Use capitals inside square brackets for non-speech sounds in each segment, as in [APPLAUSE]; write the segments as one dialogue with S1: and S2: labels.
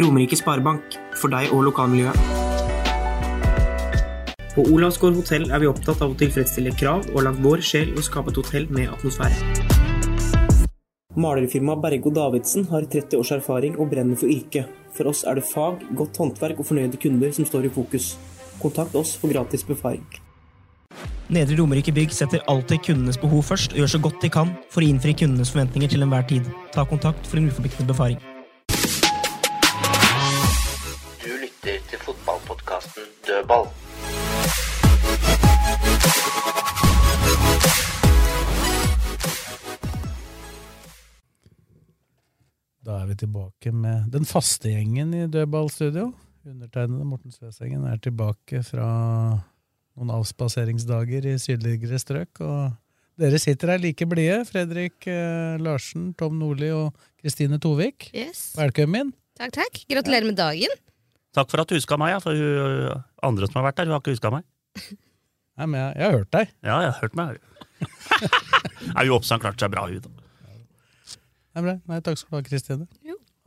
S1: Romerike Sparebank, for deg og lokalmiljøet. På Olavsgård hotell er vi opptatt av å tilfredsstille krav og la vår sjel å skape et hotell med atmosfære. Malerfirmaet Bergo Davidsen har 30 års erfaring og brenner for yrket. For oss er det fag, godt håndverk og fornøyde kunder som står i fokus. Kontakt oss for gratis befaring. Nedre Romerike Bygg setter alltid kundenes behov først og gjør så godt de kan for å innfri kundenes forventninger til enhver tid. Ta kontakt for en uforpliktende befaring.
S2: Du lytter til fotballpodkasten Dødball.
S3: Da er vi tilbake med den faste gjengen i dødballstudio. Undertegnede Morten Svesengen er tilbake fra noen avspaseringsdager i sydligere strøk. Og dere sitter her like blide. Fredrik eh, Larsen, Tom Nordli og Kristine Tovik.
S4: Yes.
S3: Velkommen.
S4: Takk, takk. Gratulerer med dagen.
S5: Takk for at du huska meg, ja, for hun eh, andre som har vært der, hun har ikke huska meg.
S3: Nei, men jeg, jeg har hørt deg.
S5: Ja, jeg har hørt meg. Nei, hun Oppsand klarte seg bra, hun. da.
S3: Nei, bra. Nei, takk skal du ha, Kristine.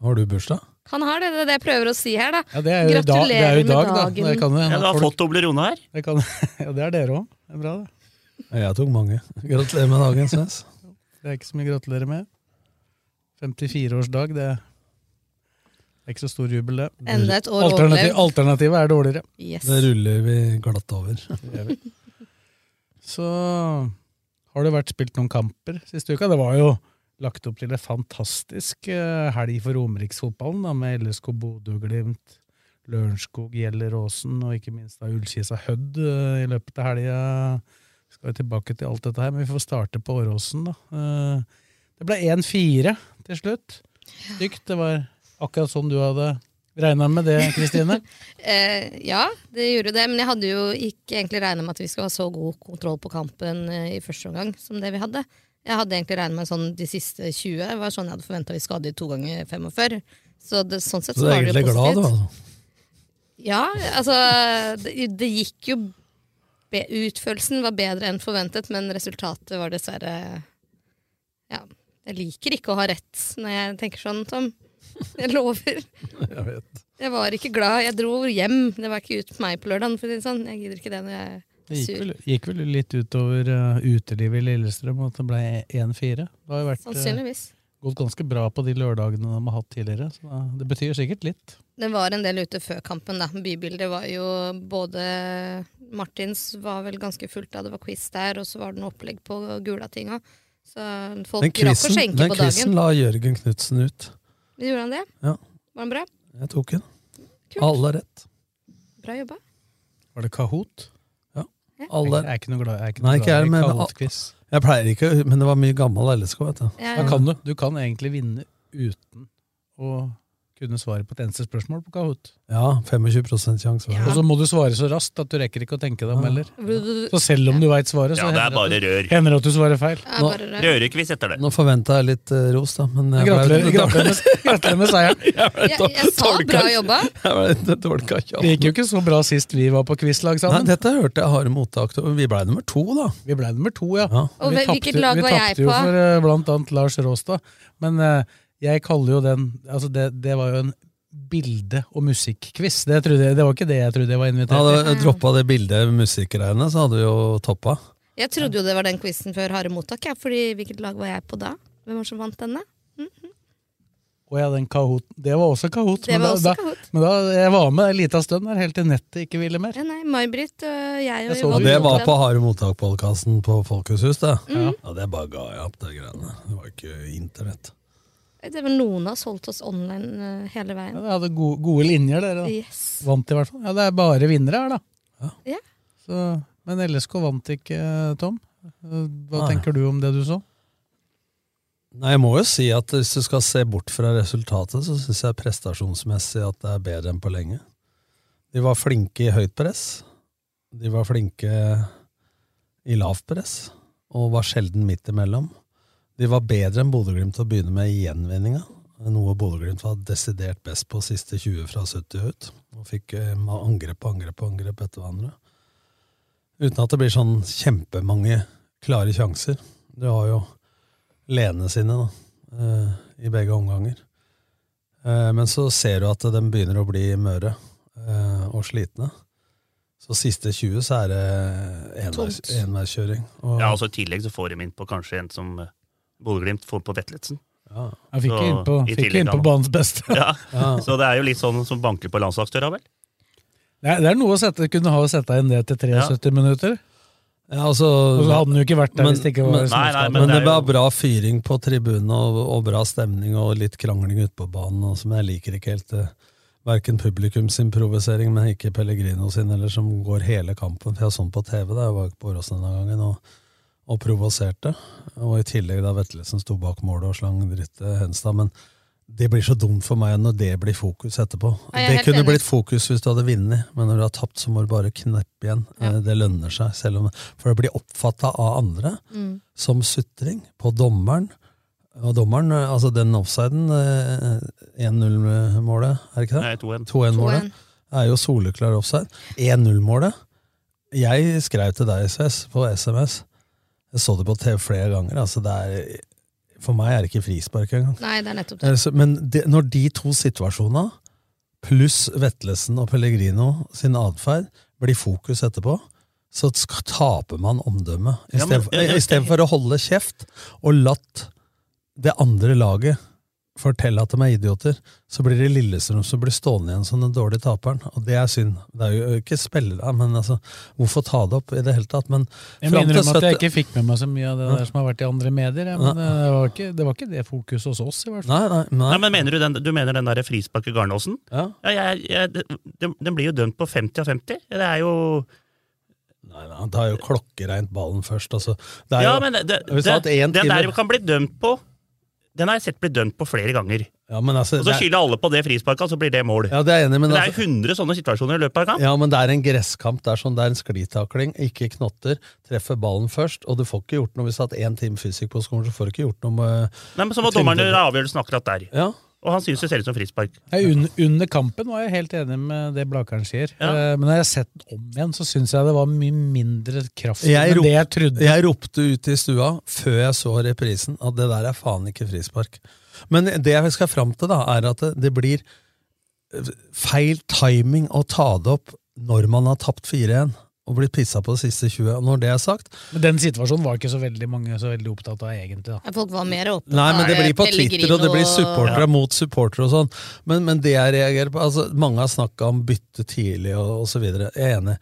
S6: Har du bursdag?
S4: Han har det, det er det jeg prøver å si her, da.
S3: Ja, det er jo i dag, det er jo i dag da.
S4: Gratulerer med
S3: Det kan, jo
S5: Ja, du
S3: hende at
S5: har
S3: folk,
S5: fått Toblerone her.
S3: det kan, [LAUGHS] ja, det er dere òg. Det er bra, det.
S6: Jeg tok mange. Gratulerer med dagen, Snes.
S3: Det er ikke så mye å gratulere med. 54-årsdag, det er ikke så stor jubel, det.
S4: Enda et år
S3: Alternativ,
S4: overlevd.
S3: alternativet er dårligere.
S4: Yes.
S6: Det ruller vi glatt over.
S3: Så har det vært spilt noen kamper siste uka. Det var jo lagt opp til en fantastisk eh, helg for Romeriksfotballen, da, med LSK Bodø, Glimt, Lørenskog, Gjelleråsen og ikke minst da Ullkisa Hødd eh, i løpet av helga. Skal jo tilbake til alt dette her, men vi får starte på Åråsen, da. Eh, Det ble 1-4 til slutt. Stygt. Det var akkurat som du hadde regna med det, Kristine.
S4: Eh, ja, det gjorde det, men jeg hadde jo ikke egentlig regna med at vi skulle ha så god kontroll på kampen eh, i første omgang som det vi hadde. Jeg hadde egentlig regna med sånn de siste 20, var sånn jeg hadde forventa vi skulle ha de to ganger 45. Så det, sånn sett
S6: [LAUGHS] Så
S4: så
S6: du er
S4: var det
S6: egentlig
S4: jo
S6: glad, du,
S4: positivt.
S6: altså.
S4: Ja, altså Det, det gikk jo be, Utførelsen var bedre enn forventet, men resultatet var dessverre Ja. Jeg liker ikke å ha rett når jeg tenker sånn, Tom. Jeg lover.
S6: Jeg vet.
S4: Jeg var ikke glad. Jeg dro hjem. Det var ikke ut på meg på lørdagen. For å si det sånn. Jeg gidder ikke det når jeg
S3: Det
S4: er
S3: gikk
S4: sur.
S3: vel, gikk vel litt utover uh, utelivet i Lillestrøm at det ble 1-4. Det har jo vært, eh,
S4: Sannsynligvis.
S3: gått ganske bra på de lørdagene de har hatt tidligere, så da, det betyr sikkert litt.
S4: Det var en del ute før kampen, da. Bybildet var jo både Martins var vel ganske fullt da, det var quiz der, og så var det noe opplegg på Gulatinga. Så folk
S6: Den
S4: rakk å
S6: quizen,
S4: skjenke
S6: den
S4: på dagen.
S6: quizen la Jørgen Knutsen ut.
S4: Gjorde han det?
S6: Ja.
S4: Var han bra?
S6: Jeg tok den.
S4: Kult.
S6: Alle har rett.
S4: Bra jobba.
S3: Var det Kahoot? Jeg
S6: Alle
S3: er ikke noe glad, jeg er ikke
S6: Nei,
S3: noe
S6: ikke jeg,
S3: glad i
S6: men-
S3: Kahoot-quiz.
S6: Jeg pleier ikke, men det var mye gammel LSK, vet du.
S4: Ja,
S3: Da kan du. Du kan egentlig vinne uten å kunne svare på et eneste spørsmål på Kahoot.
S6: Ja, 25 sjanse. var det.
S4: Ja.
S3: Og så må du svare så raskt at du rekker ikke å tenke deg om heller.
S4: Vrv-
S3: Så selv om du veit svaret,
S5: Ja,
S3: så
S5: det er
S3: hender,
S5: bare
S3: det at
S5: rør.
S3: du, hender det at du svarer feil.
S4: Ja, bare det.
S5: Rørekviss etter det.
S6: Nå forventa jeg litt eh, ros, da, men jeg
S3: Gratulerer
S6: litt dårlig-
S3: gratulerer med, gratulerer med seieren.
S6: [LAUGHS]
S4: Jeg, jeg sa
S6: Tolka-
S4: bra jobba.
S6: Jeg ble litt dårlig kakja.
S3: Det gikk jo ikke så bra sist vi var på quizlag
S6: Nei,
S3: sammen.
S6: dette hørte jeg harde mottak til. Vi blei nummer to, da.
S3: Vi ble nummer to, ja.
S6: Ja.
S4: Og
S3: Vi
S4: hvem-
S3: tapte-
S4: hvilket lag var jeg
S3: Vi tapte jo
S4: på?
S3: for eh, blant annet Lars Råstad. Men eh, jeg kaller jo den altså det, det var jo en bilde- og musikkquiz. Det, trodde jeg- det var ikke det jeg trodde jeg var invitert til.
S6: Hadde jeg droppa det bildet musikkgreiene, så hadde vi jo toppa.
S4: Jeg trodde jo det var den quizen før Harde mottak, ja, fordi hvilket lag var jeg på da? Hvem var det som vant denne?
S3: Å ja, den Kahoot. Det var også Kahoot.
S4: Det
S3: men
S4: var
S3: da,
S4: også
S3: da,
S4: Kahoot.
S3: men da, jeg var med en liten stund der, helt til nettet ikke ville mer.
S4: Ja, nei, May-Britt og jeg og
S3: Jeg så
S6: Og
S3: Du
S6: det
S3: gjorde
S6: var
S4: Jonas.
S6: på Harde mottak-podkasten på Folkehushus, det.
S3: Ja.
S6: Ja, det bare ga jeg opp, det greiene. Det var ikke internett.
S4: Det var noen av oss holdt oss online eh, hele
S3: Ja,
S4: veien.
S3: det hadde gode, gode linjer, dere. Da.
S4: Yes.
S3: Vant i hvert fall. Ja, det er bare vinnere her, da.
S4: Ja.
S3: Så, men LSK vant ikke, eh, Tom. Eh, Hva
S6: Nei.
S3: tenker du om det du så?
S6: Nei, jeg må jo si at hvis du skal se bort fra resultatet, så syns jeg prestasjonsmessig at det er bedre enn på lenge. De var flinke i høyt press. De var flinke i lavt press, og var sjelden midt imellom. De var bedre enn Bodø-Glimt til å begynne med i gjenvinninga, noe Bodø-Glimt var desidert best på siste 20 fra 70 ut, og fikk eh, angrep på angrep på angrep etter hverandre. Uten at det blir sånn kjempemange klare sjanser. Du har jo lene sine da, eh, i begge omganger. Eh, Men så ser du at de begynner å bli møre eh, og slitne. Så siste 20 så er det enveis-
S4: Tomt.
S6: enveiskjøring. Og-
S5: Ja, altså I tillegg så får de inn på kanskje en som eh, Bodø-Glimt får på Vetlesen.
S6: ja.
S3: Jeg fikk
S5: Så,
S3: inn på,
S5: i
S3: fikk
S5: tillegg
S3: inn på
S5: da.
S3: banens beste. [LAUGHS]
S5: Ja.
S6: Ja.
S5: Så det er jo litt sånn som banker på landslagsdøra, vel?
S3: Det er, det er noe å sette, kunne ha å sette inn det til 73 minutter.
S6: Ja, altså,
S3: Og så hadde den jo ikke vært der
S6: Men-
S3: hvis det ikke var
S6: men-
S5: Nei, nei,
S3: småskade.
S6: men,
S5: men
S6: det,
S5: det er jo-
S6: var bra fyring på tribunen, og, og bra stemning og litt krangling ute på banen, og som jeg liker ikke helt. eh, Verken publikumsimprovisering, men ikke Pellegrino sin, eller som går hele kampen. For jeg så den på TV, da jeg var ikke på Åråsen denne gangen, og, og provoserte. Og i tillegg da Vetlesen sto bak målet og slang dritt til Henstad. Men det blir så dumt for meg når det blir fokus etterpå.
S4: Ja, jeg er
S6: det
S4: helt
S6: kunne
S4: enig.
S6: blitt fokus hvis du hadde vunnet, men når du har tapt, så må du bare kneppe igjen. Eh, Det lønner seg, selv om, for det blir oppfatta av andre
S4: Mm.
S6: som sutring på dommeren. Og dommeren, eh, altså den offsiden, eh, 1-0-målet, er det ikke det?
S5: Nei, 2-1.
S6: 2-1-målet, er jo soleklar offside. 1-0-målet. Jeg skrev til deg, Sves, på SMS. Jeg så det på TV flere ganger. altså det er, For meg er det ikke frispark engang.
S4: Nei, det er nettopp det.
S6: Eh, så- Men det, når de to situasjonene, pluss Vetlesen og Pellegrino sin atferd, blir fokus etterpå, så sk- taper man omdømmet. I
S5: Ja, men-
S6: stedet for-
S5: ja, ja,
S6: i stedet for å holde kjeft og latt det andre laget fortelle at de er idioter, så blir det Lillestrøm som blir stående igjen som den dårlige taperen. Og det er synd. Det er jo ikke spillere, men altså, hvorfor ta det opp i det hele tatt? Men
S3: Jeg må
S6: fram til
S3: innrømme at jeg
S6: 70
S3: ikke fikk med meg så mye av det der som har vært i andre medier. jeg, Men eh, det var ikke det, var ikke det fokuset hos oss, i hvert fall.
S6: Nei, nei,
S5: Nei,
S6: nei.
S5: men mener Du den, du mener den der frisparket Garnåsen?
S6: Ja.
S5: Ja, jeg, jeg, den, den blir jo dømt på 50 av 50. Det er jo
S6: Nei, nei, det er jo klokkereint ballen først. Altså. Det er
S5: Ja,
S6: jo,
S5: men det, det,
S6: vi sa at en
S5: den der
S6: time-
S5: kan bli dømt på Den har jeg sett bli dømt på flere ganger.
S6: ja, men altså,
S5: Og så
S6: det er-
S5: skylder alle på det frisparket, og så blir det mål.
S6: Ja, det er jeg enig, i, men
S5: det er
S6: altså,
S5: 100 sånne situasjoner i løpet av en kamp.
S6: ja, men det er en gresskamp. Det er sånn, det er en sklitakling, ikke knotter. Treffer ballen først, og du får ikke gjort noe. Hvis du har hatt én time fysikk på skolen, så får du ikke gjort noe med
S5: Nei, men Så må
S6: Jeg tenkte
S5: dommeren
S6: det.
S5: gjøre avgjørelsen akkurat der.
S6: Ja,
S5: Og han syns det ser ut som frispark.
S3: Nei, un, under kampen var jeg helt enig med det Blakeren sier.
S5: Ja.
S3: Eh, Men når jeg har sett den om igjen, så syns jeg det var mye mindre kraft
S6: Jeg
S3: enn det jeg trodde.
S6: Jeg ropte ut i stua før jeg så reprisen at det der er faen ikke frispark. Men det jeg skal fram til, da, er at det, det blir feil timing å ta det opp når man har tapt 4-1 og blitt pissa på de siste 20. Og når det er sagt,
S3: Men den situasjonen var ikke så veldig mange så veldig opptatt av, egentlig. da.
S4: Nei, Folk var mer eh, åpne.
S6: Nei, men det blir på Twitter, og det blir
S4: supporter
S6: supportere mot supportere og sånn. Men, men det jeg reagerer på altså, Mange har snakka om bytte tidlig og, og så videre. Jeg er enig.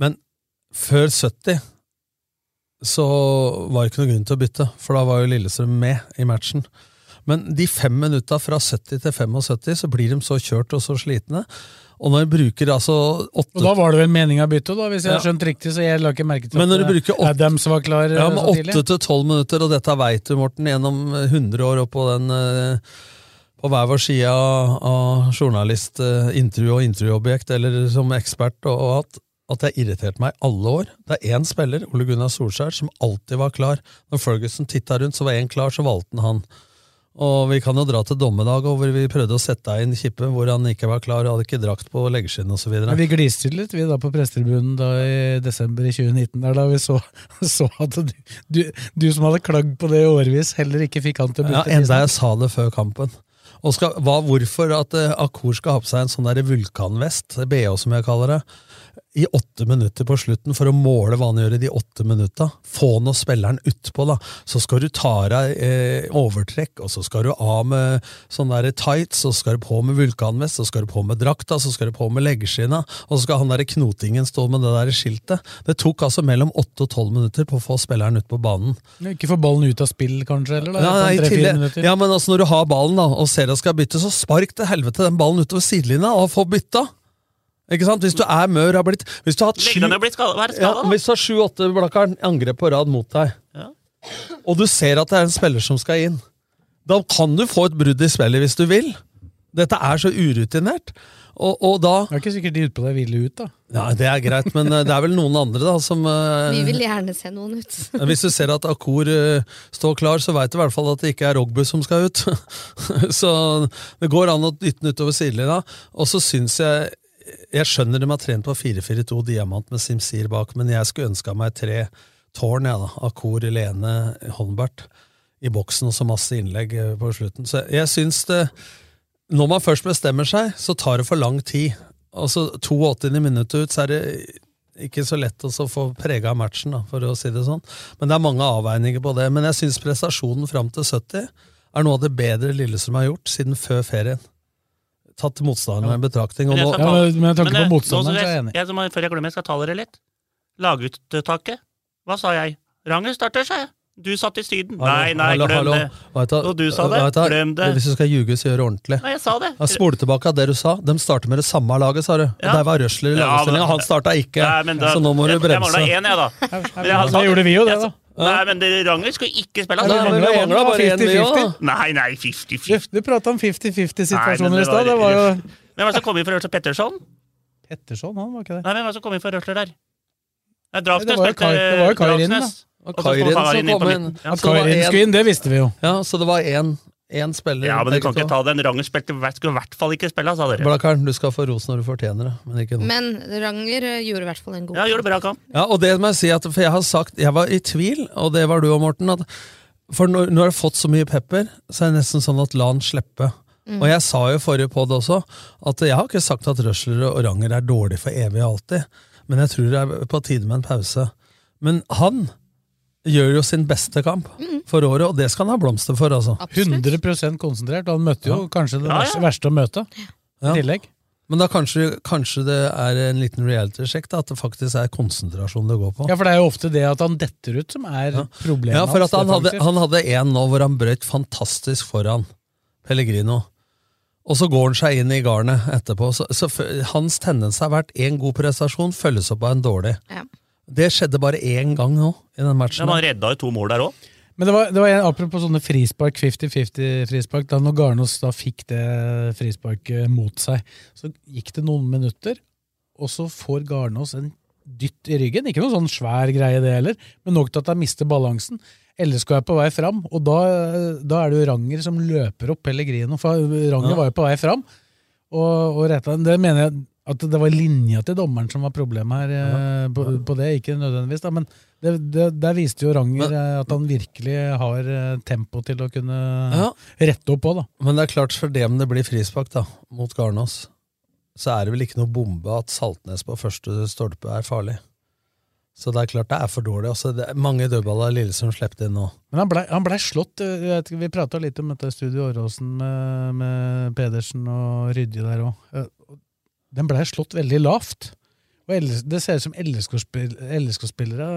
S6: Men før 70 så var det ikke noe grunn til å bytte, for da var jo Lillestrøm med i matchen. Men de fem minutta fra 70 til 75 så blir de så kjørt og så slitne. Og når de bruker altså
S3: Og da
S6: åtte
S3: var det vel meninga å bytte, da, hvis jeg har
S6: Ja.
S3: skjønt riktig. så jeg la ikke merke til
S6: Men når
S3: at
S6: du bruker åtte-
S3: Adams var klar eh,
S6: ja, med
S3: så tidlig.
S6: åtte til tolv minutter, og dette veit du, Morten, gjennom eh, 100 år og på den eh, på hver vår side av, av journalist, eh, intervju og intervjuobjekt, eller som ekspert og, og alt, at det har irritert meg alle år. Det er én spiller, Ole Gunnar Solskjær, som alltid var klar. Når Ferguson titta rundt, så var én klar, så valgte han han. Og vi kan jo dra til dommedag, og hvor vi prøvde å sette inn Kippe, hvor han ikke var klar og hadde ikke drakt på leggskinn osv.
S3: Men Vi gliste litt vi da på prestetribunen da i desember i 2019, der da vi så, [LAUGHS] så at du, du, du som hadde klagd på det i årevis, heller ikke fikk han til å
S6: Ja,
S3: bytte.
S6: enda
S3: prisen.
S6: jeg sa det før kampen. Og skal, hva, hvorfor at eh, Akur skal ha på seg en sånn der vulkanvest, BH som jeg kaller det, i åtte minutter på slutten for å måle hva han gjør i de åtte minutta. Få nå spilleren utpå, da. Så skal du ta av deg eh, overtrekk, og så skal du av med sånne der tights, så skal du på med vulkanvest, så skal du på med drakta, så skal du på med leggeskinna, og så skal han der knotingen stå med det der skiltet. Det tok altså mellom åtte og tolv minutter på å få spilleren ut på banen.
S3: Ikke få ballen ut av spill, kanskje? eller da,
S6: Ja,
S3: på en
S6: nei, i
S3: tre-fire
S6: tillegg,
S3: sånn minutter.
S6: ja, men altså når du har ballen da, og ser at skal bytte, så spark til helvete den ballen utover sidelinja og få bytta. Ikke sant? Hvis du er mør, har blitt Hvis du har hatt sju
S5: Legg deg ned og bli skada. Hva er det
S6: ja,
S5: skada, da?
S6: hvis du har sju-åtte blakkaren angrep på rad mot deg,
S5: Ja.
S6: og du ser at det er en spiller som skal inn, Da kan du få et brudd i spillet hvis du vil. Dette er så urutinert. Og, og da
S3: Det er ikke sikkert de utpå deg ville ut, da.
S6: Ja, det er greit, men eh, det er vel noen andre da som eh,
S4: Vi vil gjerne se noen ut.
S6: Hvis du ser at Akor eh, står klar, så veit du i hvert fall at det ikke er Rogbu som skal ut. [LAUGHS] så det går an å dytte den utover sidelinja. Og så syns jeg Jeg skjønner de har trent på 4-4-2 diamant med Simsir bak, men jeg skulle ønska meg tre tårn, jeg, da. Akor, Lene, Holmbert i boksen, og så masse innlegg eh, på slutten. Så jeg syns det Når man først bestemmer seg, så tar det for lang tid. Altså 82 minutter ut, så er det ikke så lett å så få prega matchen, da, for å si det sånn. Men det er mange avveininger på det. Men jeg syns prestasjonen fram til 70 er noe av det bedre Lillestrøm har gjort siden før ferien. Tatt motstanderen med i betraktning. Og
S5: Men jeg skal ta-
S3: Ja,
S6: nå,
S3: men med tanke på
S5: eh, nå
S3: motstanderen,
S5: skal
S3: så er jeg enig.
S5: Jeg, må- før jeg glemmer, jeg skal ta dere litt. Laguttaket. Hva sa jeg? Ranger starter seg. Du satt i Syden. Nei, nei,
S6: Hallo,
S5: glem
S6: hallo,
S5: det.
S6: hallo. Vet
S5: Og du sa det.
S6: vet du,
S5: Glem det.
S6: Hvis du skal ljuge, så gjør det ordentlig.
S5: Nei, jeg sa det.
S6: Ja, Spole tilbake av det du sa. De starter med det samme laget, sa du.
S5: Ja.
S6: Og der var Røsler i
S5: Ja,
S6: lagoppstillinga.
S5: men-
S6: Han starta ikke,
S5: Nei, men da-
S6: så nå må du
S5: jeg- Jeg
S6: bremse.
S5: mangla én, jeg, da. Men jeg sa
S3: Da gjorde vi jo det, da.
S5: Nei, men dere Ranger skulle ikke spille.
S6: Nei,
S5: Altså.
S6: men vi mangla bare én, vi òg.
S5: Nei, nei, 50-50.
S3: Du, du prata om 50-50-situasjoner
S5: Nei, men det
S3: i stad.
S5: var-
S3: Det var jo
S5: Hvem var det som kom inn for Ørsta Petterson?
S3: Petterson, han var ikke det?
S5: Nei, hvem var det som kom inn for Røsler der? Nei,
S3: Nei,
S5: Dragsnes.
S3: det var jo
S5: spilte-
S3: Kai- det var jo Kairin,
S5: Dragsnes. Og så kom
S6: Kairin som
S5: Kairin inn på
S6: kom
S5: midten.
S6: inn.
S5: Ja.
S6: Så det var
S3: Kairin
S6: en-
S3: skulle inn, det visste vi jo.
S6: Ja, så det var én, én spiller.
S5: Ja, men du kan
S6: begge
S5: ikke ta
S6: to.
S5: den. Ranger spilte, skulle i hvert fall ikke spille, sa dere.
S6: Blakkaren, du skal få ros når du fortjener det, men ikke nå.
S4: Men Ranger eh, gjorde i hvert fall en god
S5: Ja, gjorde bra kamp.
S6: Ja, og det må jeg si at, for jeg har sagt, jeg var i tvil, og det var du og Morten, at for når, når jeg har fått så mye pepper, så er det nesten sånn at la han slippe. Og jeg sa jo i forrige podd også, at jeg har ikke sagt at røsler og ranger er dårlig for evig og alltid, men jeg tror det er på tide med en pause. Men han gjør jo sin beste kamp for året, og det skal han ha blomster for, altså.
S4: Absolutt.
S3: 100 konsentrert, og han møtte jo kanskje det
S5: Ja, ja.
S3: verste, verste å møte. I
S6: Ja.
S3: tillegg.
S6: Men da kanskje, kanskje det er en liten reality-sjekk, da, at det faktisk er konsentrasjon det går på.
S3: Ja, for det er jo ofte det at han detter ut som er problemet
S6: Ja, for at han hadde,
S3: defensivt.
S6: han hadde en nå hvor han brøt fantastisk foran Pellegrino. Og så går han seg inn i garnet etterpå. Så, så f- hans tendens har vært én god prestasjon følges opp av en dårlig.
S4: Ja.
S6: Det skjedde bare én gang nå i den
S5: Ja,
S6: matchen.
S5: man redda jo to mål der òg.
S3: Men det var, det var en, apropos sånne frispark, 50-50-frispark. Da når Garnås da fikk det frisparket mot seg, så gikk det noen minutter, og så får Garnås en dytt i ryggen. Ikke noe sånn svær greie det heller, men nok til at han mister balansen. LSK er på vei fram, og da, da er det jo Ranger som løper opp Pellegrino. For Ranger
S6: Ja.
S3: var jo på vei fram, og, og retta den. Det mener jeg at det var linja til dommeren som var problemet her. eh, På, på det, Ikke nødvendigvis, da, men det, det, der viste jo Ranger
S6: Men-
S3: eh, at han virkelig har eh, tempo til å kunne
S6: Ja,
S3: rette opp på. da.
S6: men det er klart, for det om det blir frispark da, mot Garnås, så er det vel ikke noe bombe at Saltnes på første stolpe er farlig. Så det er klart det er for dårlig. Altså, det er mange dødballer Lillesund slapp inn nå.
S3: Men han blei ble slått. eh, jeg vet ikke, Vi prata litt om dette Studio Åråsen med, med Pedersen og Rydje der òg. Den blei slått veldig lavt. Og LS det ser ut som LSK-spillere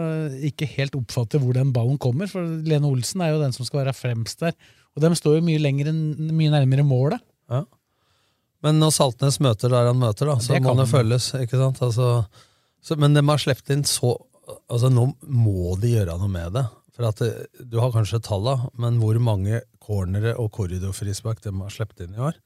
S3: ikke helt oppfatter hvor den ballen kommer. For Lene Olsen er jo den som skal være fremst der. Og dem står jo mye, lenger enn- mye nærmere målet.
S6: Men når Saltnes møter der han møter, da, så
S3: det
S6: må
S3: kan
S6: det
S3: han.
S6: følges. ikke sant? Altså, så, men de har sluppet inn så altså Nå må de gjøre noe med det. For at det, Du har kanskje talla, men hvor mange cornere og korridorfrispark de har sluppet inn i år?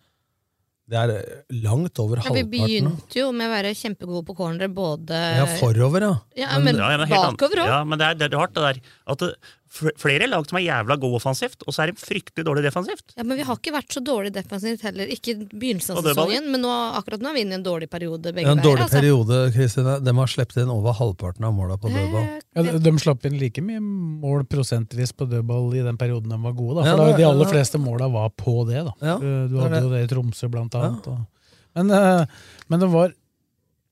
S6: Det er eh, langt over
S4: Ja, vi
S6: halvparten. da.
S4: begynte jo med å være kjempegode på cornere, både
S6: Ja, forover, ja.
S4: Ja, men,
S5: Ja, ja, men helt annet.
S4: bakover òg.
S5: Ja, men det er, det er hardt, det der. At det, fl- flere lag som er jævla gode offensivt, og så er de fryktelig dårlige defensivt.
S4: Ja, men vi har ikke vært så dårlig defensivt heller. Ikke i begynnelsen
S5: Og
S4: av
S5: det ballen.
S4: sesongen, men nå, akkurat nå er vi inne i en dårlig periode
S6: Det
S4: begge
S6: er en dårlig
S4: altså.
S6: periode, Kristine. De har sluppet inn over halvparten av måla på dødball.
S3: Ja, de, de slapp inn like mye mål prosentvis på dødball i den perioden de var gode. Da.
S6: Ja,
S3: For da,
S6: det-
S3: de aller
S6: ja.
S3: fleste måla var på det. Da.
S6: Ja,
S3: du, du
S6: det er
S3: hadde
S6: det.
S3: jo det i Tromsø, blant annet. Og, men, eh, men de var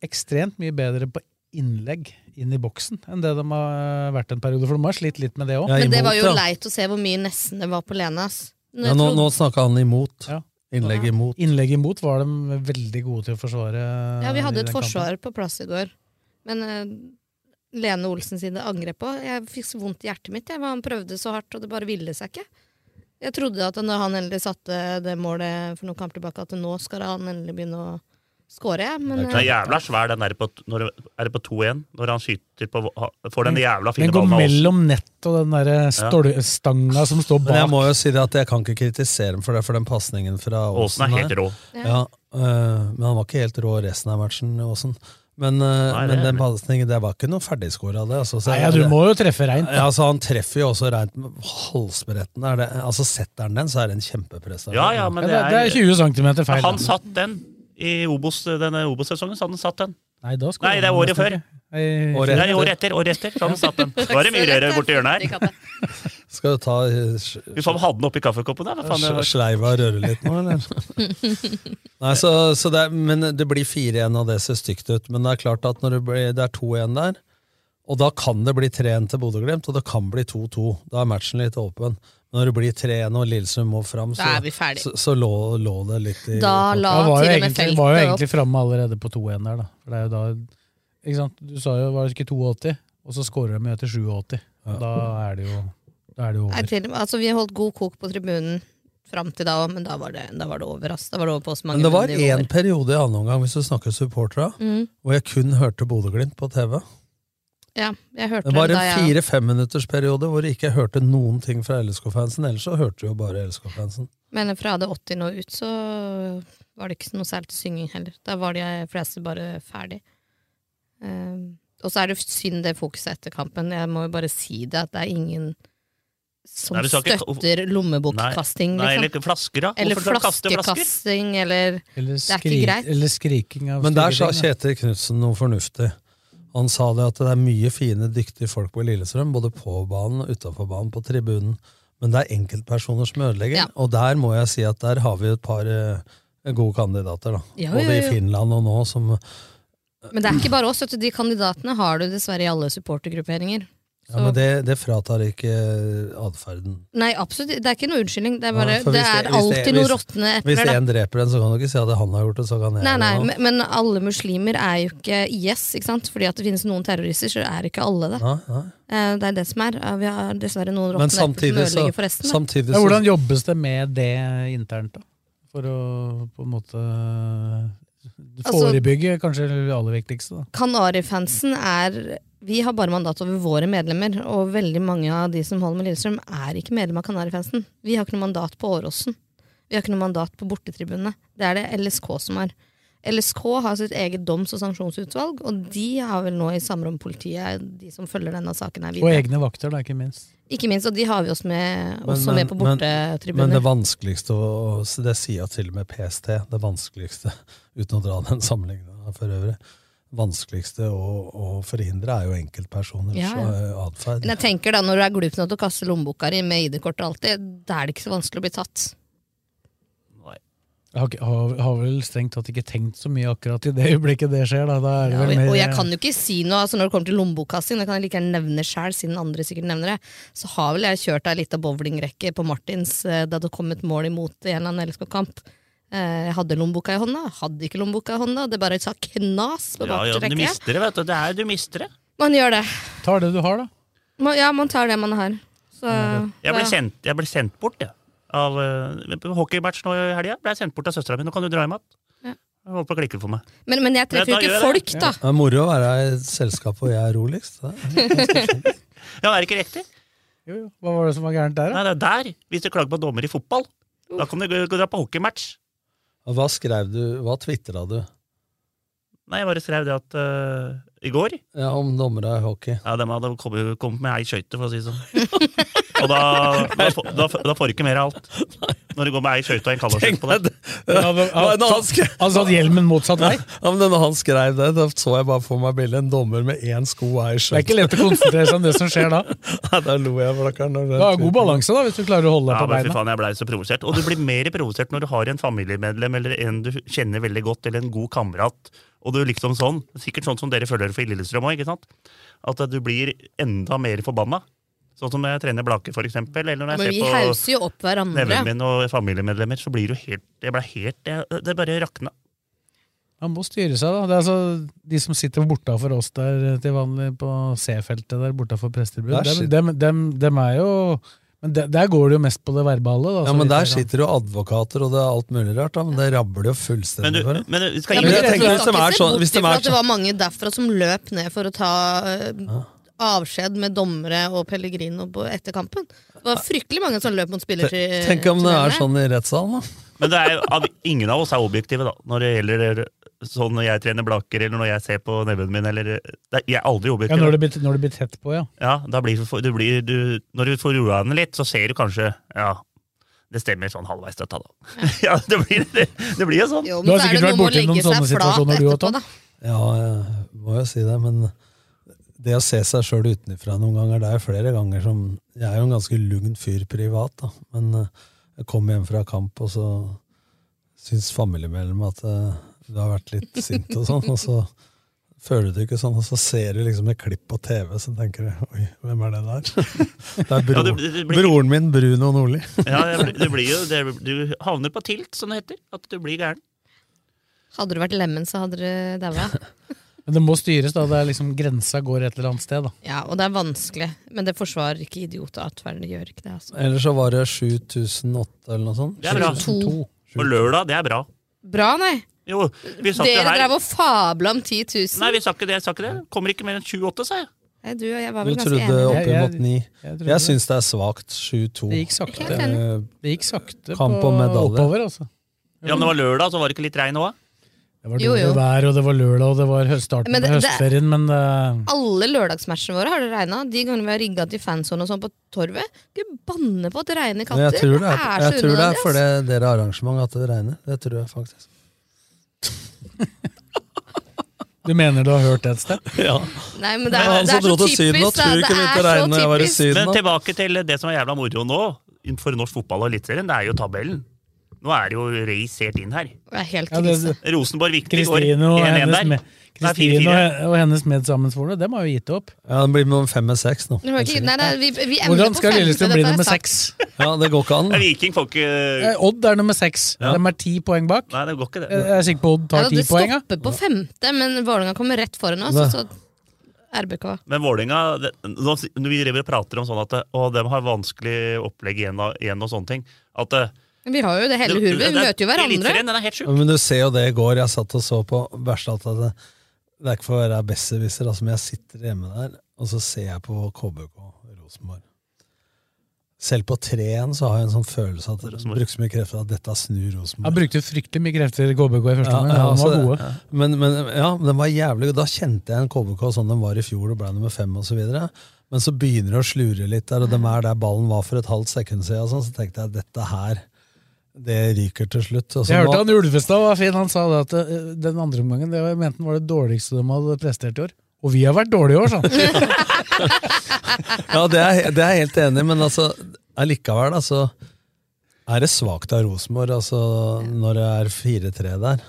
S3: ekstremt mye bedre på innlegg inn i boksen enn det de har eh, vært en periode. For de har slitt litt med det òg.
S6: Ja,
S4: Men det
S6: imot,
S4: var jo
S6: ja.
S4: leit å se hvor mye nesten det var på Lene. ass. Når
S6: Ja,
S4: jeg
S6: nå nå
S4: trodde-
S6: snakka han imot.
S3: Ja.
S6: Innlegg imot.
S3: Innlegg imot var de veldig gode til å forsvare.
S4: ja, vi
S3: i
S4: hadde et
S3: den kampen.
S4: forsvar på plass i går, men eh, Lene Olsen sine angrep på Jeg fikk så vondt i hjertet mitt. Jeg, han prøvde så hardt, og det bare ville seg ikke. Jeg trodde at når han endelig satte det målet for noen kamper tilbake, at nå skal han endelig begynne å score, jeg. Men,
S6: eh,
S5: Den er jævla svær, den der på, når, er det på 2-1, når han skyter på Får
S6: Mm.
S5: den jævla fine
S3: Den går
S5: ballen av oss.
S3: mellom nett og den derre stol- stanga som står
S6: Men jeg
S3: bak.
S6: må jo si det at jeg kan ikke kritisere dem for det, for den pasningen fra
S5: Aasen
S6: Aasen
S5: er helt
S6: her.
S5: rå.
S4: Ja.
S6: Ja, øh, men han var ikke helt rå resten av matchen, Aasen. Men, øh,
S5: Nei, det
S6: men
S5: er
S6: den
S5: det.
S6: pasningen, det var ikke noe ferdigskår av det. Altså, så
S3: Nei, ja, du
S6: det-
S3: må jo treffe reint.
S6: Ja, altså, han treffer jo også rent med halsbretten. Er det, altså, setter han den, så er det en kjempeprestasjon.
S5: Ja, ja, men
S3: Ja,
S5: det
S3: det, det er
S5: er
S3: 20 cm feil.
S5: Han satt den i Obos, denne Obos-sesongen. Så hadde han satt den.
S3: Nei, da skulle
S5: Nei, det er
S3: han
S5: året
S3: nesten
S5: før.
S3: ikke. Nei,
S6: Året-
S5: Nei, året etter. Året etter. Så hadde han satt den.
S4: eh,
S5: Da er det mye rødere borti hjørnet her.
S6: Skal du ta eh, sj-
S5: Fy faen, hadde den oppi kaffekoppen der? Hva faen?
S6: sj-
S5: det var-
S6: sleiva og røre litt nå, eller? [LAUGHS] Nei, så, så det er, men det blir 4-1, og det ser stygt ut. Men det er klart at når det, blir, det er 2-1 der, og da kan det bli 3-1 til Bodø-Glimt, og det kan bli 2-2. Da er matchen litt åpen. Men når det blir 3-1 og Lillestrøm må fram, så,
S7: Da er vi ferdig.
S6: så, så lå, lå det litt i
S4: da la
S3: Han var
S4: til
S3: jo
S4: og med
S3: egentlig, var jo
S4: feltet opp.
S3: egentlig framme allerede på 2-1 der, da. For det er jo da ikke sant? Du sa jo var det ikke 82, og så scorer de jo etter 87. Og Da er det jo, da er det jo
S4: Nei,
S3: over.
S4: til, og med- altså, vi har holdt god kok på tribunen fram til da òg, men da var det, da var det over. ass. Da var det over på oss mange
S6: Men det var
S4: nivåer.
S6: én periode i annen omgang, hvis du snakker supportera,
S4: Mm,
S6: hvor jeg kun hørte Bodø-Glimt på TV.
S4: ja, jeg hørte
S6: Det var
S4: det da,
S6: en
S4: jeg
S6: fire-femminuttersperiode hvor jeg ikke hørte noen ting fra LSK-fansen. Ellers så hørte du jo bare LSK-fansen.
S4: Men fra det 80 nå ut, så var det ikke så noe særlig til synging heller. Da var de fleste bare ferdig. Ehm, og så er det synd det fokuset etter kampen. Jeg må jo bare si det, at det er ingen som
S5: Nei, vi skal ikke-
S4: støtter lommebokkasting,
S5: Nei,
S4: liksom.
S5: eller flasker, da.
S4: Eller
S5: Hvorfor skal du kaste flasker?
S4: flaskekasting, eller
S3: Eller,
S4: er ikke
S3: skri-
S4: greit.
S3: eller skriking av
S6: Men der sa
S3: stygge ting, da.
S6: Kjetil Knutsen noe fornuftig. Han sa det at det er mye fine, dyktige folk på Lillestrøm, både på banen og utafor banen, på tribunen. Men det er enkeltpersoner som ødelegger,
S4: Ja.
S6: og der må jeg si at der har vi et par eh, gode kandidater, da.
S4: Ja,
S6: både
S4: ja, ja.
S6: i Finland og nå, som
S4: Men det er ikke bare oss. Vet du. De kandidatene har du dessverre i alle supportergrupperinger.
S6: ja, Men det, det fratar ikke eh, atferden.
S4: Nei, absolutt. Det er ikke noe unnskyldning. Det er, bare,
S6: Ja, for
S4: det
S6: hvis
S4: er
S6: det- hvis det-
S4: alltid noe
S6: hvis-
S4: råtne
S6: Hvis
S4: epler. da.
S6: én dreper en, så kan du ikke si at det han har gjort det, så kan jeg
S4: Nei, nei,
S6: gjøre det.
S4: men, men alle muslimer er jo ikke IS, ikke sant? Fordi at det finnes noen terrorister, så er ikke alle det.
S6: Nei, nei.
S4: Eh, Det er det som er. Eh, Vi har dessverre noen råtne
S6: Men
S4: epler som
S6: samtidig så,
S4: ødelegger for resten. da.
S6: samtidig
S3: Ja,
S6: så
S3: hvordan jobbes det med det internt, da? For å på en måte eh,
S4: Altså-
S3: forebygge kanskje det aller viktigste, da.
S4: Kanarifansen er Vi har bare mandat over våre medlemmer, og veldig mange av de som holder med Lillestrøm, er ikke medlem av Kanarifansen. Vi har ikke noe mandat på Åråsen. Vi har ikke noe mandat på bortetribunene. Det er det LSK som har. LSK har sitt eget doms- og sanksjonsutvalg, og de har vel nå i samråd med politiet, de som følger denne saken her
S3: Og
S4: videre.
S3: egne vakter, da, ikke minst.
S4: Ikke minst, og de har vi også med,
S6: Men-
S4: også
S6: men-
S4: med på
S6: men- Men det
S4: bortetribuner.
S6: vanskeligste, å- å- det sier jeg til og med PST, det vanskeligste, [LAUGHS] uten å dra den sammenligninga for øvrig, vanskeligste å, å forhindre er jo enkeltpersoners
S4: Ja, ja.
S6: eh, atferd.
S4: Men jeg tenker da, når du er glup nok til å kaste lommeboka di med ID-kort og alt det, da er det ikke så vanskelig å bli tatt.
S3: Jeg har, ikke- har, har vel strengt tatt ikke tenkt så mye akkurat i det øyeblikket det skjer. Da. Da er det
S4: Ja,
S3: vel
S4: og,
S3: mer,
S4: og jeg kan jo ikke si noe altså når det kommer til lommebokkasting, det kan jeg like gjerne nevne sjøl, siden andre sikkert nevner det. Så har vel jeg kjørt ei lita bowlingrekke på Martins eh, da det kom et mål imot i en eller annen LSK-kamp. Eh, Jeg hadde lommeboka i hånda, hadde ikke lommeboka i hånda. Det bare sa knas på
S5: Ja, ja, du
S4: bakrekke.
S5: mister det, vet du. Det er du mister det.
S4: man gjør det.
S3: Tar det du har, da.
S4: Man, ja, man tar det man har. Så,
S5: Jeg ble
S4: ja.
S5: sendt, jeg ble sendt bort, jeg. Av eh, på hockeymatch nå i helga. Ble jeg sendt bort av søstera mi. Nå kan du dra hjem
S4: Ja.
S5: igjen. Hun holdt på å klikke for meg.
S4: men, men jeg treffer jo
S5: Ja, da
S4: ikke
S5: gjør jeg
S4: folk, da.
S6: Det er moro å være i et selskap hvor jeg er roligst. Det er ganske fint.
S5: Ja, er det ikke riktig?
S3: Jo, jo. Hva var det som var gærent der, da?
S5: Nei, det er der. Hvis du klager på dommer i fotball, da kan du gå- gå dra på hockeymatch.
S6: Og Hva skrev du, hva tvitra du
S5: Nei, jeg bare skrev det at eh, I går
S6: ja, om dommere i hockey?
S5: Ja, de hadde kommet, kommet med ei skøyte, for å si det sånn.
S4: [LAUGHS]
S5: Og da, da, får- da, får- da får du ikke mer av alt. Når du går med ei skøyte og en kallasjøyte på deg.
S3: Ja, det-
S6: Nei, når han skrev-
S3: Han satt hjelmen motsatt vei.
S6: Ja, men når han skrev det, da så jeg bare for meg bildet. En dommer med én sko og ei
S3: Det er ikke
S6: skjørt.
S3: lett å konsentrere seg om det som skjer da.
S6: Da lo jeg, for da kan
S3: Du har god balanse da, hvis du klarer å holde deg
S5: Ja,
S3: på
S5: men fy
S3: beina.
S5: faen, jeg blei så provosert. Og du blir mer provosert når du har en familiemedlem eller en du kjenner veldig godt, eller en god kamerat. Og du liksom sånn, Sikkert sånn som dere føler det for Lillestrøm òg, ikke sant? At eh, du blir enda mer forbanna. Sånn som når jeg trener Blake, for eksempel. Eller når
S4: Men vi
S5: jeg ser på
S4: hauser jo opp hverandre.
S5: nevene mine og familiemedlemmer, så blir du helt Jeg ble helt jeg, øh, Det bare rakna.
S3: Han må styre seg da. Det er altså de som sitter bortafor oss eh, der til vanlig på C-feltet der bortafor prestetilbud,
S6: Der
S3: dem, dem, dem, dem er jo Men der, der går det jo mest på det verbale. Da,
S6: Ja,
S3: så
S6: men
S3: vidt
S6: Der
S3: jeg kan.
S6: sitter jo advokater og det er alt mulig rart, da, men det rabler
S5: Men,
S6: jo fullstendig
S5: du,
S6: for dem.
S5: men øh, skal
S4: Ja,
S5: ikke
S4: men
S6: Men jeg
S4: jeg
S6: tenker
S4: skal
S6: hvis de
S4: ikke
S6: er
S4: se
S6: sånn-
S4: bort
S6: hvis de
S4: ifra
S6: er
S4: at det var mange derfra som løp ned for å ta eh, avskjed med dommere og Pellegrino på- etter kampen. Det var fryktelig mange som løp mot spiller til
S6: Tenk om det
S4: til
S6: er
S4: dommerne.
S6: sånn i rettssalen, da.
S5: Men det er, av, ingen av oss er objektive, da. Når det gjelder sånn når jeg trener blaker, eller når jeg ser på nevøen min, eller øh, det, er- Jeg er aldri
S3: Ja,
S5: objektiv.
S3: når det blir, når det blir tett på, ja.
S5: Ja, da blir du, du blir, du, Når du får roa henne litt, så ser du kanskje Ja, det stemmer sånn halvveis, dette, da. [LAUGHS] Ja, det blir, det, det blir jo sånn.
S4: Jo,
S3: Du
S4: men
S3: har
S4: så er
S3: sikkert
S4: det
S3: vært
S4: noe med å
S3: borti noen
S4: legge
S3: sånne
S4: seg flat
S3: situasjoner, du også,
S4: etterpå,
S3: Tom.
S4: da.
S6: Ja, jeg må jo si det, men det å se seg sjøl utenfra noen ganger, det er flere ganger som Jeg er jo en ganske lugn fyr privat, da, men eh, jeg kom hjem fra kamp, og så syns familiemedlemmet at eh, du har vært litt sint og sånn, og så føler du det ikke sånn, og så ser du liksom et klipp på TV, så tenker du oi, hvem er det der? Det er
S5: Ja, det,
S6: bror,
S5: det blir,
S6: broren min, Bruno Nordli.
S5: ja, det blir, det blir jo, det, du havner på tilt, som det heter. At du blir gæren.
S4: Hadde du vært lemen, så hadde du daua.
S6: [LAUGHS]
S3: Men det må styres, da. Det er liksom Grensa går et eller annet sted, da.
S4: Ja, og det er vanskelig. Men det forsvarer ikke idiotatferden. Det gjør ikke det, altså.
S6: Eller så var det 7008 eller noe sånt.
S5: Det er bra.
S4: To.
S5: På lørdag, det er bra.
S4: Bra, nei!
S5: Jo, vi sa ikke
S4: Dere
S5: her
S4: drev og fabla om 10 000.
S5: Nei, vi sa ikke det. Jeg sa ikke det. Kommer ikke mer enn 28, sa jeg.
S4: Nei, du og jeg var
S6: Du
S4: vel ganske
S6: trodde
S4: enige.
S6: oppimot
S3: Jeg-
S6: ni.
S3: Jeg, tror
S6: Jeg
S3: det.
S6: syns det er svakt. 7-2.
S3: det gikk sakte.
S4: Helt enig.
S6: Eh,
S3: Det gikk sakte
S6: Kamp
S3: på
S6: om medalje.
S3: oppover, altså.
S5: Ja, men det var lørdag, så var det ikke litt regn òg?
S3: Det var
S4: Jo,
S3: dårlig
S4: jo.
S3: vær, og det var lørdag, og det var hø- starten
S4: Men det-
S3: på
S4: det-
S3: høstferien, men eh,
S4: Alle lørdagsmatchene våre har det regna. De gangene vi har rigga til fanzone og sånn på torvet. Ikke banne på at det regner
S6: Men
S4: katter!
S6: Jeg tror det er,
S4: så
S6: jeg tror det er
S4: unødvendig,
S6: fordi
S4: ass.
S6: dere har arrangement at det regner. Det tror jeg faktisk.
S3: du mener du har hørt det et sted?
S6: [LAUGHS] Ja.
S4: Nei, men det
S6: Men
S4: er, det er
S6: han som
S4: så
S6: altså dro til
S4: typisk.
S6: Syden og
S4: da.
S6: tror
S4: Det
S6: ikke det
S4: er
S6: begynte å
S4: så
S6: regne da jeg var i
S4: typisk.
S6: Syden.
S5: Men
S6: da.
S5: tilbake til det som er jævla moro nå, for norsk fotball og Eliteserien, det er jo tabellen. Nå er det jo race helt inn her.
S4: Det er helt
S3: Ja, det-
S4: krise.
S5: Rosenborg-Viktig går
S3: Kristine og
S5: 1-1
S3: hennes,
S5: der.
S3: med, Kristine og, og hennes medsammensvorne, dem har jo gitt opp.
S6: Ja, det blir mellom fem og seks nå.
S4: Det var ikke- Nei, det er- vi, vi ender
S3: Hvordan
S4: på
S3: skal
S4: 15,
S3: Lillestrøm
S4: dette
S3: bli
S4: er
S3: nummer
S4: sant.
S3: seks?
S6: Ja, Det går ikke an.
S5: Nei,
S6: da.
S5: Viking får ikke
S3: Eh, Odd er nummer seks. De er ti poeng bak.
S5: Nei, det går ikke,
S3: Eh,
S5: det.
S3: Jeg er sikker på Odd
S4: Ja,
S3: tar ti
S4: det
S3: poeng. ja.
S4: stopper på femte, men Vålerenga kommer rett foran oss. Og så RBK.
S5: Men Vålerenga det- nå s- Når vi driver og prater om sånn at å, de har vanskelig opplegg igjen og, igjen og sånne ting at, eh,
S4: Vi har jo det hele
S5: det-
S4: hurvet.
S5: det-
S4: Vi møter jo hverandre.
S5: Eliteserien, den er helt sjuk.
S6: Ja, Men du ser jo det i går. Jeg satt og så på verste at det, det er ikke for å være besserwisser, altså, men jeg sitter hjemme der, og så ser jeg på KBK Rosenborg. Selv på 3-1 så har jeg en sånn følelse at det
S5: Rosenborg.
S6: brukes mye krefter at dette snur
S3: Han
S6: Rosenborg.
S3: brukte fryktelig mye krefter i KBK i første
S6: Ja,
S3: omgang.
S6: ja,
S3: Han var
S6: altså,
S3: gode.
S6: Men, men ja, men den var jævlig god. Da kjente jeg en KBK sånn den var i fjor og ble nummer fem osv. Men så begynner det å slure litt der, og de er der ballen var for et halvt sekund siden. og Sånn, så tenkte jeg dette her, det ryker til slutt. Og så
S3: Jeg hørte
S6: nå-
S3: han Ulvestad var fin. Han sa det at eh, den andre omgangen det var- mente han var det dårligste de hadde prestert i år. Og vi har vært dårlige i år, sånn.
S6: Ja, det er, det er jeg helt enig i, men altså, allikevel, altså er det svakt av Rosenborg altså, når det er 4-3 der?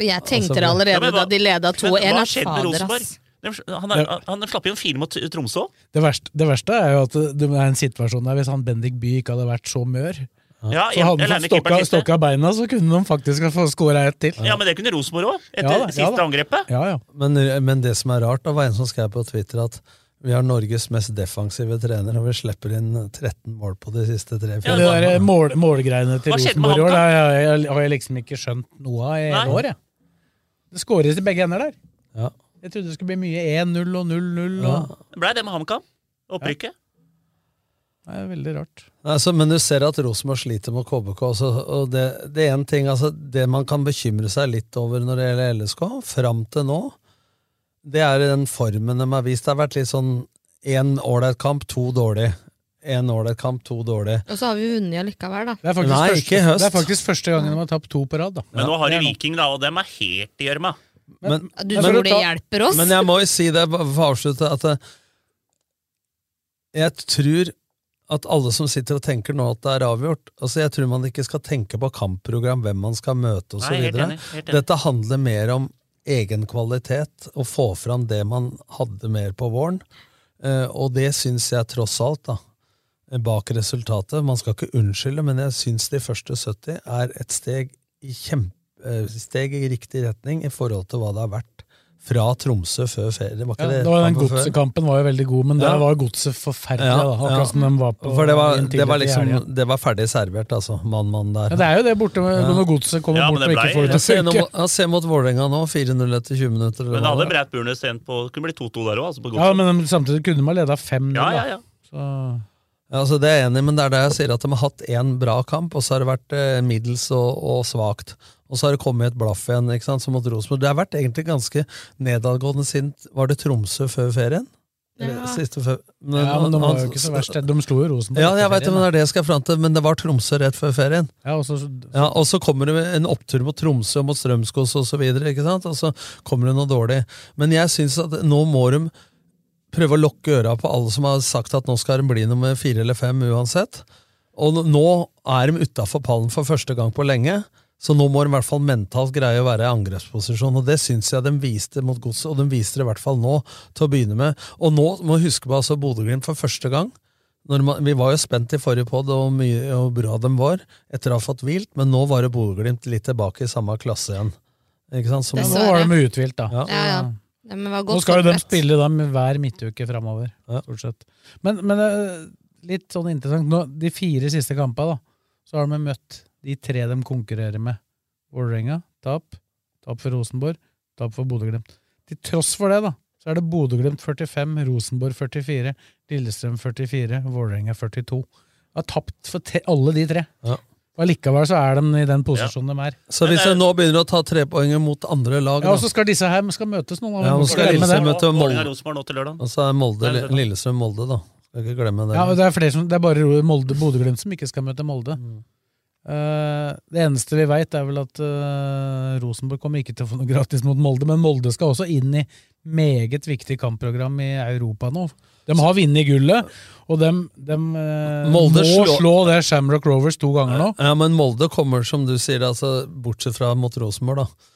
S4: Og jeg tenkte
S6: Altså,
S4: det
S5: Ja,
S4: allerede
S5: men hva-
S4: da de leda
S5: Men
S4: 2-1.
S5: hva
S4: Ja,
S5: skjedde med
S4: fader,
S5: Rosenborg?
S4: ass.
S5: De- Han, er, han slapp inn fire mot Tromsø.
S3: Det verste, det verste er jo at det er en situasjon der hvis han Bendik Bye ikke hadde vært så mør,
S5: Ja,
S3: så
S5: jeg-
S3: hadde
S5: jeg
S3: han
S5: lærte
S3: fått stokka,
S5: keeperen siste.
S3: stokka beina, så kunne de faktisk ha skåra ett til.
S5: Ja, men det kunne Rosenborg òg, etter
S3: Ja da, ja
S5: siste
S3: da.
S5: angrepet.
S3: Ja, ja.
S6: Men, men det som er rart, da, var en som skrev på Twitter at vi har Norges mest defensive trener, og vi slipper inn 13 mål på de
S5: Ja,
S6: siste
S3: Men
S6: tre-fire
S3: det der eh, mål, målgreiene til
S5: Hva skjedde med
S3: Rosenborg i år,
S5: han da?
S3: det har jeg, har jeg liksom ikke skjønt noe av i hele
S5: Nei.
S3: år. Jeg. Det skåres i begge ender der.
S6: Ja.
S3: Jeg trodde det skulle bli mye 1-0 og 0-0.
S6: Ja.
S3: og-
S5: Det Ble det med HamKam. Opprykket.
S3: Nei, Det er veldig rart.
S6: Altså, men du ser at Rosenborg sliter mot KBK. Også, altså, og det, det er en ting, altså, det man kan bekymre seg litt over når det gjelder LSK, fram til nå, det er den formen de har vist. Det har vært litt sånn én ålreit kamp, to dårlig. Én ålreit kamp, to dårlig.
S4: Og så har vi vunnet allikevel, da.
S3: Det er faktisk,
S6: Nei,
S3: første,
S6: ikke i høst.
S3: Det er faktisk første gangen de har tapt to på rad. da.
S5: Men nå har
S3: det
S5: de
S3: er noe.
S5: Viking, da, og dem er helt i gjørma.
S6: Men,
S4: Ja, Du
S3: Men-
S4: tror
S3: Men-
S4: det hjelper oss?
S6: men jeg må jo si det bare for å avslutte, at eh, jeg tror at alle som sitter og tenker nå at det er avgjort altså Jeg tror man ikke skal tenke på kampprogram, hvem man skal møte
S5: Nei,
S6: osv.
S5: helt enig. Helt enig.
S6: Dette handler mer om egen kvalitet, å få fram det man hadde mer på våren. Eh, og det syns jeg tross alt, da, bak resultatet Man skal ikke unnskylde, men jeg syns de første 70 er et steg i, kjempe, eh, steg i riktig retning i forhold til hva det har vært fra Tromsø før ferie. Det var
S3: Ja,
S6: ikke det
S3: det var den
S6: kampen før?
S3: Godsekampen var jo veldig god, men
S6: Ja.
S3: der var godset forferdelig.
S6: Ja,
S3: da, akkurat
S6: ja.
S3: som den var på
S6: For det var,
S3: den
S6: det var
S3: tidligere helgen.
S6: liksom Det var ferdig servert, altså. Mann-mann der.
S3: ja, Det er jo det borte med,
S6: Ja.
S3: når godset kommer
S5: Ja, men
S3: bort
S5: det
S3: og ikke
S5: blei-
S3: får det
S6: Jeg ser,
S3: til å
S6: nå,
S3: funke.
S6: jeg ser mot Vålerenga nå, 4-0 etter 20 minutter. eller
S5: Men da
S6: hva
S5: hadde
S6: det var.
S5: Breit Bjørnes sendt på Det kunne bli 2-2 der òg, altså. På
S3: Ja,
S5: godset.
S3: men samtidig kunne man leda 5-0.
S5: Ja,
S3: da.
S5: ja, ja.
S3: Så-
S6: ja, altså, det er jeg enig i, men det er der jeg sier at de har hatt én bra kamp, og så har det vært eh, middels og, og svakt. Og så har det kommet et blaff igjen, ikke sant, som mot Rosenborg. Det har vært egentlig ganske nedadgående siden Var det Tromsø før ferien? Eller
S4: Ja.
S6: siste før men,
S3: ja, men de var
S6: han-
S3: jo ikke så verst. De slo jo Rosenborg.
S6: Ja,
S3: etter
S6: jeg vet, det,
S3: ferien,
S6: men
S3: da.
S6: det er det jeg skal fram til, men det var Tromsø rett før ferien.
S3: Ja, og altså, så,
S6: Ja, og så kommer det en opptur mot Tromsø, mot Strømskos og så videre, ikke sant? Og så kommer det noe dårlig. Men jeg synes at nå må de prøve å lokke øra på alle som har sagt at nå skal de bli nummer fire eller fem uansett. Og n- nå er de utafor pallen for første gang på lenge. Så nå må de i hvert fall mentalt greie å være i angrepsposisjon, og det syns jeg de viste mot godset, og de viste det i hvert fall nå, til å begynne med. Og nå må vi huske på altså Bodø-Glimt for første gang. Når man, vi var jo spent i forrige podd og mye og bra de var etter å ha fått hvilt, men nå var det Bodø-Glimt litt tilbake i samme klasse igjen. Ikke sant? Som,
S3: ja,
S4: Det
S3: nå
S4: Dessverre.
S3: var de uthvilt, da.
S6: Ja.
S4: Ja, ja. Nei, men var
S3: Altså, Nå
S4: godt
S3: skal jo de
S4: forberedt.
S3: spille dem hver midtuke framover,
S6: Ja.
S3: stort sett. Men, men eh, litt sånn interessant nå, De fire siste kampene, da, så har de møtt de tre de konkurrerer med. Vålerenga, tap. Tap for Rosenborg, tap for Bodø-Glimt. Til tross for det, da, så er det Bodø-Glimt 45, Rosenborg 44, Lillestrøm 44, Vålerenga 42. De har tapt for te alle de tre.
S6: Ja.
S3: Og Allikevel så er de i den posisjonen de er.
S6: så hvis jeg nå begynner å ta trepoenger mot andre lag,
S3: Ja, Og
S6: da,
S3: så skal disse her skal møtes noen
S6: Ja, nå
S3: Hvorfor
S6: skal
S3: glemme det?
S6: Lillestrøm møte
S5: Vålerenga-
S6: Molde.
S5: Vålerenga Rosenborg nå til lørdag.
S6: og så er Molde,
S5: Nei, det er sant.
S6: Lillestrøm-Molde, da. Skal ikke glemme det.
S3: Ja, og det er, flere som, det er bare Molde, Bodø-Glimt som ikke skal møte Molde. Eh, det eneste vi veit, er vel at eh, Rosenborg kommer ikke til å få noe gratis mot Molde, men Molde skal også inn i meget viktig kampprogram i Europa nå. De har vunnet gullet, og de,
S6: Molde
S3: må
S6: slå-
S3: slå det Shamrock Rovers to ganger nå.
S6: Ja, men Molde kommer, som du sier, altså, bortsett fra mot Rosenborg, da.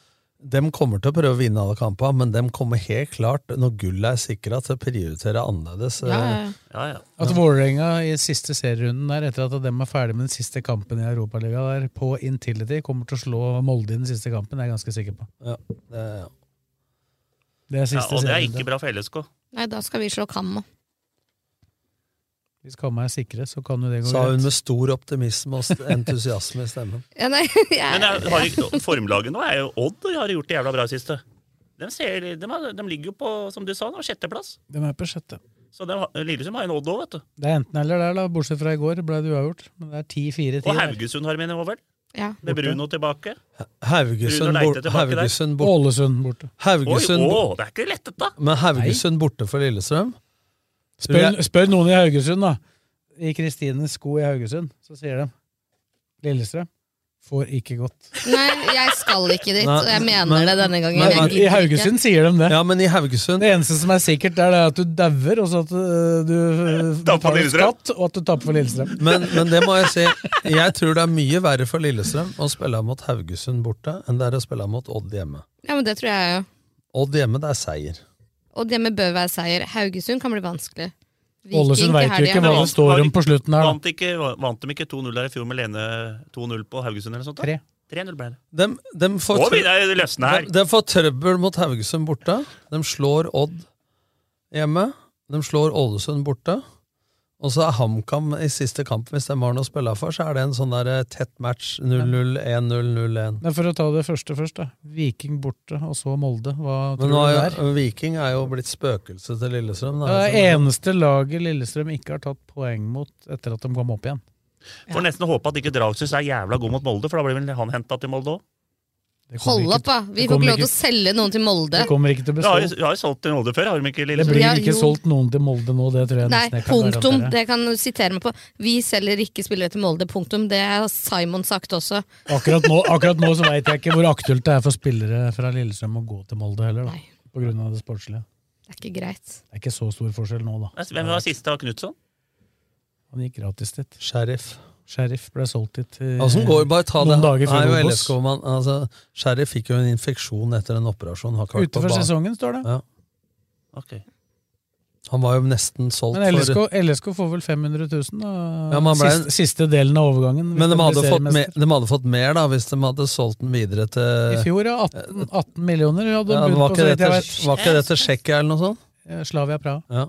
S6: De kommer til å prøve å vinne alle kampene, men de kommer helt klart, når gullet er sikra, til å prioritere annerledes.
S4: Ja, ja, ja.
S5: Ja, ja.
S3: At Altså, Vålerenga i siste serierunden der, etter at de er ferdig med den siste kampen i Europaligaen der, på Intility, kommer til å slå Molde i den siste kampen, det er jeg ganske sikker på.
S6: Ja, det, ja.
S3: Det er
S5: ja,
S3: siste
S5: og det er
S3: serierunden.
S5: ikke bra for LSK.
S4: Nei, da skal vi slå Kamma.
S3: Hvis kamma er sikre, så kan jo det gå
S6: Sa hun
S3: greit.
S6: med stor optimisme og st- entusiasme i stemmen.
S4: Ja, nei, [LAUGHS]
S5: Men
S4: jeg,
S5: jeg har, ikke- formlaget nå er jo Odd, og de har gjort det jævla bra i siste. De, ser, de, har, de ligger jo på, som du sa, nå, sjetteplass.
S3: De er på sjette.
S5: Så de har- Lillestrøm har en Odd òg, vet du.
S3: Det er enten eller der, da. Bortsett fra i går ble det uavgjort. Men det er 10-4-10.
S5: Og
S3: der.
S5: Haugesund har med nå, vel?
S4: ja.
S5: Med
S3: Borte.
S5: [LAUGHS] Bruno tilbake.
S6: Haugesund,
S5: Bruno
S6: bort,
S5: Leite tilbake der.
S6: Haugesund, bort,
S3: Ålesund borte.
S5: Oi,
S6: Haugesund, bort,
S5: å, det er ikke lett, dette!
S6: men Haugesund borte for Lillestrøm? Tror
S3: Spør,
S6: jeg-
S3: spør noen i Haugesund, da. I Kristines sko i Haugesund, så sier de Lillestrøm får ikke godt.
S4: Nei, jeg skal ikke dit,
S6: Nei,
S4: og jeg mener
S6: men-
S4: det denne gangen.
S6: men-
S4: Jeg
S3: I
S4: gidder
S3: Haugesund sier de det.
S6: Ja, men i Haugesund
S3: Det eneste som er sikkert, er det at du dauer, og så at øh, du
S6: [LAUGHS]
S3: øh,
S5: Taper for
S3: betaler
S5: Lillestrøm.
S3: skatt, og at du taper for Lillestrøm.
S6: men, men det må jeg si, jeg tror det er mye verre for Lillestrøm å spille mot Haugesund borte enn det er å spille mot Odd hjemme.
S4: ikke. Ja, men det tror jeg jo.
S6: Odd hjemme, det er seier.
S4: Og det med bør være seier. Haugesund kan bli vanskelig. Viking
S3: Ålesund
S4: til
S3: veit jo ikke
S4: helgen.
S3: hva
S5: Men
S3: det står om på slutten her, da.
S5: Vant, ikke, vant de ikke 2-0 der i fjor med Lene 2-0 på Haugesund eller noe sånt? da?
S3: Tre.
S5: 3-0 ble det.
S6: De, de, får,
S5: Nå
S6: trø-
S5: begynner det å løsne her!
S6: de, de får trøbbel mot Haugesund borte. De slår Odd hjemme. De slår Ålesund borte. Og så er HamKam i siste kamp, hvis de har noe å spille for, så er det en sånn der eh, tett match 0-0, 1-0, 0-1.
S3: Men for å ta det første først, da. Viking borte, og så Molde. Hva
S6: Men
S3: tror
S6: nå
S3: du det
S6: er
S3: er?
S6: jo, Viking er jo blitt spøkelse til Lillestrøm. Da.
S3: Det er det Eh, eneste laget Lillestrøm ikke har tatt poeng mot etter at de kom opp igjen.
S5: Får nesten håpe at ikke Dragsnes er jævla god mot Molde, for da blir vel han henta til Molde òg.
S3: Det kommer
S4: Hold
S3: ikke-
S4: opp, da! Vi
S3: Det
S4: får ikke lov
S3: kommer
S4: til å selge noen til Molde.
S3: Det kommer ikke til å bli
S5: Vi har jo
S3: solgt.
S5: vi har jo solgt til Molde før, har de ikke?
S3: Det
S5: Lillestrøm?
S4: Ja,
S3: blir ikke
S4: jo.
S3: solgt noen til Molde nå, det tror jeg
S4: Nei,
S3: nesten jeg kan
S4: punktum.
S3: garantere.
S4: Det kan du sitere meg på. Vi selger ikke spillere til Molde, punktum. Det har Simon sagt også.
S3: Akkurat nå, akkurat nå så veit jeg ikke hvor aktuelt det er for spillere fra Lillestrøm å gå til Molde heller, da.
S4: Nei.
S3: På grunn av det sportslige.
S4: Det er ikke greit.
S3: Det er ikke så stor forskjell nå, da.
S5: Hvem var siste av Knutson?
S3: Han gikk gratis dit.
S6: Sheriff.
S3: Sheriff ble solgt dit. eh,
S6: Altså, går, bare ta
S3: noen
S6: det.
S3: dager før
S6: Nei, jo,
S3: Obos.
S6: LSK, man, altså, Sheriff fikk jo en infeksjon etter en operasjon. Har ikke vært på
S3: Utenfor
S6: banen.
S3: sesongen, står det.
S6: Ja.
S5: Ok.
S6: Han var jo nesten solgt
S3: Men LSK,
S6: for
S3: LSK får vel 500 000, da?
S6: Ja, men han ble-
S3: siste, siste delen av overgangen. hvis
S6: Men de
S3: blir
S6: hadde, fått
S3: seriemester.
S6: mer, de hadde fått mer da hvis de hadde solgt den videre til
S3: I fjor, ja. 18, 18 millioner hadde
S6: Eh,
S3: de
S6: ja, det
S3: budt
S6: var,
S3: på, så
S6: ikke det
S3: vidt jeg
S6: til,
S3: vet.
S6: var ikke det til Tsjekkia eller noe sånt?
S3: Eh, Slavia Praha.
S6: Ja.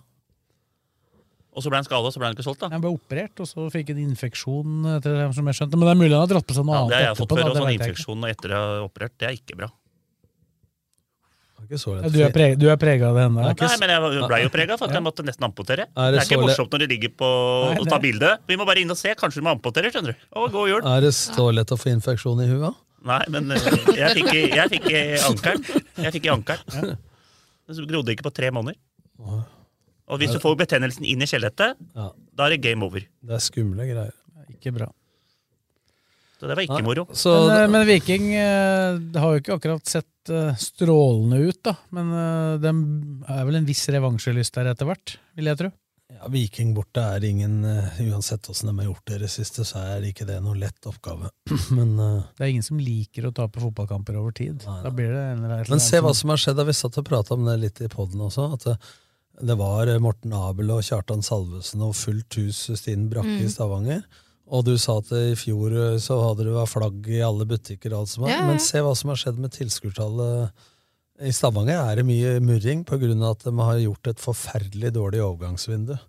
S5: Og så ble han skada, så ble han ikke solgt, da.
S3: Han ble operert, og så fikk en infeksjon, etter det som jeg skjønte. Men det er mulig han har dratt på seg noe
S5: Ja,
S3: annet
S5: det har jeg fått
S3: da,
S5: før. Og
S3: det
S5: sånn
S3: vet jeg ikke.
S5: infeksjon etter jeg har operert, det er ikke bra.
S6: Det er Ikke så
S3: Ja, du er
S6: lett.
S3: preg- du er prega av det ennå?
S6: Det er
S5: Nei,
S6: ikke
S5: men jeg ble jo prega for at jeg måtte nesten amputere.
S6: Er
S5: Det er
S6: det
S5: ikke
S6: så le-
S5: morsomt når de ligger på
S3: Nei,
S5: og tar
S3: det-
S5: bilde. Vi må bare inn og se. Kanskje de amputerer, skjønner du. Å, god jul.
S6: Er det så lett å få infeksjon i huet?
S5: Nei, men eh, jeg fikk i- jeg fikk i ankelen. Jeg fikk i ankelen. Den grodde ikke på tre måneder. Og hvis du får betennelsen inn i skjelettet,
S6: Ja.
S5: da er det game over.
S6: Det er skumle greier.
S3: Ikke bra.
S5: Så det var
S6: Nei.
S5: ikke moro.
S6: Så
S3: Men, eh, men Viking eh, det har jo ikke akkurat sett eh, strålende ut, da. Men eh, de er vel en viss revansjelyst der etter hvert, vil jeg tro.
S6: ja, Viking borte er ingen eh, Uansett åssen de har gjort det i det siste, så er ikke det noen lett oppgave. [CLEARS THROAT] Men, eh,
S3: Det er ingen som liker å tape fotballkamper over tid.
S6: Nei, nei.
S3: Da blir det en eller annen
S6: men se hva som har skjedd. da. Vi satt og prata om det litt i poden også. at det, det var eh, Morten Abel og Kjartan Salvesen og fullt hus eh, Stine Brakke
S3: Mm.
S6: i Stavanger. Og du sa at i fjor eh, så hadde det vært flagg i alle butikker og alt som var.
S4: Ja, ja.
S6: Men se hva som har skjedd med tilskuertallet i Stavanger. Er det mye murring pga. at de har gjort et forferdelig dårlig overgangsvindu.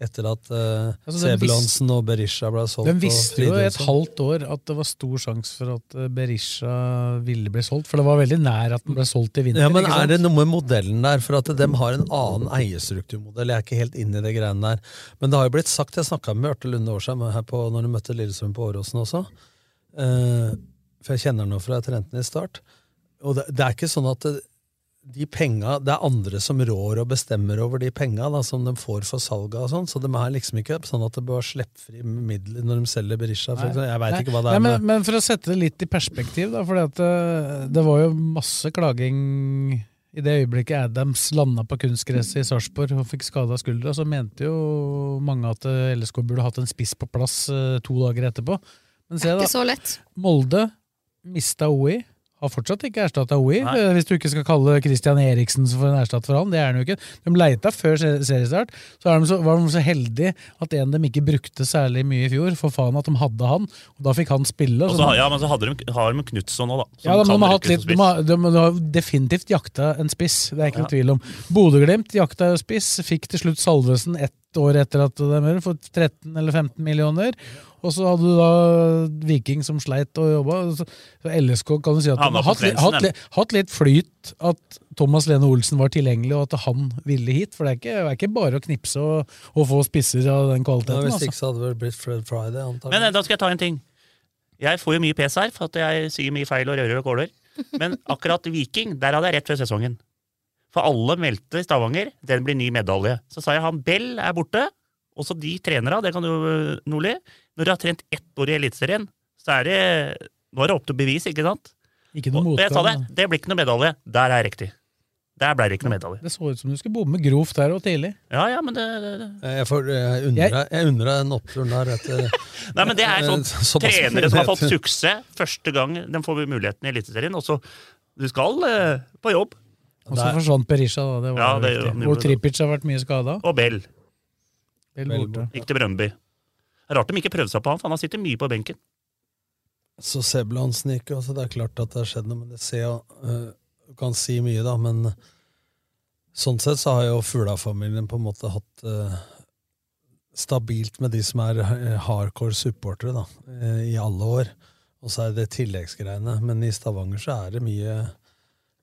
S6: Etter at uh,
S3: Altså, de
S6: Sebulonsen og Berisha ble solgt.
S3: De
S6: og
S3: visste jo et
S6: Fridtjonsson.
S3: halvt år at det var stor sjanse for at eh, Berisha ville bli solgt, for det var veldig nær at den ble solgt i vinter.
S6: Ja, men
S3: ikke sant?
S6: Er det noe med modellen der? For at de har en annen eierstrukturmodell. Jeg er ikke helt inne i det greiene der. Men det har jo blitt sagt, jeg snakka med Ørte Lunde Årsheim her på, når de møtte Lillesund på Åråsen også. Eh, for jeg kjenner henne fra jeg trente henne i start. Og det, det er ikke sånn at det- de penga, det er andre som rår og bestemmer over de penga da, som de får for salget og sånn, så de er liksom ikke sånn at det bør slippfri midler når de selger Berisha. For
S3: Nei.
S6: eksempel. jeg veit
S3: Nei,
S6: ikke hva det er
S3: nei,
S6: med
S3: men, men for å sette det litt i perspektiv, da, for det, det var jo masse klaging i det øyeblikket Adams landa på kunstgresset i Sarpsborg og fikk skada skuldra, så mente jo mange at eh, LSK burde hatt en spiss på plass eh, to dager etterpå. Men se,
S4: Det er
S3: da.
S4: ikke så lett.
S3: Molde mista OI. Har fortsatt ikke erstatta OI,
S5: Nei.
S3: eh, hvis du ikke skal kalle Christian Eriksen for en erstatter for han. Det er han jo ikke. De leita før se- seriestart. Så, er de så var de så heldige at en dem ikke brukte særlig mye i fjor. For faen at de hadde han, og da fikk han spille.
S5: Og
S3: så-
S5: så, har- ja, men så hadde de, har de Knutson nå, da. som
S3: sånn. ja,
S5: kan
S3: de, de,
S5: brukes
S3: har hatt litt,
S5: som
S3: de,
S5: spiss.
S3: har, de, de har definitivt jakta en spiss, det er ikke noe tvil om. Bodø-Glimt jakta jo spiss, fikk til slutt Salvesen ett år etter at de gjorde, for 13 eller 15 millioner. Og så hadde du da Viking som sleit og jobba. Så så LSK kan du si at de
S5: Havna
S3: har
S5: på
S3: hatt, litt-
S5: Svendsen,
S3: hatt, litt- hatt litt flyt at Thomas Lene Olsen var tilgjengelig, og at han ville hit. For det er ikke, det er ikke bare å knipse og, og få spisser av den
S6: Ja,
S3: kvaliteten.
S6: hvis
S3: altså.
S6: ikke så hadde det vel blitt Fred Friday, antakelig.
S5: Men eh, da skal jeg ta en ting. Jeg får jo mye pes her for at jeg sier mye feil og rører og kåler. Men akkurat Viking, der hadde jeg rett før sesongen. For alle meldte i Stavanger. Den blir ny medalje. Så sa jeg han Bell er borte. Også de trenere, det kan du, eh, Nordli. Når du har trent ett år i Eliteserien, så er det Nå er det opp til bevis, ikke sant?
S3: Ikke
S5: Og
S3: noe
S5: og jeg sa det.
S3: motgang. da.
S5: Det blir ikke noe medalje. Der er jeg riktig. Der ble det ikke noe medalje.
S3: Det så ut som du skulle bomme grovt der og tidlig.
S5: Ja, ja, men det, det, det.
S6: Eh, Jeg, får, jeg, undrer, jeg, undrer den oppturen der eh. etter
S5: Nei, men det er sånn
S6: Såpass
S5: trenere som har fått
S6: mulighet.
S5: suksess første gang de får muligheten i Eliteserien. Og så du skal eh, på jobb.
S3: Og så
S6: Der.
S3: forsvant Berisha, da. Det var
S5: Ja,
S3: jo
S5: det
S3: viktig.
S5: gjorde han
S3: Hvor
S5: jo.
S3: Tripic har vært mye skada.
S5: Og Bell
S6: Vel
S5: gikk til Brøndby. Rart de ikke prøvde seg på han, for han sitter mye på benken.
S6: [LAUGHS] Så Sebulonsen gikk jo, så det er klart at det har skjedd noe. Men det ser jo eh, Du kan si mye, da, men eh, sånn sett så har jo Fugla-familien på en måte hatt eh, stabilt med de som er eh, hardcore supportere, da, eh, i alle år. Og så er det tilleggsgreiene. Men i Stavanger så er det mye eh,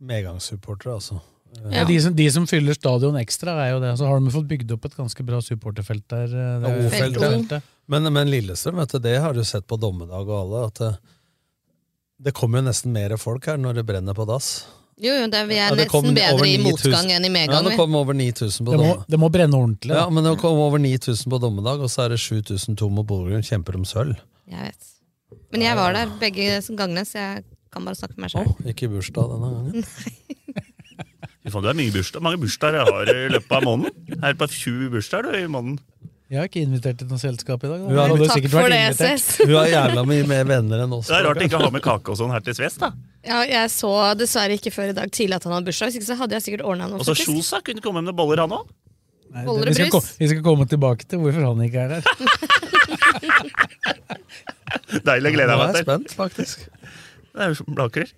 S6: medgangssupportere, altså.
S4: Ja.
S3: De, som, de som fyller stadion ekstra, er jo det. Så har de fått bygd opp et ganske bra supporterfelt der. eh, det
S6: Ja,
S3: er-
S6: O-feltet.
S3: O-feltet.
S6: Men, men Lillestrøm, vet du, det har du sett på dommedag og alle, at det, det kommer jo nesten mer folk her når det brenner på dass.
S4: Jo, jo, det, vi
S6: Ja,
S4: er
S6: det kom
S4: nesten bedre
S6: over
S4: i
S6: 9000.
S4: motgang enn i
S6: Ja,
S4: medgang.
S6: det
S4: vi.
S6: kom over 9000 på
S3: Det, må,
S6: dommedag.
S3: det må brenne ordentlig.
S6: Ja,
S3: Da.
S6: men det kom over 9000 på dommedag, og så er det 7000 tomme borgere som kjemper om sølv.
S4: Jeg vet. Men jeg var der begge gangene, så jeg kan bare snakke med meg sjøl.
S6: Ikke i bursdag denne gangen.
S5: Fy faen, Du har mye bursdag. mange bursdager jeg har i løpet av måneden. Her på 20 bursdager du, i måneden.
S3: Jeg har ikke invitert til noe selskap i dag. Da.
S6: Du har-
S3: Jeg hadde jo
S4: Takk
S3: sikkert
S4: for
S3: vært
S4: det,
S3: invitert.
S4: SS.
S6: Hun har jævla mye mer venner enn oss.
S5: Det er rart de ikke har med kake og sånn her til Sves. da.
S4: Ja, jeg så dessverre ikke før i dag tidlig at han hadde bursdag. Hvis ikke så hadde jeg sikkert ordna noe.
S5: Og så
S4: faktisk.
S5: Sjosa kunne komme med noen boller, han òg.
S3: Nei,
S4: Boller
S3: det- vi
S4: og brus.
S3: skal ko- Vi skal komme tilbake til hvorfor han ikke er her. [LAUGHS]
S5: Deilig, jeg gleder jeg
S6: Nå er jeg
S5: meg til.
S6: spent, faktisk.
S5: Det er jo Blaker.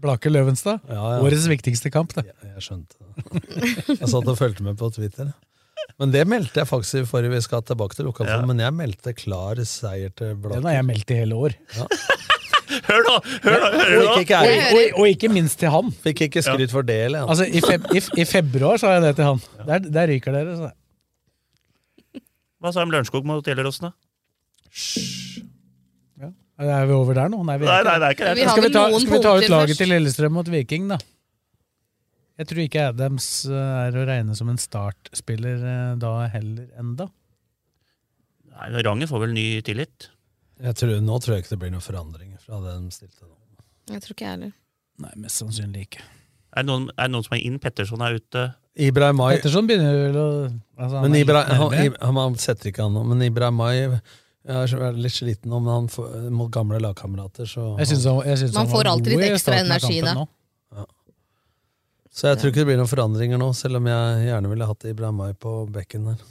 S3: Blaker Løvenstad.
S6: Ja, ja.
S3: Årets viktigste kamp, det.
S6: Jeg skjønte det. Jeg satt og fulgte med på Twitter. Men det meldte jeg faktisk i forrige vi skal tilbake til lokalfond,
S5: Ja.
S6: men jeg meldte klar seier til
S3: Den
S6: Blaker.
S3: har jeg meldt i hele år.
S5: Hør nå! Hør nå! Hør nå.
S6: Og ikke,
S4: Jeg
S6: ikke,
S4: hører.
S3: Og, og ikke minst til han.
S6: fikk ikke skryt for det, eller?
S3: Altså, i, feb i, f- I februar sa jeg det til han. Der, der ryker dere. sa jeg.
S5: Hva sa de om Lørenskog mot Gjelleråsen, da?
S3: Er vi over der nå? Nei, vi
S5: Nei,
S3: er
S5: nei,
S3: ikke.
S5: det er ikke
S4: Vi
S5: det.
S4: har
S3: Skal vi
S4: vel
S3: ta,
S4: noen
S3: skal vi ta ut
S4: punkter
S3: laget
S4: først.
S3: til Lillestrøm mot Viking, da? Jeg tror ikke Adams eh, er å regne som en startspiller eh, da heller enda.
S5: Nei, Rangen får vel ny tillit.
S6: Jeg tror, nå tror jeg ikke det blir noen forandring fra det de stilte nå.
S4: Jeg tror ikke jeg heller.
S3: Nei, mest sannsynlig ikke.
S5: Er det noen, er det noen som er inn? Petterson er ute.
S6: Ibrahim Mai
S3: Petterson begynner vel å altså, han er
S6: Men
S3: litt
S6: Ibra, han,
S3: nærmere.
S6: Ib- han, han setter ikke han nå, men Ibrahim Mai jeg er litt sliten nå, men han får, mot gamle lagkamerater, så
S3: Jeg synes han, jeg synes
S4: Man
S3: han var
S4: får alltid
S3: god
S4: litt
S3: i
S4: ekstra
S3: starten av
S4: energi
S3: kampen
S4: da.
S3: nå.
S6: Så jeg tror ikke det blir noen forandringer nå, selv om jeg gjerne ville hatt Ibrahim Mai på bekken der.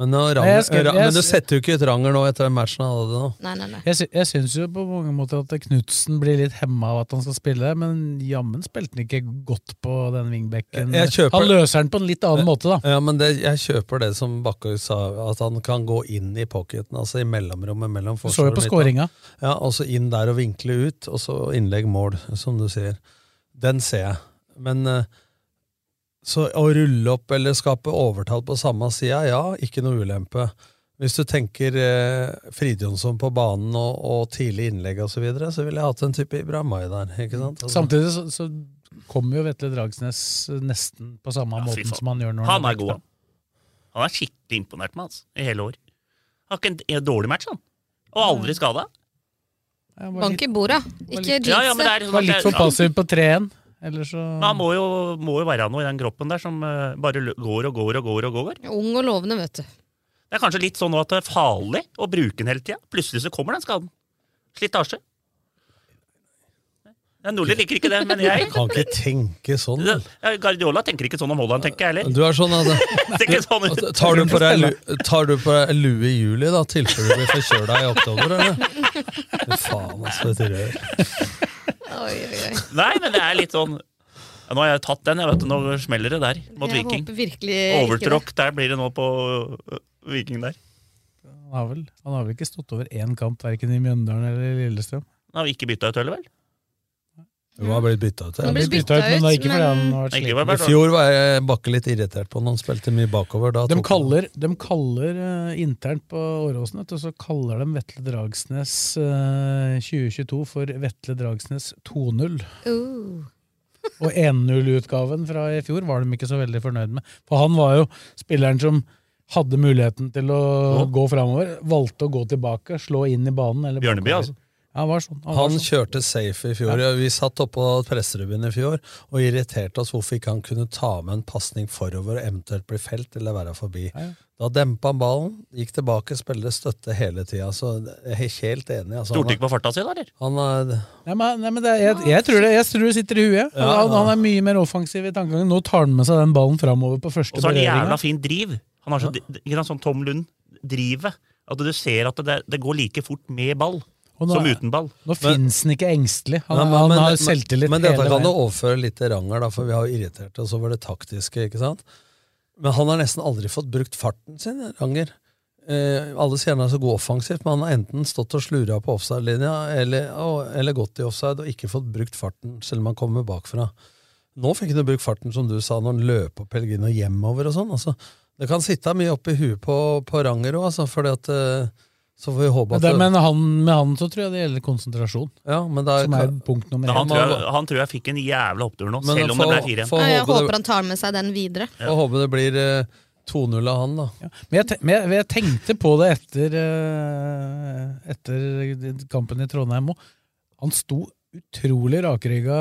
S6: Men, nå, Ranger,
S3: jeg skal- jeg
S6: Ra- men du
S3: skal-
S6: setter jo ikke ut Ranger nå etter den matchen han hadde nå.
S4: Nei, nei, nei.
S3: Jeg, sy jeg syns jo på mange måter at Knutsen blir litt hemma av at han skal spille, men jammen spilte han ikke godt på den wingbacken.
S6: Jeg kjøper-
S3: Han løser den på en litt annen måte, da.
S6: Ja, men det, jeg kjøper det som Bakkøy sa, at han kan gå inn i pocketen, altså i mellomrommet mellom
S3: Du så
S6: forsvar
S3: jo
S6: og
S3: på
S6: midtbane.
S3: skåringa.
S6: Ja, og så inn der og vinkle ut, og så innlegg mål, som du sier. Den ser jeg. Men eh, så å rulle opp eller skape overtall på samme sida, ja, ikke noe ulempe. Hvis du tenker eh, Fridjonsson på banen og, og tidlig innlegg osv., så, videre, så ville jeg hatt en type Ibrahimai der. ikke sant? Altså,
S3: Samtidig så, så kommer jo Vetle Dragsnes nesten på samme
S5: Ja, fy
S3: måten
S5: faen.
S3: som han gjør når
S5: Han er
S3: vekk,
S5: god,
S3: da.
S5: han. Han er skikkelig imponert med, altså. I hele år. Har ikke en, en dårlig match, han. Og aldri skada.
S3: Ja, han. var
S4: Bank
S3: litt-
S4: i bordet. Ikke jinx
S5: Ja, ja, men det
S4: det.
S5: er
S3: Var litt for passiv på 3-1, eller så
S5: Men Han må jo, må jo være noe i den kroppen der som eh, bare lø- går og går og går og går.
S4: Ung og lovende, vet du.
S5: Det er kanskje litt sånn nå at det er farlig å bruke den hele tida. Plutselig så kommer den skaden. Slitasje. Ja, Nordli liker ikke det, men jeg
S6: Kan ikke tenke sånn.
S5: [LAUGHS] Ja, Guardiola tenker ikke sånn om Haaland, tenker jeg heller.
S6: Du er sånn at
S5: Tenker sånn ut.
S3: altså,
S6: at Tar du på deg lu- tar du på deg lue i juli, da, tilfelle du blir forkjøla i oktober, eller? Fy faen, altså, et rør.
S4: Oi, oi, oi.
S5: Nei, men det er litt sånn ja, Nå har jeg tatt den, jeg vet du. Nå smeller det der mot
S4: jeg
S5: Viking.
S4: håper virkelig ikke det.
S5: Overtråkk, der blir det nå på øh, Viking der.
S3: han har, vel, han har vel ikke stått over én kamp, verken i Mjøndalen eller i Lillestrøm.
S5: Han har vi ikke bytta ut heller, vel?
S6: Hun har blitt bytta ut.
S4: Nå
S6: ja.
S4: blir det
S3: Byttet ut, men det er ikke fordi han har vært
S5: Ikke
S3: sliten.
S5: bare sånn
S6: I
S5: vært-
S6: fjor var jeg Bakke litt irritert på når han spilte mye bakover. Da
S3: De
S6: tok han-
S3: kaller, de kaller eh, internt på Åråsen, vet du, så kaller de Vetle Dragsnes eh, 2022 for Vetle Dragsnes 2.0.
S4: Uh,
S3: Og 1-0-utgaven fra i fjor var de ikke så veldig fornøyd med. For han var jo spilleren som hadde muligheten til å
S5: Å.
S3: gå framover, valgte å gå tilbake, slå inn i banen. Eller
S5: Bjørneby,
S3: bakover.
S5: altså.
S3: Ja, han var sånn. Han,
S6: Han
S3: var sånn.
S6: kjørte safe i fjor. Ja. Vi satt oppå presserubben i fjor og irriterte oss hvorfor ikke han kunne ta med en pasning forover og eventuelt bli felt eller være forbi.
S3: Ja, ja.
S6: Da dempa han ballen, gikk tilbake, spilte støtte hele tida. Så jeg er helt enig. Altså,
S5: Stolte ikke på farta si, da, eller?
S6: han, er, han er,
S3: Nei, men, nei, men det, er- jeg, jeg, tror det, jeg tror det sitter i huet.
S6: Ja,
S3: han,
S6: ja.
S3: han er mye mer offensiv i tankegangen. Nå tar han med seg den ballen framover på
S5: Og
S3: første
S5: så har han
S3: berøringa.
S5: jævla fin driv. Han har så, ikke sant, sånn Tom Lund-drivet. At du ser at det, det går like fort med ball
S3: Og nå
S5: som
S3: er-
S5: uten ball.
S3: Nå finnes han ikke engstelig. Han,
S6: Nei, men-
S3: han
S6: men-
S3: har
S6: men-
S3: selvtillit
S6: Men dette
S3: hele
S6: kan du
S3: veien.
S6: overføre litt til Ranger, da, for vi har jo irritert oss over det taktiske. ikke sant? Men han har nesten aldri fått brukt farten sin, Ranger. Eh, alle sier han er så god offensivt, men han har enten stått og slura på offside-linja eller, og- eller gått i offside og ikke fått brukt farten, selv om han kommer bakfra. Nå fikk han jo brukt farten, som du sa, når han løp opp Pellegrino hjemover og sånn. altså. Det kan sitte mye oppi huet på, på Ranger òg, altså, fordi at eh, Så får vi håpe
S3: Men
S6: at
S3: det, men han, med han så tror jeg det gjelder konsentrasjon,
S6: ja, men det er,
S3: som er punkt nummer
S5: Men
S3: én.
S5: han, tror jeg, han tror jeg fikk en jævla opptur nå,
S6: Men
S5: selv om
S6: få-
S5: det ble 4-1.
S6: få
S4: nei, jeg
S6: håpe det-
S4: håper han tar med seg den videre.
S6: Får håpe det blir eh, 2-0 av han, da.
S3: Ja. Men, jeg, te- men jeg, men jeg tenkte på det etter, eh, etter kampen i Trondheim òg. Han sto utrolig rakrygga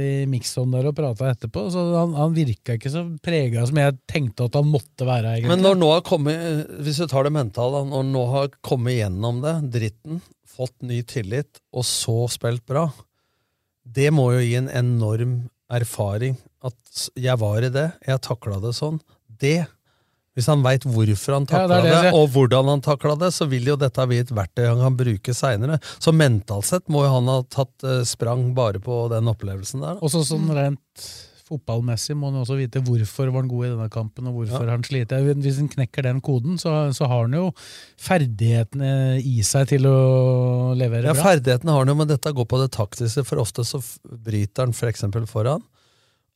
S3: i mixon der og prata etterpå, så han, han virka ikke så prega som jeg tenkte at han måtte være.
S6: Men
S3: egentlig.
S6: når nå har kommet, eh, hvis du tar det mentale, da, når nå har kommet gjennom det, dritten, fått ny tillit, og så spilt bra, det må jo gi en enorm erfaring. At s- jeg var i det, jeg takla det sånn. Det Hvis han veit hvorfor han
S3: Ja, det
S6: takla
S3: er det
S6: det,
S3: jeg sier.
S6: og hvordan han takla det, så vil jo dette bli et verktøy han kan bruke seinere. Så mentalt sett må jo han ha tatt eh, sprang bare på den opplevelsen der. da.
S3: Og så sånn rent fotballmessig må han jo også vite hvorfor var han god i denne kampen, og hvorfor
S6: Ja.
S3: han sliter. Hvis han knekker den koden, så, så har han jo ferdighetene i seg til å levere
S6: Ja,
S3: bra.
S6: ferdighetene har han jo, men dette går på det taktiske, for ofte så f- bryter han for eksempel foran.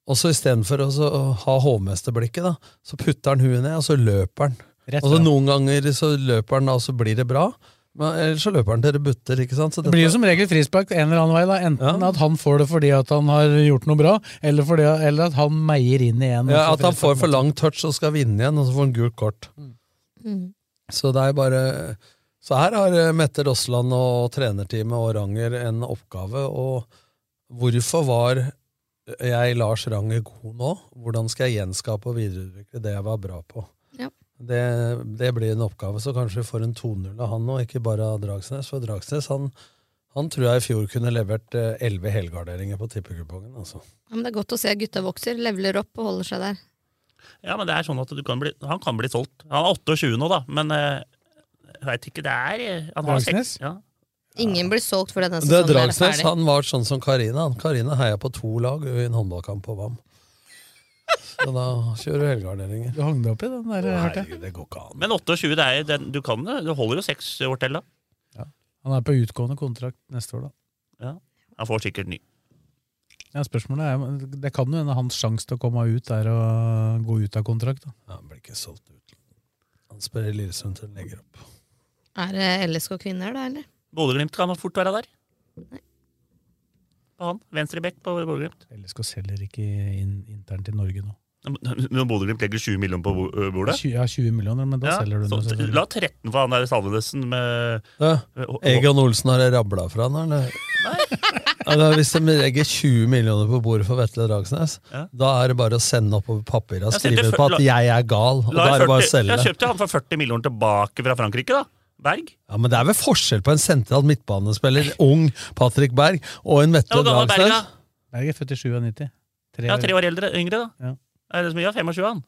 S6: Og så istedenfor å så ha hovmesterblikket, da, så putter han huet ned, og så løper han.
S3: Rett
S6: Og så
S3: fram.
S6: noen ganger så løper han, da, og så blir det bra. Men ellers så løper han til det butter, ikke sant? Så
S3: Det blir jo som regel frispark en eller annen vei. da. Enten
S6: Ja.
S3: at han får det fordi at han har gjort noe bra, eller, fordi, eller at han meier inn igjen.
S6: ja, at han får for lang touch og skal vinne igjen, og så får han gult kort.
S4: Mm.
S6: Så det er bare Så her har eh, Mette Rossland og trenerteamet og Ranger en oppgave. Og hvorfor var jeg Lars Ranger god nå? Hvordan skal jeg gjenskape og videreutvikle det jeg var bra på?
S4: Ja.
S6: Det, det blir en oppgave, så kanskje vi får en 2-0 av han nå, ikke bare av Dragsnes. For Dragsnes han, han tror jeg i fjor kunne levert eh, 11 helgarderinger på tippekupongen. Altså.
S4: Ja, men det er godt å se at gutta vokser, leveler opp og holder seg der.
S5: Ja, men det er sånn at du kan bli, Han kan bli solgt. Han er 28 nå, da, men eh, jeg veit ikke. Det er eh, han har seks,
S3: Dragsnes?
S5: ja.
S4: Ingen blir solgt fordi denne sesongen
S6: Det Altså, er
S4: er
S6: Dragsnes
S4: ferdig.
S6: han var sånn som Karina. han. Karina heia på to lag i en håndballkamp på VAM. Så da kjører du helgarderinger.
S3: Du hang deg opp i den der, hørte jeg.
S6: Herregud, det går ikke an.
S5: Men 28, det er, den, du kan det. Du holder jo seks år til, da.
S3: Han er på utgående kontrakt neste år, da.
S5: Han får sikkert ny.
S3: Ja, spørsmålet er, men Det kan jo hende hans sjanse til å komme ut er å gå ut av kontrakt. da.
S6: Ja, han blir ikke solgt ut. Han spør i Lillesund til han legger opp.
S4: Er det LSK kvinner, da, eller?
S5: Bodø-Glimt kan fort være der. På han. Venstrebekk på Bodø-Glimt.
S3: Ellers går selger ikke inn, internt i Norge nå.
S5: Når Bodø-Glimt legger 20 millioner på bo- ø, bordet
S3: Tjue- Ja, 20 millioner, men da
S5: Ja,
S3: selger du
S5: så
S3: den. jo selvfølgelig.
S5: La 13 for han der Salvesen med
S6: Ja.
S5: med- og- og-
S6: Egon Olsen har rabla fra han, eller? Ja, da, hvis de legger 20 millioner på bordet for Vetle Dragsnes,
S5: Ja.
S6: da er det bare å sende oppover papirene og
S5: Jeg setter
S6: skrive ut på
S5: fyr-
S6: at 'jeg er gal', og
S5: La
S6: da er det bare å
S5: 40
S6: selge.
S5: Jeg kjøpte han for 40 millioner tilbake fra Frankrike, da. Berg.
S6: Ja, Men det er vel forskjell på en sentral midtbanespiller, ung Patrick Berg, og en
S5: Ja,
S6: Vetle
S5: Hvor gammel er Berg, da?
S6: Dragsnes?
S3: Berg er født i 97. Tre
S5: Ja,
S3: år.
S5: tre år eldre, yngre, da.
S3: Ja.
S5: Er det så mye? Ja, 25, han.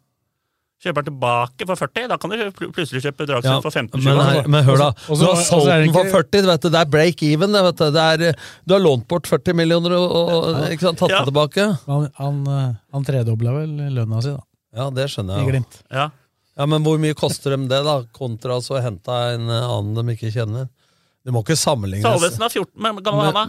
S5: Kjøper han tilbake for 40, da kan du kjø- pl- plutselig kjøpe Dragsnes
S6: Ja,
S5: for 15-20.
S6: Men, her, men hør da,
S3: Og så-
S6: du
S3: og
S6: har
S3: så- og
S6: solgt
S3: så er det
S6: den for
S3: ikke-
S6: 40, vet du, det er break even. det, Vet du. Det er, eh, du har lånt bort 40 millioner og, og ikke sant, tatt
S5: Ja.
S6: det tilbake.
S3: Han, han, eh, han tredobla vel lønna si, da.
S6: Ja, det skjønner
S3: I
S6: jeg. jo.
S3: Glimt.
S5: Ja.
S6: Ja, Men hvor mye koster dem det, da? Kontra altså å hente en eh, annen de ikke kjenner. Du må ikke sammenlignes.
S5: Salvesen er 14, men hvor gammel er han da?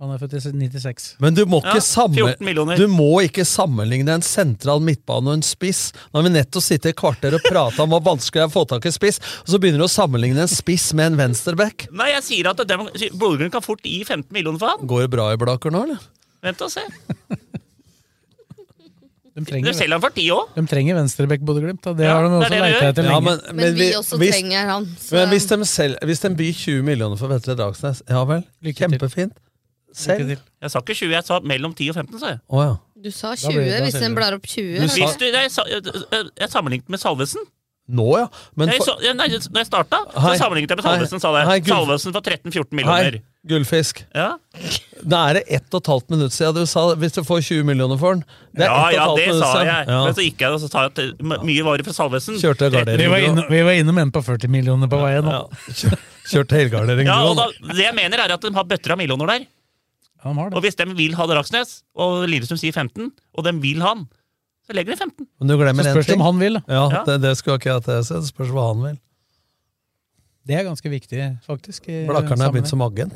S3: Han er født i 96.
S6: Men du må
S5: Ja,
S6: ikke sammen...
S5: 14 millioner.
S6: Du må ikke sammenligne en sentral midtbane og en spiss. Nå har vi nettopp sittet i kvarter og prata om hvor vanskelig det er å få tak i spiss, og så begynner du å sammenligne en spiss med en venstreback.
S5: Nei, jeg sier at dem- Bodø-Glimt kan fort gi 15 millioner for han.
S6: Går det bra i Blaker nå, eller?
S5: Vent og se.
S3: De
S5: Du
S3: trenger,
S5: selger han for 10 òg.
S3: de trenger venstrebekk, Bodø-Glimt. da. Det har de
S5: Ja,
S3: også
S5: det er det de
S3: leita
S5: gjør.
S3: etter lenge.
S6: Ja, men,
S4: Men, vi,
S6: vi-
S4: også
S6: hvis-
S4: trenger altså- han. Så
S6: Men hvis de, selv, hvis de byr 20 millioner for Vetle Dragsnes, ja vel,
S3: Lykke til.
S6: kjempefint. Selv?
S3: Lykke til.
S5: Jeg sa ikke 20, jeg sa mellom 10 og 15. sa jeg.
S6: Å ja.
S4: du sa
S3: Da
S4: 20,
S3: blir det- da
S4: hvis
S3: selger
S4: den
S3: du.
S4: blar opp 20.
S6: Du
S4: da.
S6: sa-
S5: Hvis du, jeg, sa- jeg, jeg sammenlignet med Salvesen.
S6: Nå ja. Men
S5: Jeg,
S6: for,
S5: så, jeg, nei, når jeg starta, så
S6: Hei.
S5: sammenlignet jeg med
S6: Hei.
S5: Salvesen. sa
S6: Hei,
S5: jeg.
S6: Gud.
S5: Salvesen for 13-14 millioner.
S6: hei, gullfisk.
S5: Ja.
S6: Da er det ett og et halvt minutt siden du sa hvis du får 20 millioner for den. Det er
S5: ja, ja,
S6: ett og et halvt
S5: det
S6: minutt
S5: sa
S6: siden.
S5: jeg.
S6: Ja.
S5: Men så gikk jeg og så sa jeg at det- m- mye varer for Salvesen.
S6: Kjørte
S3: Vi
S6: gardering.
S3: var, inne, vi var innom en på 40 millioner på veien.
S6: Ja. kjør- Kjørte helgardering.
S5: Ja,
S6: du
S5: og da,
S6: også.
S5: Det jeg mener, er at de har bøtter av millioner der.
S3: Han har
S5: Og
S3: det.
S5: hvis de vil ha Dragsnes, og Lillestrøm sier 15, og de vil han, så legger de 15.
S6: Men du
S3: Så
S6: glemmer
S3: spørs
S6: én
S3: det
S6: ting.
S3: om han vil. da.
S6: Ja,
S5: Ja.
S6: det, det skulle ikke jeg til å si. Det spørs hva han vil.
S3: Det er ganske viktig, faktisk. i
S6: Blakkeren er
S3: sammenheng.
S6: begynt som agent.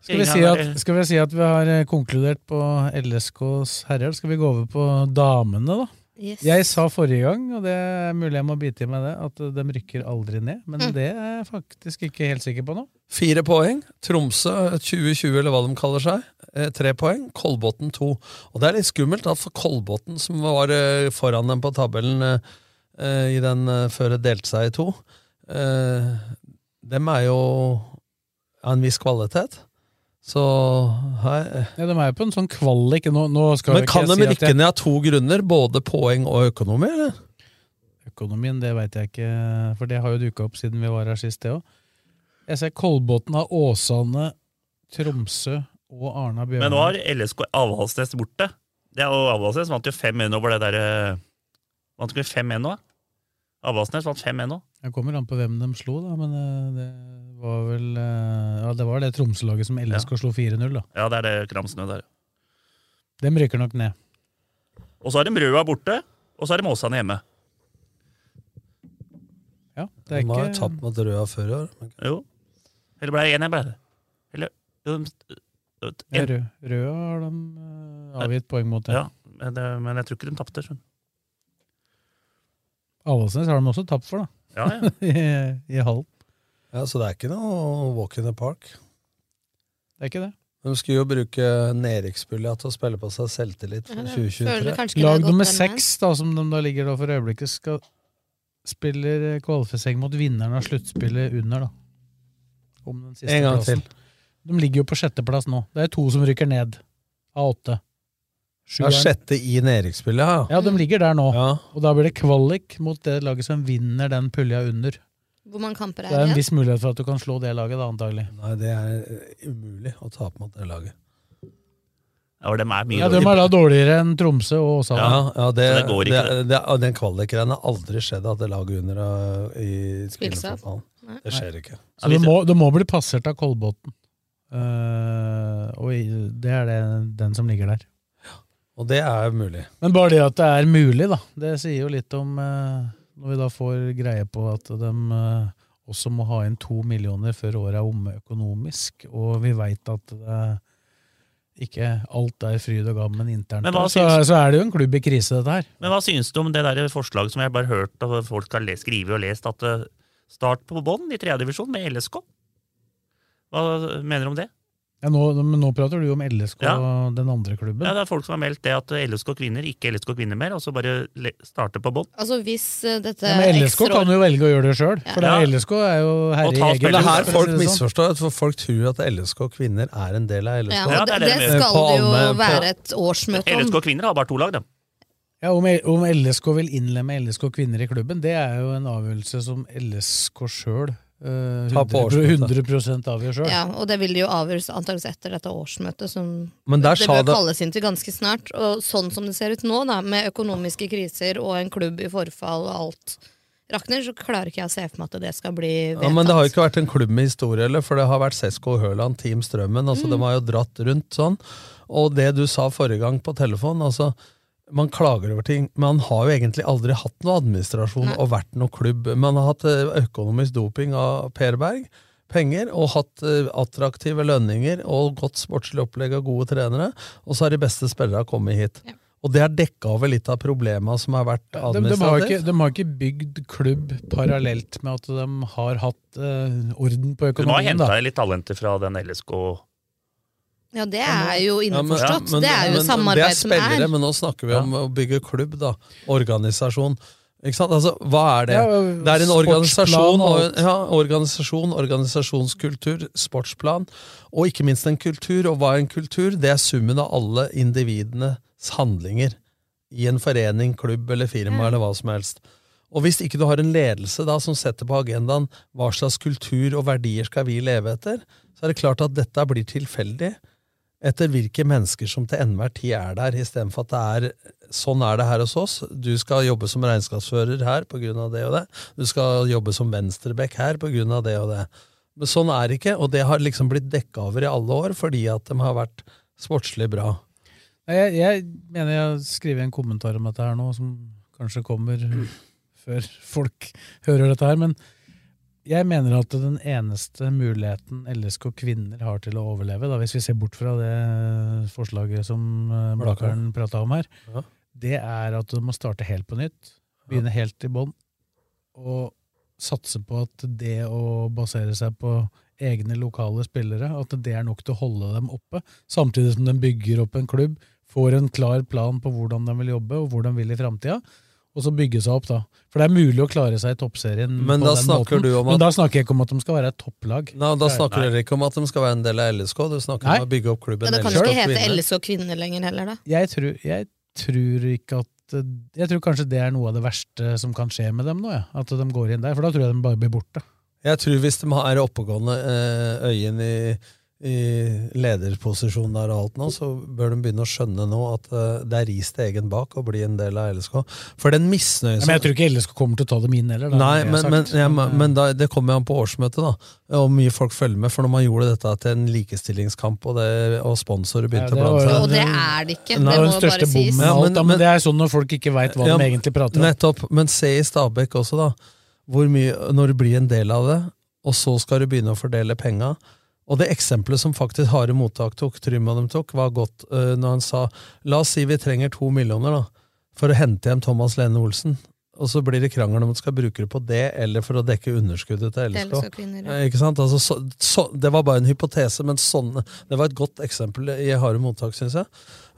S3: Skal vi, si at, skal vi si at vi har eh, konkludert på LSKs herrer? Skal vi gå over på damene, da?
S4: Yes.
S3: Jeg sa forrige gang, og det er mulig jeg må bite i meg det, at de rykker aldri ned. Men
S6: Mm.
S3: det er jeg faktisk ikke helt sikker på nå.
S6: Fire poeng. Tromsø 2020, eller hva de kaller seg. eh, Tre poeng. Kolbotn to. Og det er litt skummelt, da, for Kolbotn, som var eh, foran dem på tabellen eh, eh, i den eh, før det delte seg i to, eh, dem er jo av en viss kvalitet. Så her eh.
S3: Ja, de er jo på en sånn kvalik. Nå, nå skal
S6: Men
S3: jo ikke
S6: kan de
S3: jeg si
S6: rykke
S3: at jeg,
S6: ned av to grunner? Både poeng og økonomi? eller?
S3: økonomien, det veit jeg ikke, for det har jo duka opp siden vi var her sist, det òg. Jeg ser Kolbotn har Åsane, Tromsø og Arna
S5: Men nå
S3: Bjørnar.
S5: har LSK Avaldsnes borte. Det er jo Avaldsnes vant jo 5-1 over det der eh, Vant ikke vi 5-1 nå? Avaldsnes vant 5-1 nå.
S3: Jeg kommer an på hvem de slo, da, men eh, det var vel eh, Ja, det var det Tromsø-laget som LSK slo 4-0, da.
S5: Ja, det er det Kramsnø der.
S3: Dem rykker nok ned.
S5: Og så er de Røa borte, og så er de Åsane hjemme.
S3: Ja, det er
S6: De har
S3: ikke
S6: tapt mot Røa før i år. men-
S5: Jo. Eller ble det én jeg ble det? Eller jo, de-
S3: Ja,
S5: en-
S3: Rø- Røa har de eh, avgitt poeng mot.
S5: Ja, men det- men jeg tror ikke de tapte. skjønner du.
S3: Avaldsnes har de også tapt for, da. [LAUGHS]
S5: Ja, ja.
S3: I, I hallen.
S6: Ja, så det er ikke noe walk in the park.
S3: Det er ikke det.
S6: De skulle jo bruke nedrykksspillet til å spille på seg selvtillit for
S4: Ja, det
S6: 2023.
S4: føler kanskje ikke det har
S3: Lag
S4: gått
S3: nummer
S4: den
S3: seks, da, som de da ligger da for øyeblikket, skal spiller eh, kvalifisering mot vinneren av sluttspillet under, da. Om den siste
S6: En gang
S3: plassen. De ligger jo på sjetteplass nå. Det er to som rykker ned av åtte. Sju
S6: Ja,
S3: er-
S6: sjette i nedrykksspillet, ja.
S3: Ja, de ligger der nå.
S6: ja.
S3: Og da blir det kvalik mot det laget som vinner den pulja under.
S4: veien. Hvor mange kamper
S3: Det
S4: er
S3: er
S4: det
S3: en
S4: igjen?
S3: viss mulighet for at du kan slå det laget, da, antagelig.
S6: Nei, det er eh, umulig å tape mot det laget.
S5: Ja, og de er mye
S3: Ja, De er da dårligere enn Tromsø og Åsane.
S6: Ja, ja det,
S5: Så det går ikke,
S6: det, det, Den kvalikgreia har aldri skjedd at det laget under eh, i
S4: Spillstraff.
S6: spillefotballen.
S4: Nei.
S6: Det skjer ikke.
S3: Så det må, det må bli passert av Kolbotn. Eh, og i- det er det, den som ligger der.
S6: Og det er mulig.
S3: Men bare det at det er mulig, da. Det sier jo litt om eh, Når vi da får greie på at de eh, også må ha inn to millioner før året er omme økonomisk, og vi veit at det ikke alt er fryd og gammen internt,
S5: Men hva
S3: så, så er det jo en klubb i krise, dette her.
S5: Men hva synes du om det der forslaget som jeg bare har hørt og folk har le- skrevet og lest, at eh, start på bånn i tredje divisjon med LSK? Hva mener du om det?
S3: Ja, nå, men nå prater du jo om LSK og den andre klubben.
S5: Ja, det er folk som har meldt det at LSK kvinner, ikke LSK kvinner mer, og så bare le- starte på bånn.
S4: Altså hvis eh, dette
S3: Ja, men LSK
S4: ekstra-
S3: kan jo velge å gjøre det sjøl, for det
S5: Ja.
S3: er LSK er jo herre
S5: Og
S3: i
S5: ta
S3: egen
S5: spillere.
S6: Det er her
S3: for å
S6: folk
S3: si det sånn.
S6: misforstår, for folk tror at LSK kvinner er en del av
S4: ja,
S6: LSK.
S5: Ja,
S4: det,
S5: det er det
S4: det
S5: vi-
S4: skal
S6: Eh, på
S4: det jo
S6: alle- på-
S4: være et årsmøte om.
S5: LSK kvinner har bare to lag, da.
S3: Ja, om, om LSK vil innlemme LSK kvinner i klubben, det er jo en avgjørelse som LSK sjøl eh,
S6: Ta på
S3: 100,
S6: årsmøtet.
S3: 100 avgjør sjøl.
S4: Ja, og det vil jo avgjøres antakeligvis etter dette årsmøtet, som
S6: Men der
S4: det
S6: sa
S4: bør
S6: det
S4: kalles inn til ganske snart. Og sånn som det ser ut nå, da, med økonomiske kriser og en klubb i forfall og alt rakner, så klarer ikke jeg å se for meg at det skal bli vedtatt.
S6: ja, men det har jo ikke vært en klubb med historie, eller, for det har vært Sesko Høland, Team Strømmen.
S4: Mm.
S6: altså De har jo dratt rundt sånn. Og det du sa forrige gang på telefon altså, Man klager over ting, men man har jo egentlig aldri hatt noe administrasjon
S4: Nei.
S6: og vært noe klubb. Man har hatt eh, økonomisk doping av Per Berg, penger, og hatt eh, attraktive lønninger og godt sportslig opplegg av gode trenere. Og så har de beste spillerne kommet hit.
S4: Ja.
S6: Og det har dekka over litt av problema som har vært
S3: De, de, har jo ikke,
S6: administrativt.
S3: de har ikke bygd klubb parallelt med at de har hatt eh, orden på
S5: Du må ha
S3: økonomien.
S5: henta
S3: Da.
S5: litt talenter fra den LSK
S4: Ja, det er jo
S6: Ja, men-
S4: innforstått.
S6: ja, men-
S4: det er jo
S6: men
S4: samarbeid
S6: det er spillere,
S4: som er.
S6: Men nå snakker vi om å bygge klubb, da. Organisasjon. Ikke sant? Altså, hva er det?
S3: Ja,
S6: det er en
S3: sportsplan og
S6: organisasjon, og,
S3: alt.
S6: ja, organisasjon, organisasjonskultur, sportsplan, og ikke minst en kultur. Og hva er en kultur? Det er summen av alle individenes handlinger i en forening, klubb eller
S3: Mm.
S6: firma eller hva som helst. Og hvis ikke du har en ledelse da som setter på agendaen hva slags kultur og verdier skal vi leve etter, så er det klart at dette blir tilfeldig etter hvilke mennesker som til enhver tid er der, istedenfor at det er sånn er det her hos oss. Du skal jobbe som regnskapsfører her pga. det og det. Du skal jobbe som venstreback her pga. det og det. Men sånn er det ikke, og det har liksom blitt dekka over i alle år fordi at de har vært sportslig bra.
S3: Nei, Jeg, jeg mener jeg har skrevet en kommentar om dette her nå, som kanskje kommer før folk hører dette her, men jeg mener at den eneste muligheten LSK kvinner har til å overleve, da, hvis vi ser bort fra det forslaget som eh, Blakkaren prata om her,
S6: Ja.
S3: det er at du må starte helt på nytt. Begynne helt i bånn. Og satse på at det å basere seg på egne lokale spillere, at det er nok til å holde dem oppe, samtidig som de bygger opp en klubb, får en klar plan på hvordan de vil jobbe, og hvor de vil i framtida, og så bygge seg opp, da. For det er mulig å klare seg i toppserien
S6: Men
S3: på
S6: da
S3: den
S6: snakker
S3: måten.
S6: du om at-
S3: Men da snakker jeg ikke om at de skal være et topplag.
S6: Nei, da
S3: Nei.
S6: snakker dere ikke om at de skal være en del av LSK, du snakker
S3: Nei.
S6: om å bygge opp klubben
S4: Men det kan jo
S6: LSK
S4: ikke hete
S6: kvinner.
S4: LSK kvinner lenger heller, da.
S3: Jeg tror, jeg tror ikke at Jeg tror kanskje det er noe av det verste som kan skje med dem nå, ja. at de går inn der, for da tror jeg de bare blir borte.
S6: Jeg tror hvis de er oppegående eh, øyen i i lederposisjon der og alt nå, så bør de begynne å skjønne nå at eh, det er ris til egen bak å bli en del av LSK. For den misnøyen
S3: Ja,
S6: som
S3: men jeg tror ikke LSK kommer til å ta dem inn heller. da,
S6: Nei,
S3: det
S6: men,
S3: har jeg
S6: men,
S3: sagt. eh,
S6: ja, men men da, det kommer jo an på årsmøtet, da. Hvor mye folk følger med. For når man gjorde dette til en likestillingskamp, og, det, og sponsorer
S3: Ja,
S6: begynte
S3: det
S6: å blande
S3: var jo-
S4: Og
S6: seg
S4: det er det ikke. Det
S3: Nei, den
S4: må
S3: største
S4: bare sies.
S3: bommen av
S6: Ja,
S3: alt,
S6: men-
S3: da, men
S6: men-
S3: det er sånn når folk ikke veit hva
S6: Ja,
S3: de egentlig prater om.
S6: Nettopp. Men se i Stabæk også, da. Hvor mye, når du blir en del av det, og så skal du begynne å fordele penga. Og det eksempelet som faktisk Hare Mottak tok, Trym og dem tok, var godt øh, når han sa La oss si vi trenger to millioner da, for å hente hjem Thomas Lene Olsen. Og så blir det krangel om man skal bruke det på det, eller for å dekke underskuddet til
S4: Det er
S6: LSK.
S4: LSK kvinner, ja.
S6: Eh, Ikke sant? Altså, så, så, det var bare en hypotese, men sånn, det var et godt eksempel i Hare Mottak, syns jeg.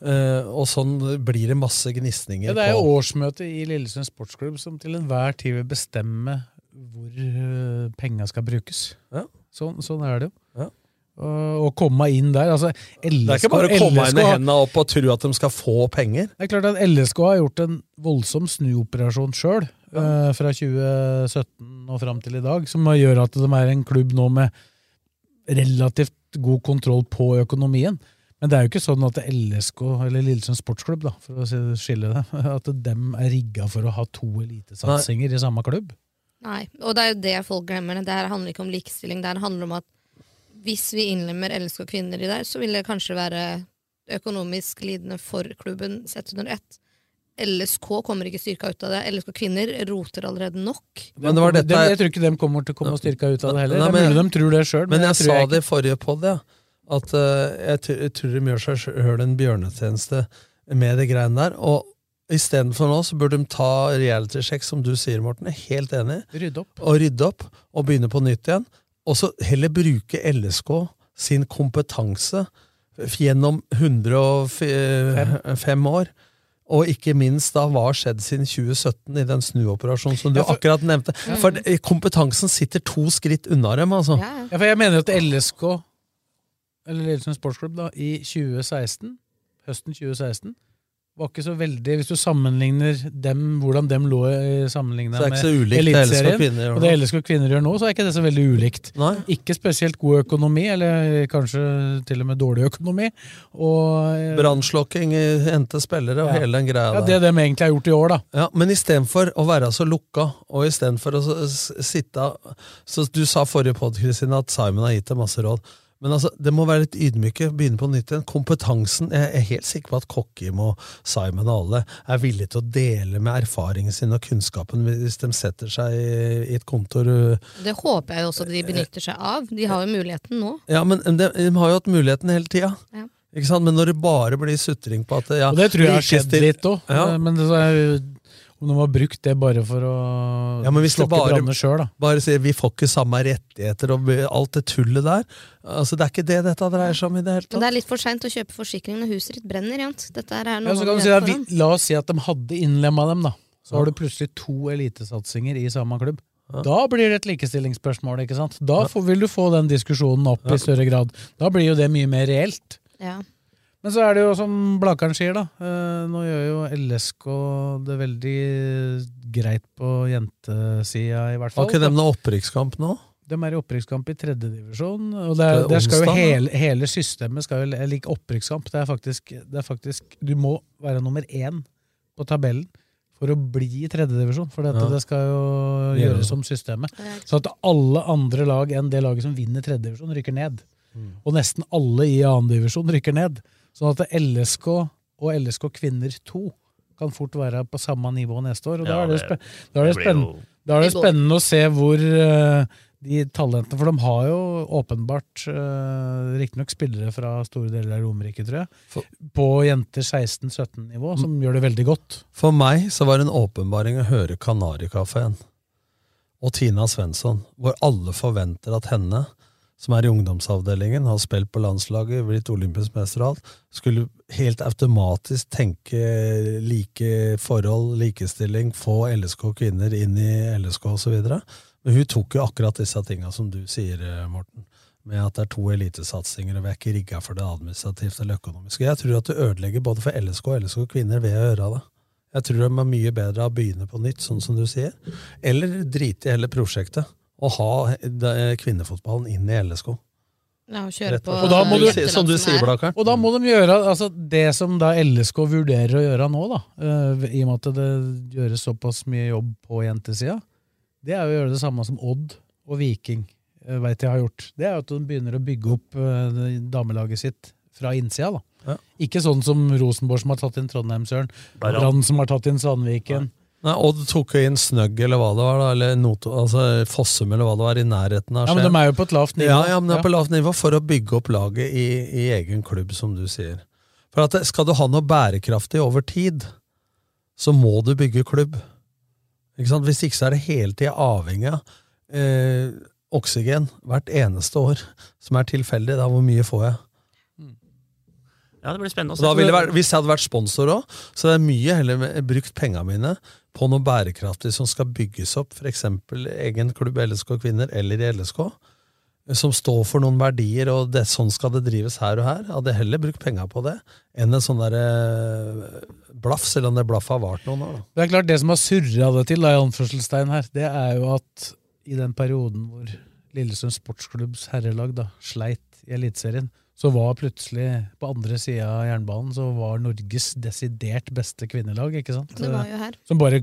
S6: Eh, og sånn blir det masse gnisninger.
S3: Ja, det er
S6: på-
S3: jo årsmøtet i Lillesund sportsklubb som til enhver tid vil bestemme hvor øh, penga skal brukes.
S6: Ja.
S3: Sånn, sånn er det jo.
S6: Ja.
S3: Og- og komme inn der altså, LSK,
S6: Det er ikke bare å komme inn i
S3: LSK
S6: hendene opp og tro at de skal få penger.
S3: Det er klart at LSK har gjort en voldsom snuoperasjon sjøl, fra 2017 og fram til i dag, som gjør at de er en klubb nå med relativt god kontroll på økonomien. Men det er jo ikke sånn at LSK, eller Lillesund sportsklubb, da, for å si- skille det, [LAUGHS] at dem er rigga for å ha to elitesatsinger i samme klubb.
S4: Nei, og det er jo det folk glemmer. Det her handler ikke om likestilling. Det her handler om at hvis vi innlemmer LSK kvinner i der, så vil det kanskje være økonomisk lidende for klubben sett under ett. LSK kommer ikke styrka ut av det. LSK kvinner roter allerede nok.
S6: Men det var
S3: Dem-
S6: dette-
S3: jeg tror ikke dem kommer til å komme styrka ut av det heller.
S6: Nei,
S3: det
S6: men-
S3: er mulig de tror det sjøl,
S6: Men jeg
S3: tror
S6: sa det i forrige podd, ja, at eh, jeg, tr- jeg tror de gjør seg sjøl en bjørnetjeneste med det greiene der. Og istedenfor nå så burde de ta realitysjekk, som du sier, Morten. Jeg er helt enig.
S3: ikke rydde opp.
S6: Og rydde opp, og begynne på nytt igjen. Og så heller bruke LSK sin kompetanse f- gjennom 105 eh, år. Og ikke minst da hva har skjedd siden 2017 i den snuoperasjonen som du
S3: Ja, for-
S6: akkurat nevnte. For eh, kompetansen sitter to skritt unna dem, altså.
S4: Ja, ja.
S3: Ja, for jeg mener at LSK, eller Lillesund Sportsklubb, da, i 2016, høsten 2016, var ikke så veldig Hvis du sammenligner dem, hvordan dem lå
S6: Så det
S3: sammenligna
S6: er ikke så
S3: med
S6: ulikt det LSK kvinner
S3: og
S6: gjør
S3: det
S6: nå.
S3: LSK kvinner gjør nå, så er ikke det så veldig ulikt.
S6: Nei.
S3: Ikke spesielt god økonomi, eller kanskje til og med dårlig økonomi. Og eh,
S6: Brannslokking, eh, hente spillere og
S3: Ja.
S6: hele den greia
S3: ja,
S6: der.
S3: det dem egentlig har gjort i år, da.
S6: Ja, men istedenfor å være så lukka, og istedenfor å s- s- sitte Så Du sa forrige podd, Kristine, at Simon har gitt deg masse råd. Men altså, det må være litt ydmyke. Begynne på nytt igjen. Kompetansen Jeg er helt sikker på at Kokkim og Simon og alle er villige til å dele med erfaringen sin og kunnskapen hvis de setter seg i- i et kontor øh,
S4: Det håper jeg jo også at de benytter seg av. De har jo muligheten nå.
S6: Ja, men de, de har jo hatt muligheten hele tida.
S4: Ja.
S6: Ikke sant? Men når det bare blir sutring på at ja,
S3: Og det tror jeg har skjedd
S6: likestil-
S3: litt òg.
S6: Ja.
S3: Men det er jo om de har brukt det bare for å
S6: Ja, men hvis det
S3: slokke
S6: bare-
S3: branner sjøl, da.
S6: Bare sier vi får ikke samme rettigheter og alt det tullet der. Altså, Det er ikke det dette dreier seg om i det hele
S4: Men
S6: tatt.
S4: det er litt for seint å kjøpe forsikring når huset ditt brenner. Jant. Dette her er
S3: Ja,
S4: noe man
S3: så kan
S4: gjør
S3: du si at vi,
S4: foran.
S3: la oss si at de hadde innlemma dem, da. Så
S6: Ja.
S3: har du plutselig to elitesatsinger i samme klubb.
S6: Ja.
S3: Da blir det et likestillingsspørsmål. ikke sant? Da får, vil du få den diskusjonen opp
S6: Ja.
S3: i større grad. Da blir jo det mye mer reelt.
S4: Ja.
S3: Men så er det jo som Blakkaren sier, da. Eh, nå gjør jo LSK det veldig greit på jentesida, i hvert fall.
S6: Har ikke dem noe opprykkskamp nå?
S3: De er i opprykkskamp i tredjedivisjon. Og der,
S6: Det er
S3: der skal jo
S6: onsdag, da.
S3: hele, hele systemet skal jo like opprykkskamp. Det er, faktisk, det er faktisk Du må være nummer én på tabellen for å bli i tredjedivisjon. For dette,
S6: Ja.
S3: det skal jo
S6: Det gjør det.
S3: gjøres om systemet.
S4: Det er-
S3: Så at alle andre lag enn det laget som vinner tredjedivisjon, rykker ned.
S6: Mm.
S3: Og nesten alle i annendivisjon rykker ned. Sånn at LSK og LSK kvinner 2 kan fort være på samme nivå neste år. Og da
S5: Ja,
S3: er det,
S5: det-
S3: spen da er det
S5: blir
S3: spennende.
S5: jo-
S3: Da er det
S4: I går.
S3: spennende å se hvor eh, de talentene For de har jo åpenbart uh, riktignok spillere fra store deler av Romerike, tror jeg,
S6: For-
S3: på jenter 16-17-nivå, som gjør det veldig godt.
S6: For meg så var det en åpenbaring å høre Kanarikafeen og Tina Svensson, hvor alle forventer at henne, som er i ungdomsavdelingen, har spilt på landslaget, blitt olympisk mester og alt, skulle helt automatisk tenke like forhold, likestilling, få LSK kvinner inn i LSK osv. Men hun tok jo akkurat disse tinga som du sier, eh, Morten. Med at det er to elitesatsinger, og vi er ikke rigga for det administrativt eller økonomiske. Jeg tror at du ødelegger både for LSK og LSK kvinner ved å gjøre det. Jeg tror de er mye bedre av å begynne på nytt, sånn som du sier. Eller drite i hele prosjektet og ha eh, kvinnefotballen inn i LSK.
S4: Ja, og kjøre
S6: Rett
S4: på
S6: og- Og da må
S4: eh,
S6: du-
S4: gjetteland
S6: som du
S4: som
S6: sier,
S4: er.
S6: Blakkaren.
S3: Og da må de gjøre altså det som da LSK vurderer å gjøre nå, da, eh, i og med at det gjøres såpass mye jobb på jentesida, det er jo å gjøre det samme som Odd og Viking eh, vet jeg har gjort. Det er jo at de begynner å bygge opp eh, det damelaget sitt fra innsida. da.
S6: Ja.
S3: Ikke sånn som Rosenborg som har tatt inn Trondheimsøren,
S5: Bare-
S3: Brann som har tatt inn Sandviken.
S6: Nei, Odd tok jo inn Snøgg eller hva det var, da, eller Noto, altså Fossum eller hva det var, i nærheten av
S3: Ja, men
S6: Skien.
S3: de er jo på et lavt nivå.
S6: Ja, ja, men det er på lavt nivå for å bygge opp laget i, i egen klubb, som du sier. For at det- skal du ha noe bærekraftig over tid, så må du bygge klubb. Ikke sant? Hvis ikke så er det hele tida avhengig av eh, oksygen hvert eneste år, som er tilfeldig. Da, hvor mye får jeg?
S5: Ja, det blir spennende å
S6: Og da ville det vært, hvis jeg hadde vært sponsor òg, så hadde jeg mye heller med- brukt penga mine på noe bærekraftig som skal bygges opp, f.eks. egen klubb LSK Kvinner eller i LSK, som står for noen verdier, og det, sånn skal det drives her og her. Hadde jeg heller brukt penga på det enn en sånn derre blaff, selv om det blaffet har vart noen år. da.
S3: Det er klart det som har surra det til, da, i anførselstegn her, det er jo at i den perioden hvor Lillesund Sportsklubbs herrelag da, sleit i Eliteserien, så var plutselig på andre sida av jernbanen så var Norges desidert beste kvinnelag, ikke sant?
S4: Det var jo her.
S3: Som bare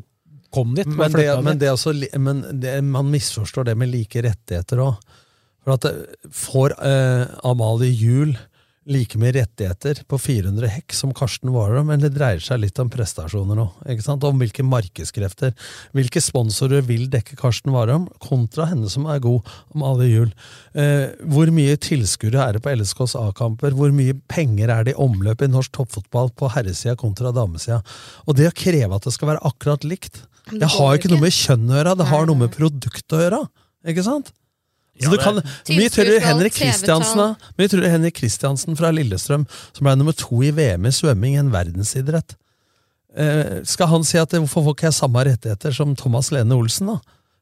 S3: kom dit. bare
S6: Men, det,
S3: flytta
S6: men,
S3: dit.
S6: det er også, li- men det, man misforstår det med like rettigheter òg. For at eh, får eh, Amalie Juel like mye rettigheter på 400 hekk som Karsten Warholm, men det dreier seg litt om prestasjoner nå. ikke sant? Om hvilke markedskrefter. Hvilke sponsorer vil dekke Karsten Warholm, kontra henne som er god, Amalie Juel. Eh, hvor mye tilskuere er det på LSKs A-kamper? Hvor mye penger er det i omløp i norsk toppfotball på herresida kontra damesida? Og det å kreve at det skal være akkurat likt,
S4: Men
S6: det,
S4: det
S6: har
S4: går
S6: jo ikke noe med kjønn å gjøre, det
S4: Nei,
S6: har noe
S4: nei.
S6: med produktet å gjøre. Ikke sant?
S5: Ja,
S6: Så du
S5: det-
S6: kan, mye
S4: Tilskuertall,
S6: tror Henrik
S4: TV-tall.
S6: Kristiansen da. Mye tror Henrik Kristiansen fra Lillestrøm, som ble nummer to i VM i svømming, en verdensidrett. Eh, skal han si at eh, hvorfor får ikke jeg samme rettigheter som Thomas Lene Olsen, da?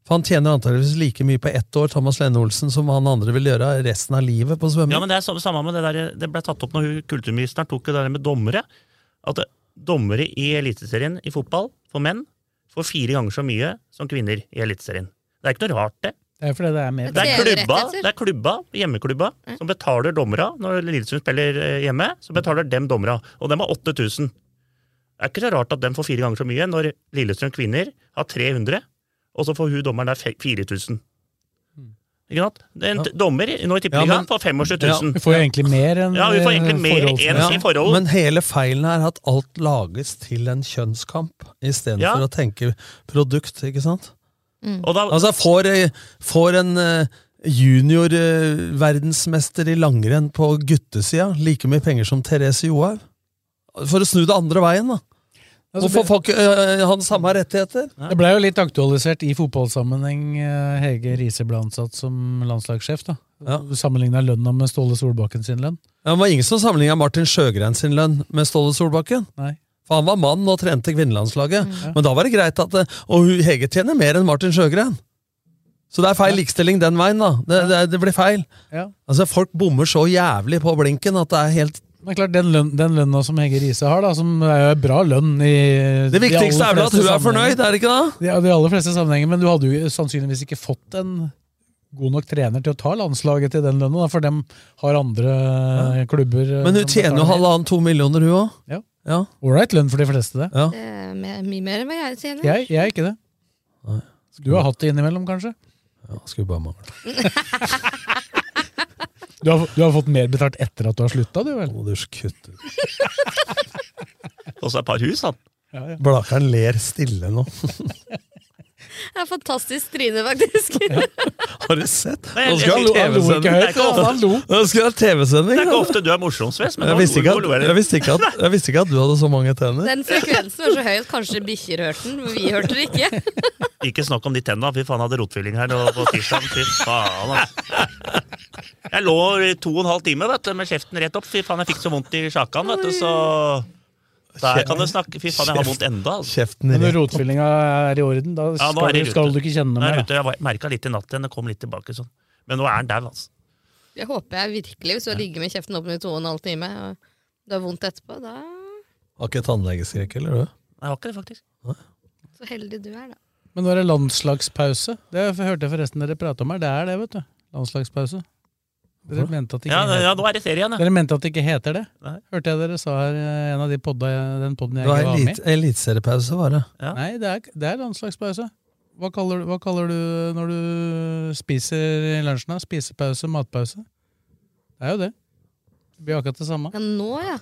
S6: For han tjener antageligvis like mye på ett år Thomas Lene Olsen som han andre vil gjøre resten av livet på svømming.
S5: Mm. Ja, men det er sam- samme med det der Det ble tatt opp når hun- kulturministeren tok det der med dommere. At det- dommere i Eliteserien i fotball for menn får fire ganger så mye som kvinner i Eliteserien. Det er ikke noe rart, det.
S3: Det er fordi det er mer
S5: Det er klubba,
S4: TV-rettigheter.
S5: det er klubba hjemmeklubba, som betaler dommera når Lillesund spiller eh, hjemme. Så betaler dem dommera, og dem har 8000. Det er ikke så rart at dem får fire ganger så mye når Lillestrøm kvinner har 300, og så får hun dommeren der fe- 4000. Ikke sant? Det er En
S6: Ja.
S5: t- dommer i- nå i
S6: Ja,
S5: tippeligaen
S6: men-
S5: får 25 000.
S3: Vi får jo egentlig mer enn
S5: Ja, vi får egentlig
S3: eh,
S5: mer
S3: forholdsvis.
S5: enn- i forhold.
S6: Men hele feilen er at alt lages til en kjønnskamp, istedenfor
S5: Ja.
S6: for å tenke produkt, ikke sant?
S5: Og da,
S6: Altså, får, eh, får en eh, junior eh, verdensmester i langrenn på guttesida like mye penger som Therese Johaug? For å snu det andre veien, da.
S3: Altså,
S6: Hvorfor får ikke eh, han samme rettigheter?
S3: Det blei jo litt aktualisert i fotballsammenheng. eh, Hege Riise ble ansatt som landslagssjef. da.
S6: Ja.
S3: Du Sammenligna lønna med Ståle Solbakken sin lønn.
S6: Ja, Det var ingen som sammenligna Martin Sjøgren sin lønn med Ståle Solbakken.
S3: Nei.
S6: For han var mann og trente kvinnelandslaget. Men da var det greit at eh, Og hun- Hege tjener mer enn Martin Sjøgren. Så det er feil likestilling den veien, da. Det, det, det blir feil.
S3: Ja.
S6: Altså, Folk bommer så jævlig på blinken at det er helt
S3: Men klart, den, lønn, den lønna som Hege Riise har, da, som er jo en bra lønn i
S6: Det viktigste er vel at hun er fornøyd, er det ikke det?
S3: Ja, de aller fleste sammenhenger, men du hadde jo sannsynligvis ikke fått en god nok trener til å ta landslaget til den lønna, da, for dem har andre eh, klubber eh,
S6: Men hun
S3: som
S6: tjener jo
S3: betaler.
S6: halvannen to millioner, hun òg.
S3: Ja.
S6: Ja.
S3: Ålreit lønn for de fleste, det.
S6: Ja.
S4: Det er mer- mye mer enn hva jeg tjener.
S3: Jeg, jeg er ikke det.
S6: Nei.
S3: Du har hatt det innimellom, kanskje?
S6: ja, skulle bare mangle.
S3: Du har, du har fått mer betalt etter at du har slutta, du vel?
S6: Må du kutte ut. Altså-
S5: og så et par hus, da.
S6: Blakeren ler stille nå.
S4: Det er fantastisk tryne, faktisk.
S6: Har du sett?
S5: Nei, jeg-
S6: Nå
S5: jeg-
S6: skal jeg ha
S5: jeg-
S3: Han lo ikke
S6: TV-sending.
S5: Det er
S3: høyt,
S5: ikke ofte-
S3: han lo.
S6: Nå skal jeg ha
S5: Det er
S6: TV-sending.
S5: ikke
S6: da.
S5: ofte du er morsomst, Sves, men
S6: Jeg
S5: nå-
S6: visste, ikke
S5: nå lo jeg
S6: at,
S5: litt.
S6: jeg, visste ikke at, jeg visste ikke at du hadde så mange tenner.
S4: Den frekvensen var så høy at kanskje bikkjer hørte den, men vi hørte det ikke.
S5: Ikke snakk om de tenna. Fy faen, jeg hadde rotfylling her nå på tirsdag. Fy faen, altså. Jeg lå i to og en halv time vet du, med kjeften rett opp. Fy faen, jeg fikk så vondt i sjakan, vet du, så Der kan du snakke. Fy faen, jeg har vondt enda, altså.
S6: Kjeften
S3: Men når
S6: rett.
S3: rotfyllinga er i orden, da
S5: Ja,
S3: skal,
S5: nå er det
S3: du-
S5: i
S3: skal
S5: rute.
S3: du ikke kjenne
S5: Nå er
S3: mer.
S5: jeg ute. Jeg merka litt i natt igjen. Det kom litt tilbake sånn. Men nå er han dau, altså.
S4: [LAUGHS] Det håper jeg virkelig, hvis du har ligget med kjeften åpen i to og en halv time, og du har vondt etterpå, da
S6: Har ikke tannlegeskrekk, eller? du?
S5: Jeg har ikke det, faktisk.
S4: Så heldig du er, da.
S3: da. Men nå er det landslagspause. Det hørte jeg forresten dere prate om her. Det er det, vet du. Landslagspause. Dere mente at det ikke
S5: Ja,
S3: heter-
S5: ja, nå er det serien, ja.
S3: [LAUGHS] Dere mente at det ikke heter det.
S5: Nei.
S3: Hørte jeg dere sa her eh, en av de podda, den podden jeg
S6: Det var
S3: ikke var med i.
S6: elit- eliteseriepause, var det.
S5: Ja.
S3: Nei, det er, det er landslagspause. Hva kaller, du- hva kaller du når du spiser i lunsjen? da? Spisepause, matpause? Det er jo det. Det blir akkurat det samme.
S4: Ja, nå, ja.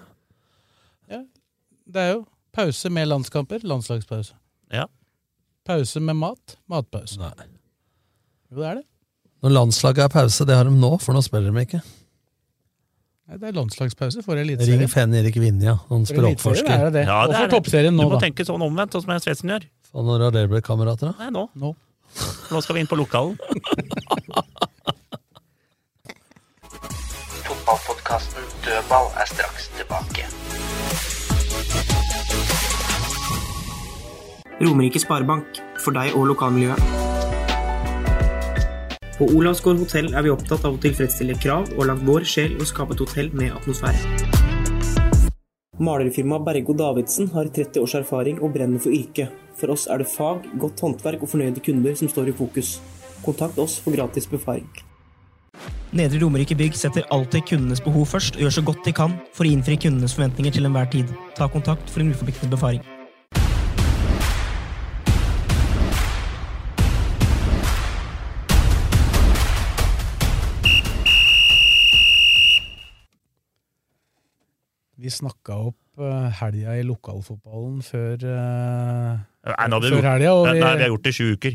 S3: Det er jo pause med landskamper, landslagspause.
S5: Ja.
S3: Pause med mat, matpause. Jo, det er det.
S6: Når landslaget er pause, det har de nå, for nå spiller de ikke.
S3: Nei, det er landslagspause for
S6: Ring
S3: eliteserien.
S6: Fenn Erik Vinja, han
S3: For eliteserien
S6: språkforsker.
S3: er det det.
S5: Ja, det er
S3: og for
S5: det.
S3: toppserien
S5: Du
S3: nå,
S5: må
S3: da.
S5: tenke sånn omvendt, sånn som jeg Svendsen gjør.
S6: Faen, Når har dere blitt kamerater, da?
S5: Nei, nå.
S3: Nå.
S5: Nå skal vi inn på lokalen.
S2: Fotballpodkasten Dødball er straks tilbake.
S1: Romerike Sparebank, for deg og lokalmiljøet. På Olavsgård hotell er vi opptatt av å tilfredsstille krav og lagt vår sjel i å skape et hotell med atmosfære. Malerfirmaet Bergo Davidsen har 30 års erfaring og brenner for yrket. For oss er det fag, godt håndverk og fornøyde kunder som står i fokus. Kontakt oss for gratis befaring. Nedre Romerike Bygg setter alltid kundenes behov først og gjør så godt de kan for å innfri kundenes forventninger til enhver tid. Ta kontakt for en uforpliktende befaring.
S3: Vi snakka opp eh, helga i lokalfotballen før, eh,
S5: Nei, nå har vi
S3: før
S5: gjort,
S3: helga. og
S5: nei,
S3: vi-
S5: vi har gjort det i sju uker.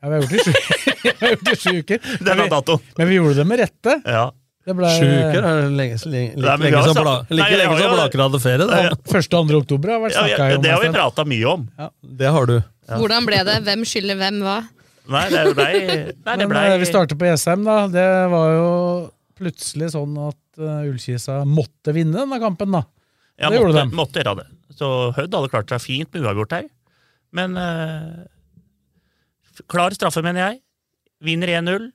S3: Ja, vi har gjort det i sju, [LAUGHS] vi har gjort det i sju uker.
S5: [LAUGHS] Det er
S3: Men
S5: da
S3: vi,
S5: dato.
S3: men vi gjorde det med rette.
S5: Ja.
S3: Det ble
S6: Sju uker
S3: [LAUGHS]
S6: er det lenge, lenge,
S5: Nei,
S6: like
S5: men vi
S6: lenge
S5: har
S6: som
S5: sagt-
S6: Bla-
S5: Nei,
S6: like
S5: jeg
S6: lenge
S5: har
S6: som
S5: jo-
S6: Blaker hadde ferie.
S5: Ja, ja.
S6: Da.
S3: 1. og 2. oktober har vært
S5: Ja,
S3: snakka
S5: ja,
S3: om.
S5: det har vi
S3: en stund.
S5: prata mye om.
S6: Det har du.
S4: Hvordan ble det? Hvem skylder hvem hva?
S5: Nei, det blei
S4: [LAUGHS]
S5: Nei, det
S3: Men
S5: blei
S3: eh, vi starter på Jessheim, da. Det var jo plutselig sånn at eh, Ullkisa måtte vinne denne kampen, da.
S5: Ja,
S3: det gjorde
S5: måtte,
S3: de.
S5: måtte gjøre det. Så Hødd hadde klart seg fint med uavgjort her. Men eh, f- klar straffe, mener jeg. Vinner 1-0.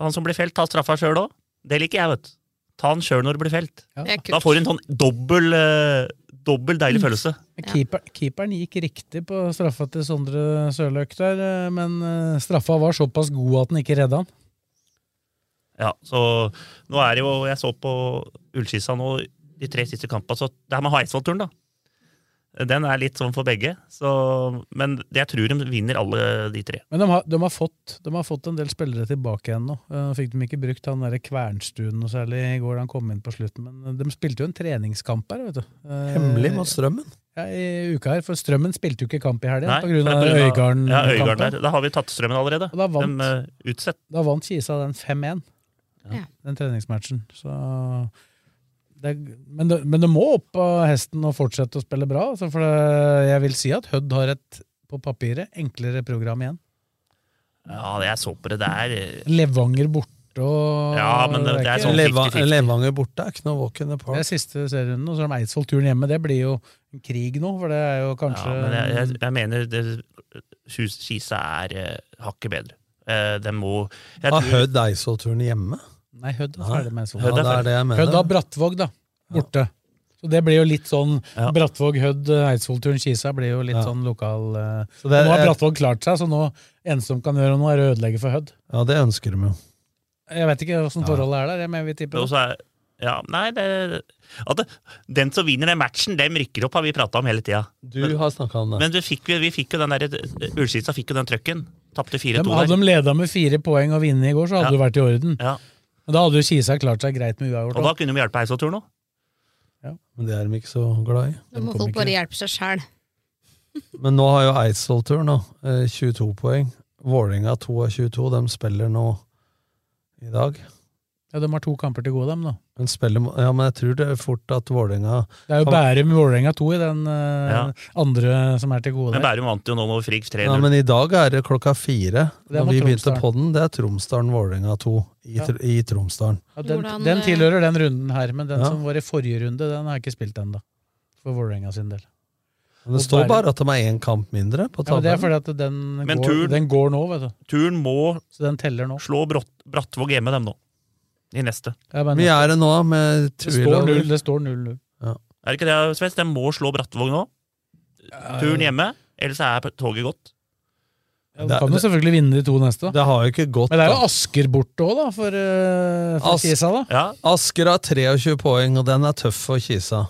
S5: Han som blir felt, tar straffa sjøl òg. Det liker jeg, vet du. Ta han sjøl når det blir felt.
S4: Det er
S5: Da
S4: kult.
S5: får du en sånn dobbel, eh, dobbel
S3: Mm.
S5: deilig følelse.
S3: Men Keeper, keeperen gikk riktig på straffa til Sondre Sørløk der, eh, men eh, straffa var såpass god at den ikke redda han.
S5: Ja, så nå er det jo Jeg så på Ullskissa nå de tre siste kampene, så det her med Eidsvoll-turen, da. Den er litt sånn for begge, så, men jeg tror de vinner alle de tre.
S3: Men de har, de, har fått, de har fått en del spillere tilbake igjen nå. Eh, Fikk de ikke brukt han der Kvernstuen noe særlig i går, da han kom inn på slutten. Men eh, de spilte jo en treningskamp her, vet du. Eh,
S6: Hemmelig mot strømmen.
S3: Ja, I uka her, for Strømmen spilte jo ikke kamp i helga
S5: Nei,
S3: pga.
S5: for-
S3: Øygarden.
S5: Ja, Øygarden der. Da har vi tatt strømmen allerede.
S3: Og da Mm, vant.
S5: De, eh, utsett.
S3: Da vant Kisa den 5-1,
S4: Ja.
S3: den treningsmatchen. Så det, men, det, men det må opp av hesten og fortsette å spille bra. Altså, for det, jeg vil si at Hødd har et, på papiret, enklere program igjen.
S5: Ja, jeg så på det der. eh,
S3: Levanger borte og
S5: Ja, men det- det er
S3: ikke-
S5: sånn
S6: Leva-
S5: 50-50.
S6: Levanger borte er ikke noe walk in the
S3: Det
S6: park.
S3: er siste serierunden, og så har de Eidsvoll-turen hjemme. Det blir jo en krig nå, for det er jo kanskje
S5: Ja, men jeg, jeg, jeg mener det, Kis- Kisa er eh, hakket bedre. Eh, den må jeg
S3: Ah,
S6: Har
S5: tror-
S6: Ah, Hødd Eidsvoll-turen hjemme?
S3: Nei, Hødd er
S6: Nei.
S3: ferdig med Eidsvoll.
S6: Ja,
S5: Hødd er
S6: det er det jeg
S3: Hødd har
S6: mener.
S3: Brattvåg, da. Borte. Så det blir jo litt sånn
S5: Ja.
S3: Brattvåg, Hødd, Eidsvollturen, Kisa blir jo litt
S6: Ja.
S3: sånn lokal eh,
S6: Så det er-
S3: Nå har Brattvåg klart seg, så nå eneste som kan gjøre noe, er å ødelegge for Hødd.
S6: Ja, det ønsker de jo.
S3: Jeg vet ikke åssen forholdet er der, jeg- men vi tipper
S5: Og
S3: det.
S5: så er, ja, nei, det, at det, den som vinner den matchen, den rykker opp, har vi prata om hele tida.
S6: Du har snakka om det.
S5: Men vi fikk, vi fikk jo den der, Ullskisa fikk jo den trøkken. Tapte
S3: De,
S5: 4-2
S3: hadde
S5: der.
S3: de leda med fire poeng og vunnet i går, så
S5: Ja.
S3: hadde det vært i orden.
S5: Ja,
S3: Men da hadde jo Kisa klart seg greit med uavgjort.
S5: og da kunne vi hjelpe Eidsvoll-turen òg.
S6: Men det er de ikke så glad i.
S4: Da må
S3: kom
S4: folk
S3: ikke.
S4: bare hjelpe seg sjæl.
S6: Men nå har jo Eidsvoll-turen da, eh, 22 poeng. Vålerenga 2 av 22. De spiller nå i dag.
S3: Ja, de har to kamper til gode, dem, da.
S6: Men, spiller, mo- ja, men jeg tror det er fort at Vålerenga
S3: Det er jo
S6: Kan-
S3: Bærum Vålerenga 2 i den eh,
S5: Ja.
S3: andre som er til gode.
S5: Men
S3: der.
S5: Bærum vant jo nå over Frigg 3-0.
S6: Ja, men i dag er det klokka fire.
S3: Det er
S6: Når
S3: mot
S6: vi begynte
S3: Tromsdalen.
S6: podden, det er Tromsdalen-Vålerenga 2 i,
S3: Ja.
S6: Tr- i Tromsdalen.
S3: Ja, den,
S4: Hvordan,
S3: den
S4: eh,
S3: tilhører den runden her, men den
S6: Ja.
S3: som var i forrige runde, den har jeg ikke spilt ennå. For Vålerenga sin del.
S6: Men det
S3: Og
S6: står
S3: Bærum.
S6: bare at de er én kamp mindre på
S3: Ja, men det er
S6: tabellen.
S3: fordi at den
S5: Men
S3: går,
S5: turen-
S3: den går nå, vet du.
S5: Turen må
S3: Så den teller nå.
S5: slå Brått, Brattvåg hjemme, dem nå. I neste.
S3: Ja, men
S6: vi er det nå, med
S3: det står null-
S6: Tuil
S3: det står 0-0.
S5: Er det ikke det, Svens? Den må slå Brattvåg nå. Turen hjemme, ellers er toget gått.
S3: Ja, du kan jo selvfølgelig vinne de to neste.
S6: Det har jo ikke gått,
S3: Men det er jo
S6: da.
S3: Asker borte òg, da, for, eh, for
S6: Ask-
S3: Kisa. da.
S6: Asker har 23 poeng, og den er tøff for Kisa.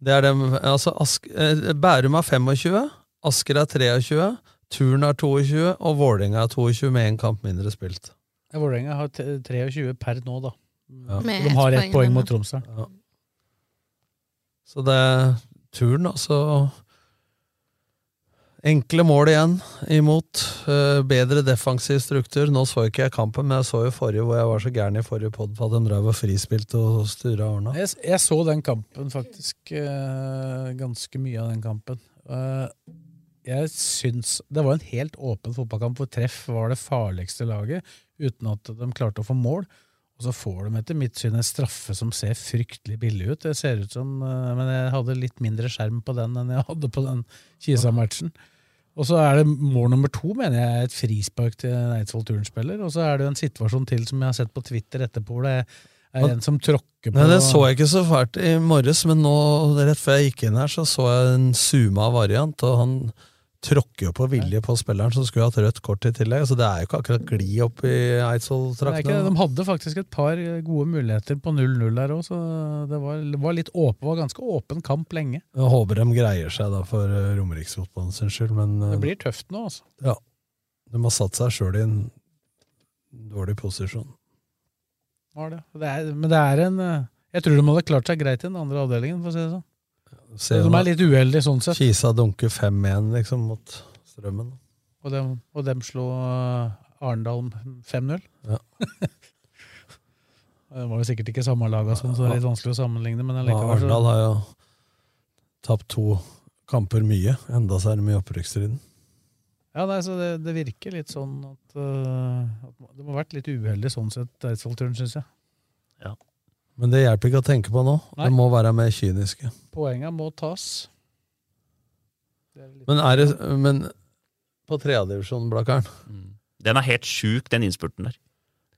S6: Det er dem, altså Ask, eh, Bærum har 25, Asker har 23, Turn har 22, og Vålerenga har 22 med én kamp mindre spilt.
S3: Ja, Vålerenga har t- 23 per nå, da.
S6: Ja.
S4: Med
S3: De har
S4: ett
S3: ett
S4: poeng
S3: poeng
S4: denne.
S3: mot Tromsø.
S6: Ja. Så det er Turn, altså. Enkle mål igjen imot. eh, bedre defensiv struktur. Nå så ikke jeg kampen, men jeg så jo forrige hvor jeg var så gæren i forrige pod på at de drev og frispilte og styra og ordna.
S3: Jeg, s- jeg så den kampen faktisk eh, ganske mye av den kampen. Eh, jeg syns Det var en helt åpen fotballkamp hvor treff var det farligste laget, uten at de klarte å få mål. Og så får de etter mitt syn en straffe som ser fryktelig billig ut. Det ser ut som, eh, Men jeg hadde litt mindre skjerm på den enn jeg hadde på den Kisa-matchen. Og så er det mål nummer to, mener jeg, er et frispark til en Eidsvoll Turn-spiller. Og så er det jo en situasjon til som jeg har sett på Twitter etterpå, hvor det er en som tråkker på
S6: Nei, Det så jeg ikke så fælt i morges, men nå, rett før jeg gikk inn her, så så jeg en zooma variant, og han tråkker jo på vilje på spilleren, som skulle hatt rødt kort i tillegg. Så det er jo ikke akkurat gli opp
S3: Det er ikke
S6: i
S3: det.
S6: Eidsvoll-traktene.
S3: De hadde faktisk et par gode muligheter på 0-0 der òg, så det var, det var litt åpen, var ganske åpen kamp lenge.
S6: Jeg håper de greier seg da for eh, Romeriksfotballen sin skyld, men eh,
S3: Det blir tøft nå, altså.
S6: ja, de har satt seg sjøl i en dårlig posisjon.
S3: Var det. Det er, men det er en eh, Jeg tror de hadde klart seg greit i den andre avdelingen, for å si det sånn.
S6: Se,
S3: Så de er
S6: nå,
S3: litt uheldige sånn sett.
S6: Kisa dunker 5-1 liksom mot strømmen.
S3: Og dem, og dem slo eh, Arendal 5-0.
S6: Ja.
S3: [LAUGHS] det var jo sikkert ikke samme laga sånn, så det er litt vanskelig å sammenligne, men
S6: Ja,
S3: allikevel så
S6: Arendal har jo tapt to kamper mye, enda så er de i opprykksstriden.
S3: Ja, nei, så det, det virker litt sånn at, eh, at Det må ha vært litt uheldig sånn sett, Eidsvoll-turen, syns jeg.
S6: Men det hjelper ikke å tenke på nå.
S3: Nei.
S6: Det må være mer kyniske.
S3: Poenga må tas. Det er litt-
S6: Men er det men på tredjedivisjon, Blakkaren
S5: Den er helt sjuk, den innspurten der.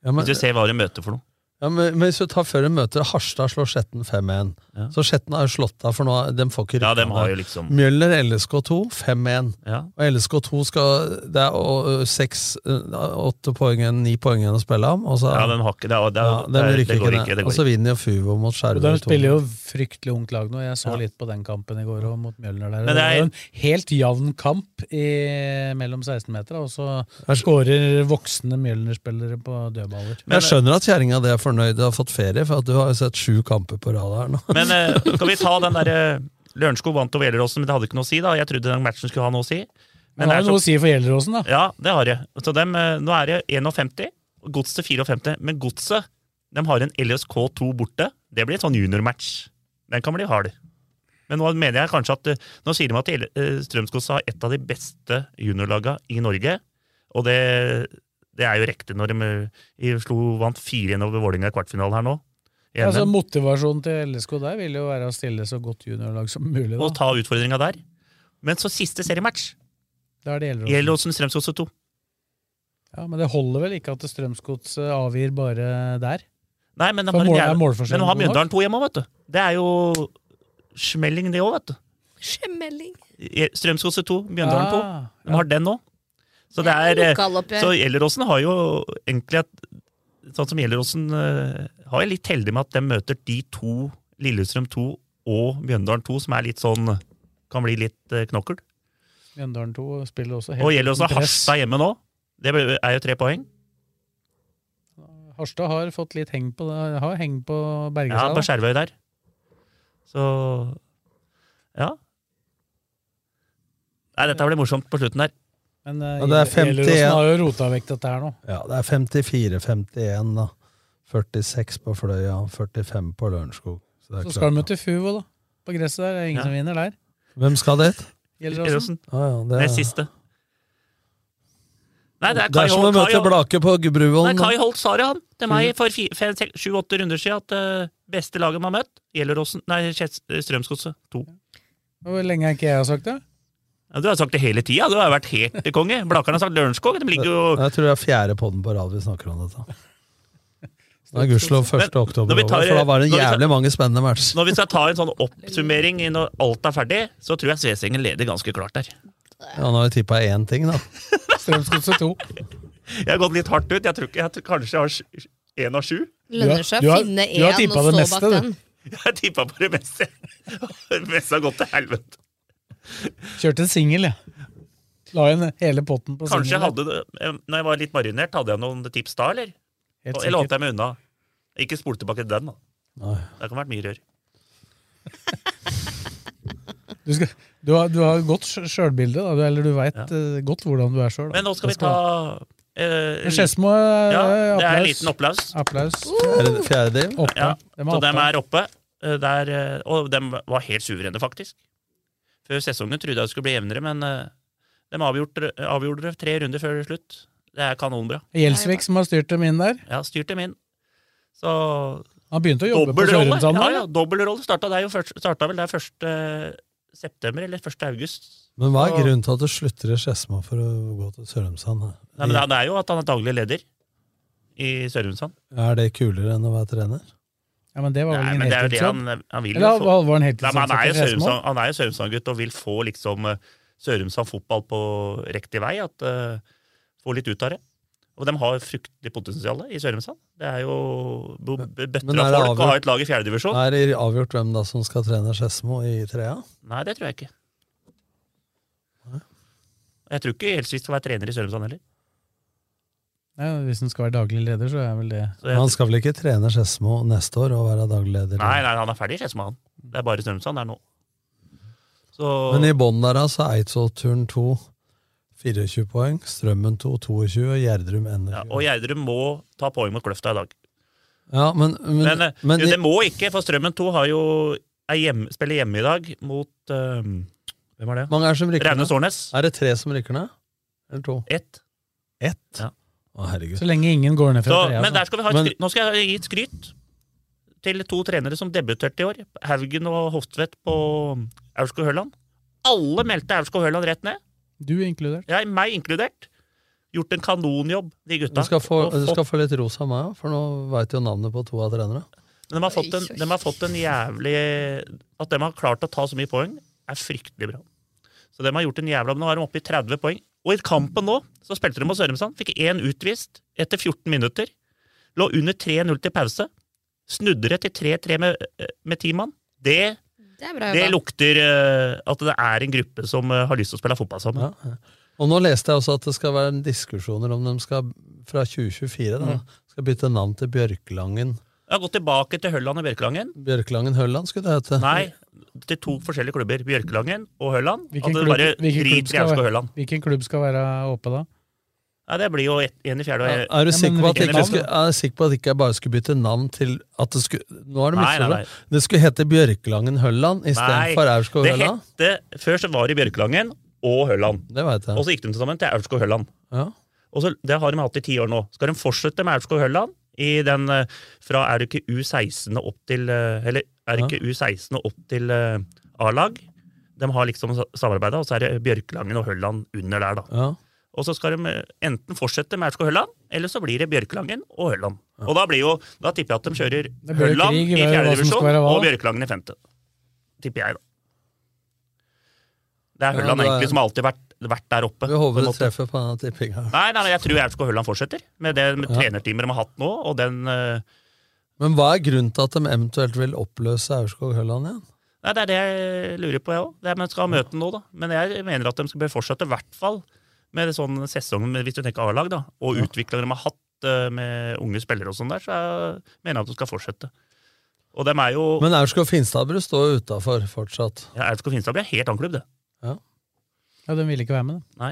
S6: ja, men,
S5: Hvis du ser hva de møter for noe.
S6: ja, men, men hvis du tar før de møter Harstad, slår Skjetten 5-1.
S5: Ja.
S6: Så Skjetten er jo slått av, for nå, de får ikke
S5: Ja,
S6: rykka
S5: dem har
S6: ned.
S5: jo liksom
S6: Mjøller LSK2 5-1.
S5: ja.
S6: Og LSK2 skal Det er å- å, seks, ø, åtte poeng, igjen, ni poeng igjen å spille om. Og så,
S5: ja, den har ikke Det, er- det, er-
S6: ja, de
S5: det, er-
S6: rykker
S5: det går
S6: ned. Altså,
S5: ikke. Det
S6: Og
S5: går
S6: så
S5: ikke.
S6: vinner jo Fuvo
S3: Og
S6: mot
S3: de
S6: Skjervøy. to.
S3: spiller jo fryktelig ungt lag nå. Jeg så
S5: Ja.
S3: litt på den kampen i går og mot Mjølner. Der.
S5: Men
S3: Det
S5: det
S3: var
S5: er-
S3: jo en helt jevn kamp i, mellom 16-metera, og så
S6: Jeg skj-
S3: skårer voksne Mjølner-spillere på dødballer.
S5: Men-
S6: jeg skjønner at kjerringa di er fornøyd og har fått ferie, for at du har jo sett sju kamper på rad her nå.
S5: Men eh, kan vi ta den derre Lørenskog vant over Gjelleråsen, men det hadde ikke noe å si, da. Jeg trodde den matchen skulle ha noe å si.
S3: Men det
S5: det
S3: har
S5: er
S3: jo noe å si for Gjelleråsen, da.
S5: Ja, det har jeg. Så dem, eh, nå er det 51, og Godset 54. Men Godset de har en LSK2 borte. Det blir et sånn juniormatch. Den kan bli hard. Men nå mener jeg kanskje at eh, Nå sier de at L- eh, Strømsgodset har et av de beste juniorlaga i Norge. Og det, det er jo riktig når de eh, i Oslo vant 4-1 over Vålerenga i kvartfinalen her nå. I
S3: Ja, så
S5: NM.
S3: Altså, Motivasjonen til LSK der vil jo være å stille så godt juniorlag som mulig.
S5: og
S3: Da,
S5: ta utfordringa der. Men så siste seriematch.
S3: da er det Gjelleråsen.
S5: Gjelleråsen Strømsgodset 2.
S3: Ja, men det holder vel ikke at Strømsgodset avgir bare der?
S5: Nei, men de
S3: For
S5: har,
S3: mål-
S5: en jævla-
S3: er målforskjellen
S5: men de har
S3: god nok?
S5: Mjøndalen 2 hjemme òg, vet du. Det er jo smelling, det òg, vet du.
S4: Skjemmelding.
S5: Strømsgodset 2, Mjøndalen 2.
S3: Ah,
S5: De har den òg. Så det er eh, Så
S4: Lokaloppgjør.
S5: Gjelleråsen har jo egentlig at Sånn som Gjelleråsen eh, har jeg litt heldig med at de møter de to, Lillestrøm 2 og Mjøndalen 2, som er litt sånn Kan bli litt eh, knokkel.
S3: Mjøndalen 2 spiller også
S5: Og Gjelleråsen
S3: uten
S5: har
S3: press.
S5: Harstad hjemme nå. Det er jo tre poeng.
S3: Harstad har fått litt heng på, det- har heng på
S5: Ja,
S3: Bergestad.
S5: på Skjervøy der. Så Ja. Nei, dette blir morsomt på slutten der.
S3: Men eh,
S6: Ja, det er 51.
S3: Gjelleråsen har jo rota vekk dette her nå.
S6: Ja, det er 54-51, da. 46 på Fløya, 45 på Lørenskog. Så det er
S3: Så
S6: klart,
S3: skal de jo til Fuvo, da. På gresset der. Det er ingen
S5: Ja.
S3: som vinner der.
S6: da. Hvem skal dit?
S3: Gjelleråsen.
S5: Rosen.
S6: Ah, ja, det,
S5: Nest
S6: er,
S5: siste. Nei, det er
S6: det
S5: Kai
S6: er som å
S5: Holt, Kai
S6: møte
S5: Holt,
S6: Blake på
S5: Nei,
S6: Bruvollen. da.
S5: Kai Holt sa det, han, til meg for sju-åtte runder siden, at eh, beste laget man har møtt, Gjelleråsen Nei, Kjets- Strømsgodset 2.
S3: Hvor lenge har ikke jeg sagt det?
S5: Ja, du har sagt det hele tida, du har vært helt [LAUGHS] konge. Blakkaren har sagt Lørenskog. De ligger jo
S6: Jeg tror det er fjerde podden på rad vi snakker om
S3: [LAUGHS]
S6: dette. Det er gudskjelov 1.
S5: Men,
S6: oktober
S5: når vi
S6: over,
S5: tar-
S6: for da var det
S5: når vi tar-
S6: jævlig mange spennende matcher.
S5: Når vi skal ta en sånn oppsummering i når alt er ferdig, så tror jeg Svesengen leder ganske klart der.
S6: Ja, nå har vi tippa én ting, da.
S3: Strømsgodset 2.
S5: Jeg har gått litt hardt ut. Jeg tror ikke, jeg tror kanskje jeg har én av sju. [LAUGHS]
S4: Lønner seg å finne
S3: du har
S4: én
S3: tippet
S4: og stå
S3: det meste,
S4: bak
S3: du.
S4: den.
S5: Jeg har tippa på det meste. [LAUGHS] Det meste har gått til helvete.
S3: Kjørte en singel, jeg. La igjen hele potten på
S5: Kanskje jeg
S3: singelen.
S5: hadde det eh, Når jeg var litt marinert, hadde jeg noen tips da, eller?
S3: Helt
S5: Eller holdt
S3: sikkert.
S5: jeg meg unna? Ikke spol tilbake den, da.
S6: Nei.
S5: Det kan vært mye rør.
S3: Du, skal, du, har, du har godt sj- sjølbilde, da. Du, eller du veit
S5: Ja.
S3: godt hvordan du er sjøl.
S5: Men nå skal vi ta eh,
S3: Skedsmo,
S5: Ja, det er en
S3: applaus.
S5: liten applaus.
S3: Applaus.
S6: Fjerde, fjerde del?
S3: Oppe.
S5: Ja,
S3: Dem
S5: Så
S3: er
S5: dem
S3: oppe.
S5: er oppe. eh, Der, eh, og dem var helt suverene, faktisk. Før sesongen trodde jeg det skulle bli jevnere, men eh, dem avgjorde, avgjorde det tre runder før slutt. Det er kanonbra.
S3: Gjelsvik som har styrt dem inn der.
S5: Jeg har styrt dem inn. Så
S3: Han begynte å jobbe på
S5: dobbeltrolle.
S3: Sørumsand
S5: Ja,
S3: nå.
S5: ja, dobbeltrolle starta, der jo først- starta vel der 1. september eller 1. august.
S6: Men hva er
S5: Og-
S6: grunnen til at du slutter i Skedsmo for å gå til Sørumsand?
S5: Nei,
S6: Mm.
S5: men det er jo at han er daglig leder i Sørumsand.
S6: Er det kulere enn å være trener?
S3: Ja, men det var vel
S5: Nei,
S3: ingen
S5: men det er jo det
S3: heltidsjobb.
S5: han, han vil jo
S3: Eller
S5: få.
S3: var var han
S5: Nei, men han
S3: heltidsansatt
S5: er
S3: i
S5: jo
S3: Skedsmo?
S5: Sørumsand- han er jo Sørumsand-gutt og vil få liksom eh, Sørumsand fotball på riktig vei. At, eh, få litt ut av det. Og de har fryktelig potensial i Sørumsand. Det er jo bo- b-
S6: men
S5: bøtter
S6: er
S5: av
S6: det
S5: folk å
S6: avgjort?
S5: ha et lag i fjerdedivisjon. Nei.
S6: Er det avgjort hvem da som skal trene Skedsmo i trea?
S5: Nei, det tror jeg ikke. Jeg tror ikke Gjelsvik skal være trener i Sørumsand heller.
S3: Ja, hvis han skal være daglig leder, så er vel det
S5: Så jeg,
S6: Han skal vel ikke trene Skedsmo neste år og være daglig leder?
S5: nei, nei, han er ferdig i Skedsmo, han. Det er bare Sørumsand der nå. Så
S6: Men i bånn der da, så er Eidsvollturen 2 24 poeng, Strømmen 2 22 og Gjerdrum ender.
S5: ja, Og Gjerdrum må ta poeng mot Kløfta i dag.
S6: Ja, men, men,
S5: Men, eh,
S6: men
S5: jo,
S6: i-
S5: det må ikke, for Strømmen 2 har jo, er hjemme, spiller hjemme i dag mot ehm, Hvem er det?
S6: mange er det som rykker
S5: Raune
S6: ned?
S5: Sårnes.
S6: Er det tre som rykker ned? Eller to?
S5: Ett.
S6: Ett?
S5: Ja.
S6: Å, herregud.
S3: Så lenge ingen går ned
S5: Så,
S3: fra altså. trea.
S6: altså.
S5: men der skal vi ha et
S6: Men-
S5: skryt. Nå skal jeg gi et skryt til to trenere som debuterte i år. Haugen og Hoftvedt på Aurskog Høland. Alle meldte Aurskog Høland rett ned.
S3: Du inkludert.
S5: Jeg, meg inkludert. Gjort en kanonjobb, de
S6: Du
S5: gutta.
S6: skal, få,
S5: Og
S6: du
S5: fått-
S6: skal få litt ros av meg òg, for nå veit jo navnet på to av trenerne.
S5: Men de har, fått en,
S4: Oi, oi,
S5: de har fått en jævlig At de har klart å ta så mye poeng, er fryktelig bra. Så de har gjort en jævla Nå er de oppe i 30 poeng. Og i kampen nå så spilte de mot Sørumsand. Fikk én utvist etter 14 minutter. Lå under 3-0 til pause. Snudde det til 3-3 med, eh, med ti mann. Det,
S4: Det er bra
S5: det
S4: jobba.
S5: lukter eh, at det er en gruppe som eh, har lyst til å spille fotball sammen.
S6: Ja. ja. Og nå leste jeg også at det skal være diskusjoner om de skal, fra 2024, da,
S5: Mm.
S6: skal bytte navn til Bjørklangen.
S5: Jeg har gått tilbake til Hølland og Bjørkelangen.
S3: [LAUGHS]
S6: Bjørklangen Høland skulle det hete.
S5: Nei, til to forskjellige klubber. Bjørkelangen og Hølland. At
S3: Hvilken
S5: det
S3: klubb-
S5: bare
S3: hvilken klubb
S5: driter i
S3: skal
S5: Aurskog
S3: være-
S5: Høland.
S3: Hvilken klubb skal være oppe da?
S5: Nei, det blir jo én i fjerde og en-
S6: Er er du
S3: Ja,
S6: sikker
S3: men
S6: på at det
S5: hvilket
S6: ikke,
S5: navn?
S6: skulle, er du sikker på at det ikke bare skulle bytte navn til at det skulle, Nå er det
S5: Nei, nei,
S6: misforstått.
S5: nei.
S6: Det skulle hete Bjørklangen Hølland
S5: Nei,
S6: istedenfor Aurskog
S5: Det
S6: Høland.
S5: hette, Før så var det Bjørkelangen og Høland.
S6: Det veit
S5: Og
S6: jeg.
S5: så gikk de til sammen til Aurskog Høland.
S6: Ja.
S5: Og så, det har de hatt i ti år nå. Skal de fortsette med Aurskog Høland i den eh, fra er du ikke U16 og opp til eh, Eller er du ikke U16 og opp til eh, A-lag? De har liksom samarbeida, og så er det Bjørkelangen og Høland under der, da.
S6: Ja.
S5: Og så skal de eh, enten fortsette med Aurskog Høland, eller så blir det Bjørkelangen og Høland. Og da blir jo, da tipper jeg at de kjører
S3: blir jo
S5: Høland
S3: krig i
S5: i
S3: hva-
S5: fjerde
S3: hva som skal
S5: divisjon
S3: være hva,
S5: og
S3: da.
S5: Bjørkelangen i femte. Tipper jeg, da. Det er
S6: Ja,
S5: Høland
S6: det er-
S5: egentlig som har alltid vært, vært der oppe.
S6: Vi
S5: på en
S6: håper det
S5: måte.
S6: treffer på denne tippinga.
S5: Nei, nei, nei, jeg tror Aurskog Høland fortsetter med det med
S6: Ja.
S5: trenerteamet de har hatt nå. og den... eh,
S6: Men hva er grunnen til at de eventuelt vil oppløse Aurskog Høland igjen?
S5: Nei, Det er det jeg lurer på, jeg òg. De skal ha møte nå, da. Men jeg mener at de skal bør fortsette, i hvert fall med sånn sesong, med- hvis du tenker A-lag, da, og utviklingen de har hatt eh, med unge spillere og sånn der, så jeg mener jeg at de skal fortsette. Og dem er jo
S6: Men Aurskog Finstadbru står utafor fortsatt.
S5: ja, Aurskog Finstad blir en helt annen klubb, det.
S3: Ja, Den ville ikke være med, da.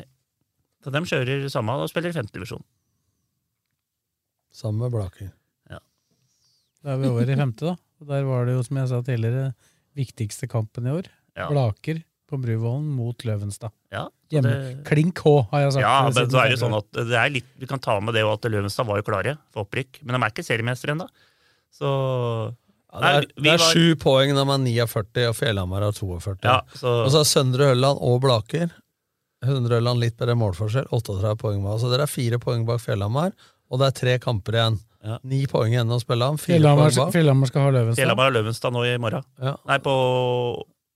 S5: Så de kjører samme og spiller i femtedivisjon.
S6: Sammen med Blaker.
S3: Da er vi
S5: [LAUGHS]
S3: over i femte, da. Og der var det jo, som jeg sa tidligere, viktigste kampen i år.
S5: Ja.
S3: Blaker på Bruvollen mot Løvenstad.
S5: Ja, så
S3: Hjemme. Altså,
S5: det-
S3: Klink H, har jeg sagt.
S5: Ja,
S3: siden
S5: men så er det jo sånn
S3: februar.
S5: at det er litt, Vi kan ta med det og at Løvenstad var jo klare for opprykk, men de er ikke seriemestere ennå. Så
S6: Ja, det er,
S5: Nei, vi
S6: det er
S5: var-
S6: sju poeng når man er 49, og Fjellhamar har 42.
S5: ja, så
S6: Og så er Søndre Ølland og Blaker. Søndre Ølland litt bedre målforskjell, 38 poeng bak. Så dere er fire poeng bak Fjellhamar, og det er tre kamper igjen.
S5: Ja.
S6: Ni poeng igjen å spille om, fire
S3: Fjellhamar
S6: poeng bak.
S3: Fjellhamar skal ha Løvenstad.
S5: Fjellhamar og Løvenstad nå i morgen.
S6: Ja.
S5: Nei, på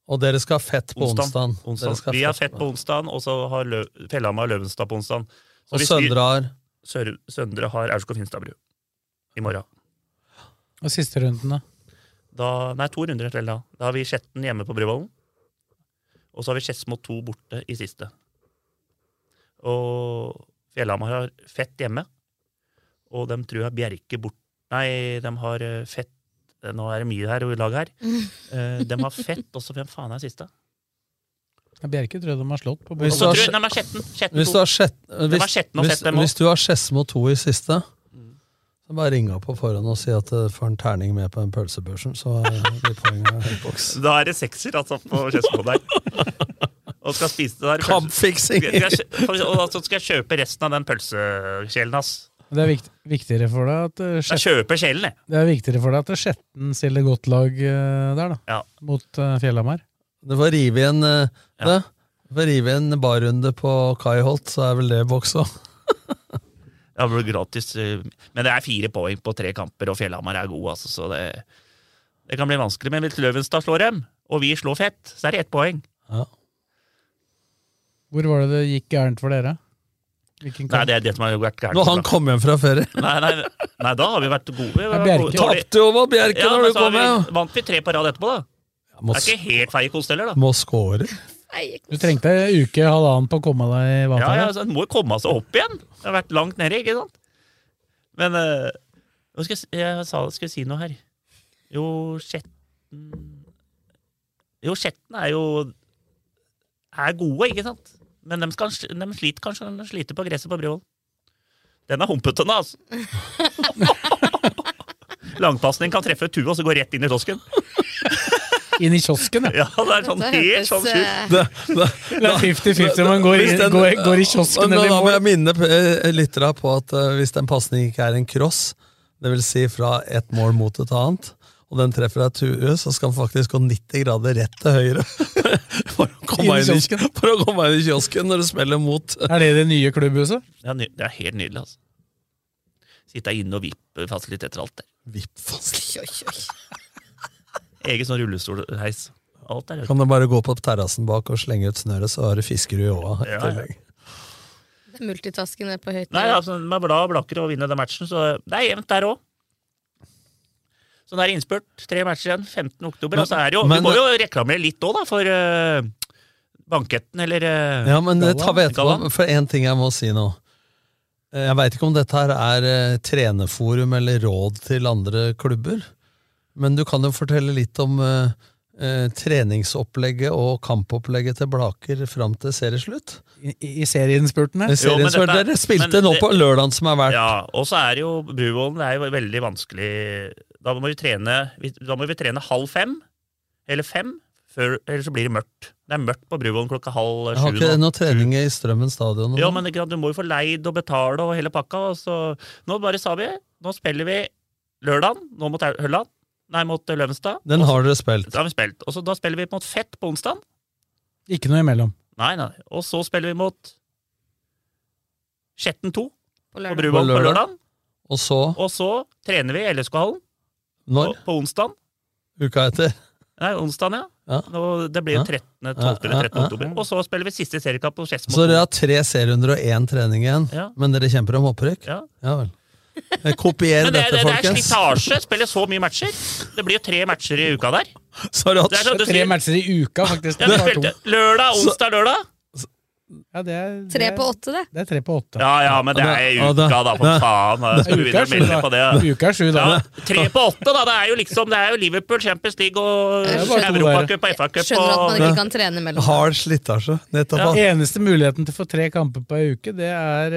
S6: Og dere skal ha fett på onsdagen. Dere skal ha
S5: Vi har fett på onsdagen, og så har Lø Fjellhamar Løvenstad på onsdagen. Så
S6: Og
S5: hvis vi-
S6: Søndre har
S5: Sør Søndre har Aurskog-Finstadbru i morgen.
S3: Og siste runden, da?
S5: Da, nei, to runder til da. Da har vi Skjetten hjemme på Bruvollen. Og så har vi Skedsmo 2 borte i siste. Og Fjellhamar har Fett hjemme. Og dem tror jeg Bjerke bort... Nei, dem har eh, Fett Nå er det mye her i laget her. Eh, dem har Fett, og så hvem faen er siste?
S3: Ja, Bjerke tror jeg de har slått på bordet.
S6: Hvis du har,
S5: Nei, men Skjetten, Skjetten
S6: hvis
S5: to.
S6: du har, sjett,
S5: Det var
S6: hvis,
S5: sjetten og
S6: hvis,
S5: fetten nå. Mm.
S6: hvis du har Skedsmo 2 i siste, så bare ring opp på forhånd og si at du får en terning med på den pølsebørsen, så er de
S5: [LAUGHS]
S6: poengene i boks.
S5: Da er det sekser, altså, på Skedsmo der. Og skal spise det der.
S6: Kampfiksing!
S5: Skal jeg kjø- for- Og så skal jeg kjøpe resten av den pølsekjelen hans.
S3: Det er vikt, viktigere for deg at eh,
S5: Jeg
S3: Skjet-
S5: kjøper kjelen, jeg.
S3: det er viktigere for deg at Skjetten stiller godt lag eh, der, da.
S5: Ja.
S3: Mot eh, Fjellhamar.
S6: Du får rive i en, eh,
S5: Ja.
S6: det. Du får rive i en barrunde på Kai Holt, så er vel det i boks òg.
S5: Ja, det blir gratis. eh, Men det er fire poeng på tre kamper, og Fjellhamar er god, altså, så det, det kan bli vanskelig. Men hvis Løvenstad slår dem, og vi slår fett, så er det ett poeng.
S3: Hvor var det det gikk gærent for dere? Hvilken
S5: Nei,
S3: kamp?
S5: det er det som har vært gærent.
S6: Når han kom hjem fra ferie.
S5: Nei, nei, nei, da har vi vært gode. Vi
S3: Ja,
S5: var
S3: Bjerke
S5: gode- dårlig-
S6: Tapte jo over Bjerke
S5: Ja,
S6: når
S5: men
S6: du
S5: så har
S6: kom hjem!
S5: vi, vant vi tre på rad etterpå, da.
S6: Må,
S5: Det er ikke helt feil kost heller, da.
S6: må score.
S4: Nei,
S3: Du trengte ei uke, halvannen på å komme deg i
S5: Ja,
S3: vater?
S5: ja altså, Den må jo komme seg opp igjen. Det har vært langt nede, ikke sant? Men eh, hva skal jeg, si- jeg sa, skulle si noe her. Jo, Skjetten Jo, Skjetten er jo er gode, ikke sant? Men dem, skal, dem sliter kanskje de sliter på gresset på Bryvoll. Den er humpete, den, altså. [LAUGHS] Langpasning kan treffe tuet, og så gå rett inn i kiosken.
S3: Inn i kiosken,
S5: Ja,
S3: ja.
S5: det er sånn
S4: det
S5: helt
S4: hørtes
S5: sånn sjukt.
S4: eh,
S6: Det, det,
S3: Det er 50-50 om man går,
S6: Hvis
S3: inn,
S6: den-
S3: går, går i kiosken
S6: Men
S3: eller
S6: Da
S3: i
S6: må
S3: mål.
S6: jeg minne eh, lyttere på at eh, hvis den pasningen ikke er en cross, det vil si fra et mål mot et annet, og den treffer deg tue, så skal den faktisk gå 90 grader rett til høyre [LAUGHS] for, å komme
S3: Inn i
S6: inn i, for å komme inn i kiosken når du smeller mot. eh,
S3: Er det det nye klubbhuset?
S5: Det er, ny- det er helt nydelig, altså. Sitte inne og vippe fasiliteter og alt der.
S4: oi, oi, oi.
S5: Egen sånn rullestolheis. Alt er
S6: Kan du bare gå på terrassen bak og slenge ut snøret, så har du fiskerud i åa. i
S5: Ja, ja.
S6: tillegg.
S4: Det er Multitasking er på høyt
S5: Nei,
S4: nivå.
S5: altså, med blad og blakker og vinne den matchen, så det er jevnt der òg. Så det er innspurt. Tre matcher igjen. 15. oktober.
S6: Men-
S5: og så er det jo,
S6: men-
S5: vi må jo reklamere litt òg, da, for eh, banketten, eller eh,
S6: Ja, men det tar vi etterpå,
S5: Galvan?
S6: for én ting jeg må si nå. Eh, Jeg veit ikke om dette her er eh, trenerforum eller råd til andre klubber, men du kan jo fortelle litt om eh, eh, treningsopplegget og kampopplegget til Blaker fram til serieslutt.
S3: I, i- i serieinnspurten
S6: I
S3: her?
S5: Jo, men
S6: serieslutt
S5: dette er-
S6: dere spilte
S5: men
S6: nå
S5: det-
S6: på lørdagen som er verdt.
S5: Ja, og så er det jo Bruvollen det er jo veldig vanskelig. Da må vi trene vi- Da må vi trene halv fem eller fem, før, ellers så blir det mørkt. Det er mørkt på Bruvollen klokka halv
S6: Jeg har
S5: sju.
S6: ikke
S5: nå.
S6: noe trening i Strømmen stadion. nå.
S5: Ja, men ikke sant, du må jo få leid og betale og hele pakka. Og så, nå bare sa vi nå spiller vi lørdag nå mot Au- Hølland. Nei, mot Løvenstad.
S6: Den har dere spilt.
S5: Da har vi spilt. Og så da spiller vi mot Fett på onsdag.
S3: Ikke noe imellom.
S5: Nei, nei. Og så spiller vi mot Skjetten 2
S4: På
S5: på
S4: lørdag.
S5: Bruvollen på
S6: lørdag.
S5: lørdag.
S6: Og så,
S5: Og så trener vi i LSK-hallen på,
S6: når?
S5: på onsdag.
S6: Uka etter.
S5: Nei, onsdagen, ja.
S6: Ja.
S5: Nå- det blir jo
S6: Ja.
S5: 13. 12.
S6: Ja, ja,
S5: eller 13.
S6: ja.
S5: oktober. Og så spiller vi siste seriekamp på Skedsmo.
S6: Så dere har tre serierunder og én trening igjen,
S5: Ja.
S6: men dere kjemper om opprykk?
S5: Ja.
S6: Ja vel. Eh, Kopier
S5: Men det, det, det
S6: dette,
S5: er
S6: folkens. [LAUGHS]
S5: slitasje. Spiller så mye matcher. Det blir jo tre matcher i uka der.
S6: Så har du
S5: Det er
S6: hatt
S5: sånn, du
S3: Tre
S5: sier,
S3: matcher i uka, faktisk.
S5: ja,
S3: Det
S5: du
S3: er bare
S5: spilte
S3: to.
S5: lørdag, onsdag, lørdag.
S3: Ja, det er,
S4: Tre på åtte, det.
S3: Det er tre på åtte.
S5: Ja ja, men det er i
S6: Ja, da-
S5: uka, da, for
S6: ja.
S5: faen. Jeg skulle begynne
S3: Uka er
S5: å
S3: sju,
S5: melde på det.
S3: da. Uka er sju, da.
S5: Ja, tre på åtte, da. Det er jo liksom Det er jo Liverpool, Champions League og
S4: Det er bare to der.
S5: Europacup og FA-cup
S4: Skjønner at man
S5: og
S4: ikke kan trene imellom.
S6: Hard slitasje. Nettopp. Ja.
S3: Eneste muligheten til å få tre kamper på ei uke, det er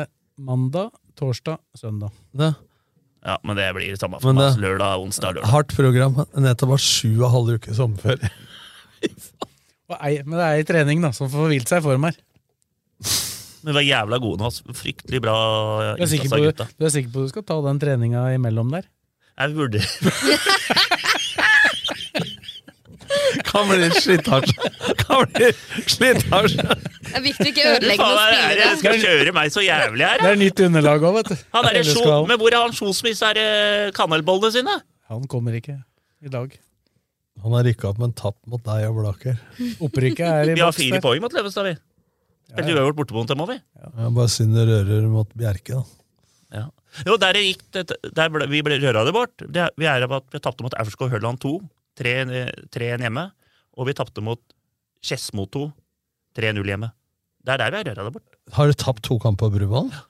S3: eh, mandag, torsdag, søndag.
S6: Det.
S5: Ja, men det blir det samme
S6: Men
S5: for meg. altså,
S6: det-
S5: Lørdag, onsdag, lørdag.
S6: Hardt program. Nettopp var sju og en halv uke sommerferie. [LAUGHS]
S3: Og ei, men det er ei trening da, som får hvilt seg i form her.
S5: Men vi var jævla gode nå. altså. Fryktelig bra
S3: Du er sikker
S5: innsats
S3: på,
S5: av
S3: du,
S5: gutta.
S3: er sikker på du skal ta den treninga imellom der?
S5: Jeg burde
S6: Kan bli slitasje. [LAUGHS] Kan bli slitasje.
S4: Det er viktig å ikke ødelegge
S5: Faen,
S4: noen
S5: er, er,
S4: spillere.
S5: det- skal kjøre meg så jævlig her.
S3: Det er nytt underlag òg, vet du.
S5: Han er
S3: Eller
S5: sjo,
S3: skal-
S5: men hvor er han Sjosmis er eh, kanelbollene sine?
S3: Han kommer ikke i dag.
S6: Han har rykka opp, men tapt mot deg og Blaker.
S3: Opprykket er i
S5: Vi har
S3: boks
S5: fire
S3: der.
S5: poeng mot Løvestad, vi. Spilte
S3: Ja, ja.
S5: uavgjort borte mot dem òg, vi.
S6: Ja, bare synd det rører mot Bjerke, da.
S5: Ja. Jo, der det gikk det, der ble, Vi ble røra det bort. Det, er- vi er av at vi tapte mot Aurskog Hørland 2, 3-1 hjemme. Og vi tapte mot Skedsmo 2, 3-0 hjemme. Det er der vi er røra det bort.
S6: Har du tapt to kamper på Brumunddal?
S5: Ja,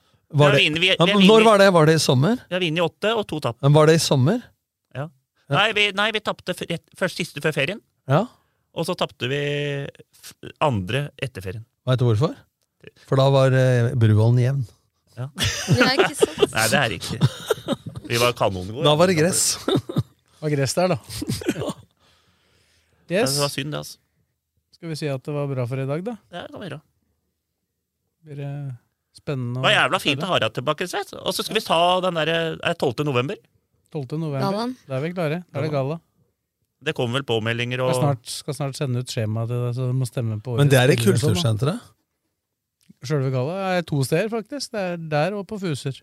S6: Var
S5: vi
S6: det-
S5: vinner- vi- vi
S6: Ja, men
S5: vinner-
S6: Når var det? Var det i sommer?
S5: Vi har vunnet åtte og to tap.
S6: Men Var det i sommer?
S5: Ja. Nei, vi, nei, vi tapte f- rett- først siste før ferien,
S6: Ja.
S5: og så tapte vi f- andre etter ferien.
S6: Veit du hvorfor? For da var eh, Bruvollen jevn.
S5: Ja.
S4: Ja, ikke sant?
S5: Nei, det er riktig. Vi var kanongode.
S6: Da var det gress.
S3: Var gress der, da.
S5: Ja,
S3: Yes.
S5: Det var synd, det, altså.
S3: Skal vi si at det var bra for i dag, da?
S5: Det kan være.
S3: Blir det spennende
S5: Det
S3: å
S5: var jævla fint å ha deg tilbake, Sveits. Og så skal vi ta den der er det 12. november.
S3: 12. november.
S4: Gallaen.
S3: Da er vi klare. Da er det galla.
S5: Det kommer vel påmeldinger
S3: Skal
S5: og
S3: snart, skal snart sende ut skjema til deg, så du må stemme på
S6: Men det er i
S3: årets spillere og sånn, da.
S6: kultursenteret?
S3: Sjølve galla er to steder, faktisk. Det er der og på Fuser.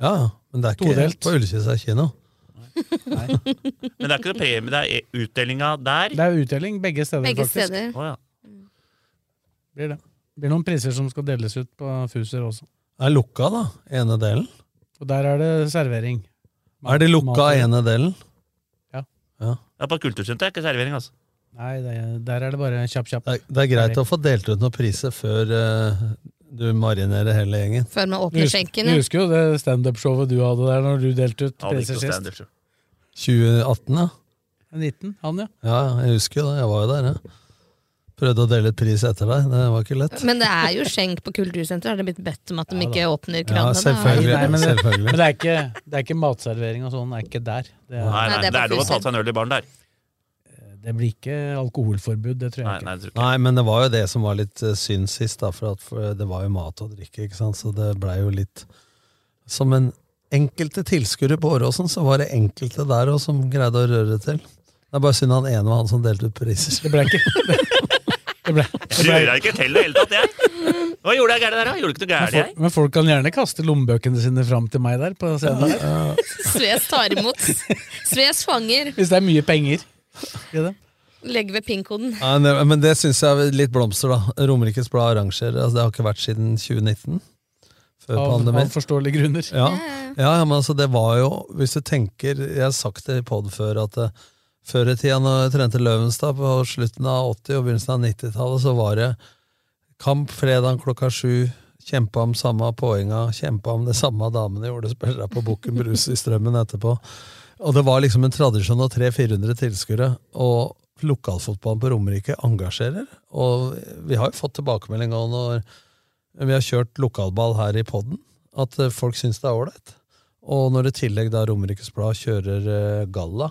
S6: Ja, ja. men det er ikke
S3: Todelt.
S6: på Ullkisa kino.
S5: Men det er ikke noe premie, det er e- utdelinga der.
S3: Det er utdeling begge steder,
S4: Begge
S3: faktisk.
S4: steder.
S5: Å, ja.
S3: Blir det. blir noen priser som skal deles ut på Fuser også.
S6: Det er lukka, da. Ene delen.
S3: Og der er det servering.
S6: Er det lukka
S3: Mat-
S6: ene delen?
S5: ja, På kultursenteret er det ikke servering, altså.
S3: Nei, det er, der er det bare kjapp, kjapp.
S6: Det er, det er greit å få delt ut noen priser før eh, du marinerer hele gjengen.
S4: Før man
S3: Du
S4: åpner
S3: husker,
S4: skjenken.
S3: du
S4: ja.
S3: husker jo det standup-showet du hadde der når du delte ut
S5: Ja, det er
S3: priser
S5: ikke noe
S3: sist?
S5: standard, så.
S6: 2018, ja.
S3: 19, han ja.
S6: Ja, jeg husker jo det. Jeg var jo der, ja. Prøvde å dele ut pris etter deg. Det var ikke lett.
S4: Men det er jo skjenk på kultursenteret. Har det blitt bedt om at de ikke åpner
S6: Ja,
S4: kranene? da?
S6: selvfølgelig.
S3: Nei, men- Men
S6: selvfølgelig.
S3: det er ikke, det er ikke matservering og sånn, det er ikke der. Det,
S5: Nei,
S3: er,
S5: nei,
S4: Nei, det
S5: det
S4: er på
S5: er lov å ta
S4: Fuser.
S5: seg en øl i baren der.
S3: det blir ikke alkoholforbud, det tror jeg
S5: Nei,
S3: ikke.
S5: nei, det tror jeg ikke.
S6: Nei, men det var jo det som var litt eh, synd sist, da, for, at, for det var jo mat og drikke, ikke sant, så det blei jo litt Som en enkelte tilskuere på Åråsen, så var det enkelte der òg som greide å røre til. Det er bare synd han ene var han som delte ut priser.
S3: Det ble ikke [LAUGHS] det, ble, det ble,
S5: Røra ikke til i det hele tatt, jeg. Hva gjorde jeg gærent der, da? Gjorde ikke noe
S3: men,
S5: gærent, jeg.
S3: folk, men folk kan gjerne kaste lommebøkene sine fram til meg der på scenen. Der.
S4: Sves tar imot. Sves fanger.
S3: Hvis det er mye penger. i det.
S4: Legg ved pin-koden.
S6: [LAUGHS] Ja, men det- men det syns jeg er litt blomster, da. Romerikes Blad arrangerer. Altså, det har ikke vært siden 2019. Før
S3: Av,
S6: pandemien.
S3: av forståelige grunner.
S6: Ja, ja, ja men altså det var jo Hvis du tenker, jeg har sagt det i podd før At eh, før i tida når jeg trente Løvenstad På slutten av 80 og begynnelsen av 90-tallet Så var det kamp fredag klokka sju Kjempa om samme poenga Kjempa om det samme damene gjorde Spillere på Boken Brus i strømmen etterpå Og det var liksom en tradisjon av 300-400 tilskuere Og lokalfotballen på Romerike engasjerer Og vi har jo fått tilbakemelding av når vi har kjørt lokalball her i podden, at eh, folk syns det er ålreit. Og når i tillegg da Romerikes Blad kjører eh, galla,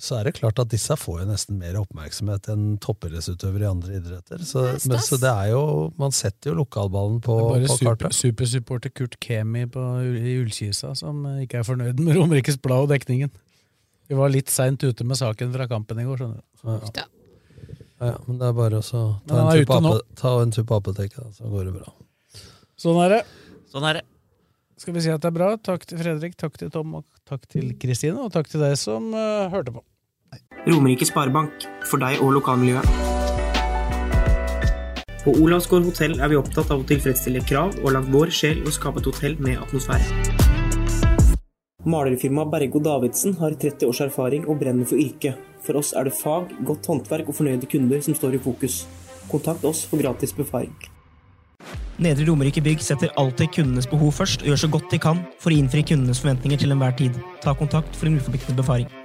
S6: så er det klart at disse får jo nesten mer oppmerksomhet enn toppidrettsutøvere i andre idretter. Så,
S4: Det er
S6: men,
S4: stas.
S6: så det er jo, man setter jo lokalballen på,
S3: Det er bare
S6: på
S3: super,
S6: kartet.
S3: supersupporter Kurt Kemi på, i Ullkisa som eh, ikke er fornøyd med Romerikes Blad og dekningen. Vi var litt seint ute med saken fra kampen i går. skjønner du.
S6: Ja, ja, men det er bare å så
S3: Men
S6: ta, en
S3: han er
S6: tur på
S3: ute nå.
S6: ape- ta en tur på apoteket, da, så går det bra.
S3: Sånn er det.
S5: Sånn er det.
S3: Skal vi si at det er bra? Takk til Fredrik, takk til Tom, og takk til Kristine, og takk til deg som eh, hørte på.
S1: Romerike Sparebank, for deg og lokalmiljøet. På Olavsgård hotell er vi opptatt av å tilfredsstille krav og lagt vår sjel i å skape et hotell med atmosfære. Malerfirmaet Bergo Davidsen har 30 års erfaring og brenner for yrket. For oss er det fag, godt håndverk og fornøyde kunder som står i fokus. Kontakt oss for gratis befaring. Nedre Romerike Bygg setter alltid kundenes behov først og gjør så godt de kan for å innfri kundenes forventninger til enhver tid. Ta kontakt for en uforpliktende befaring.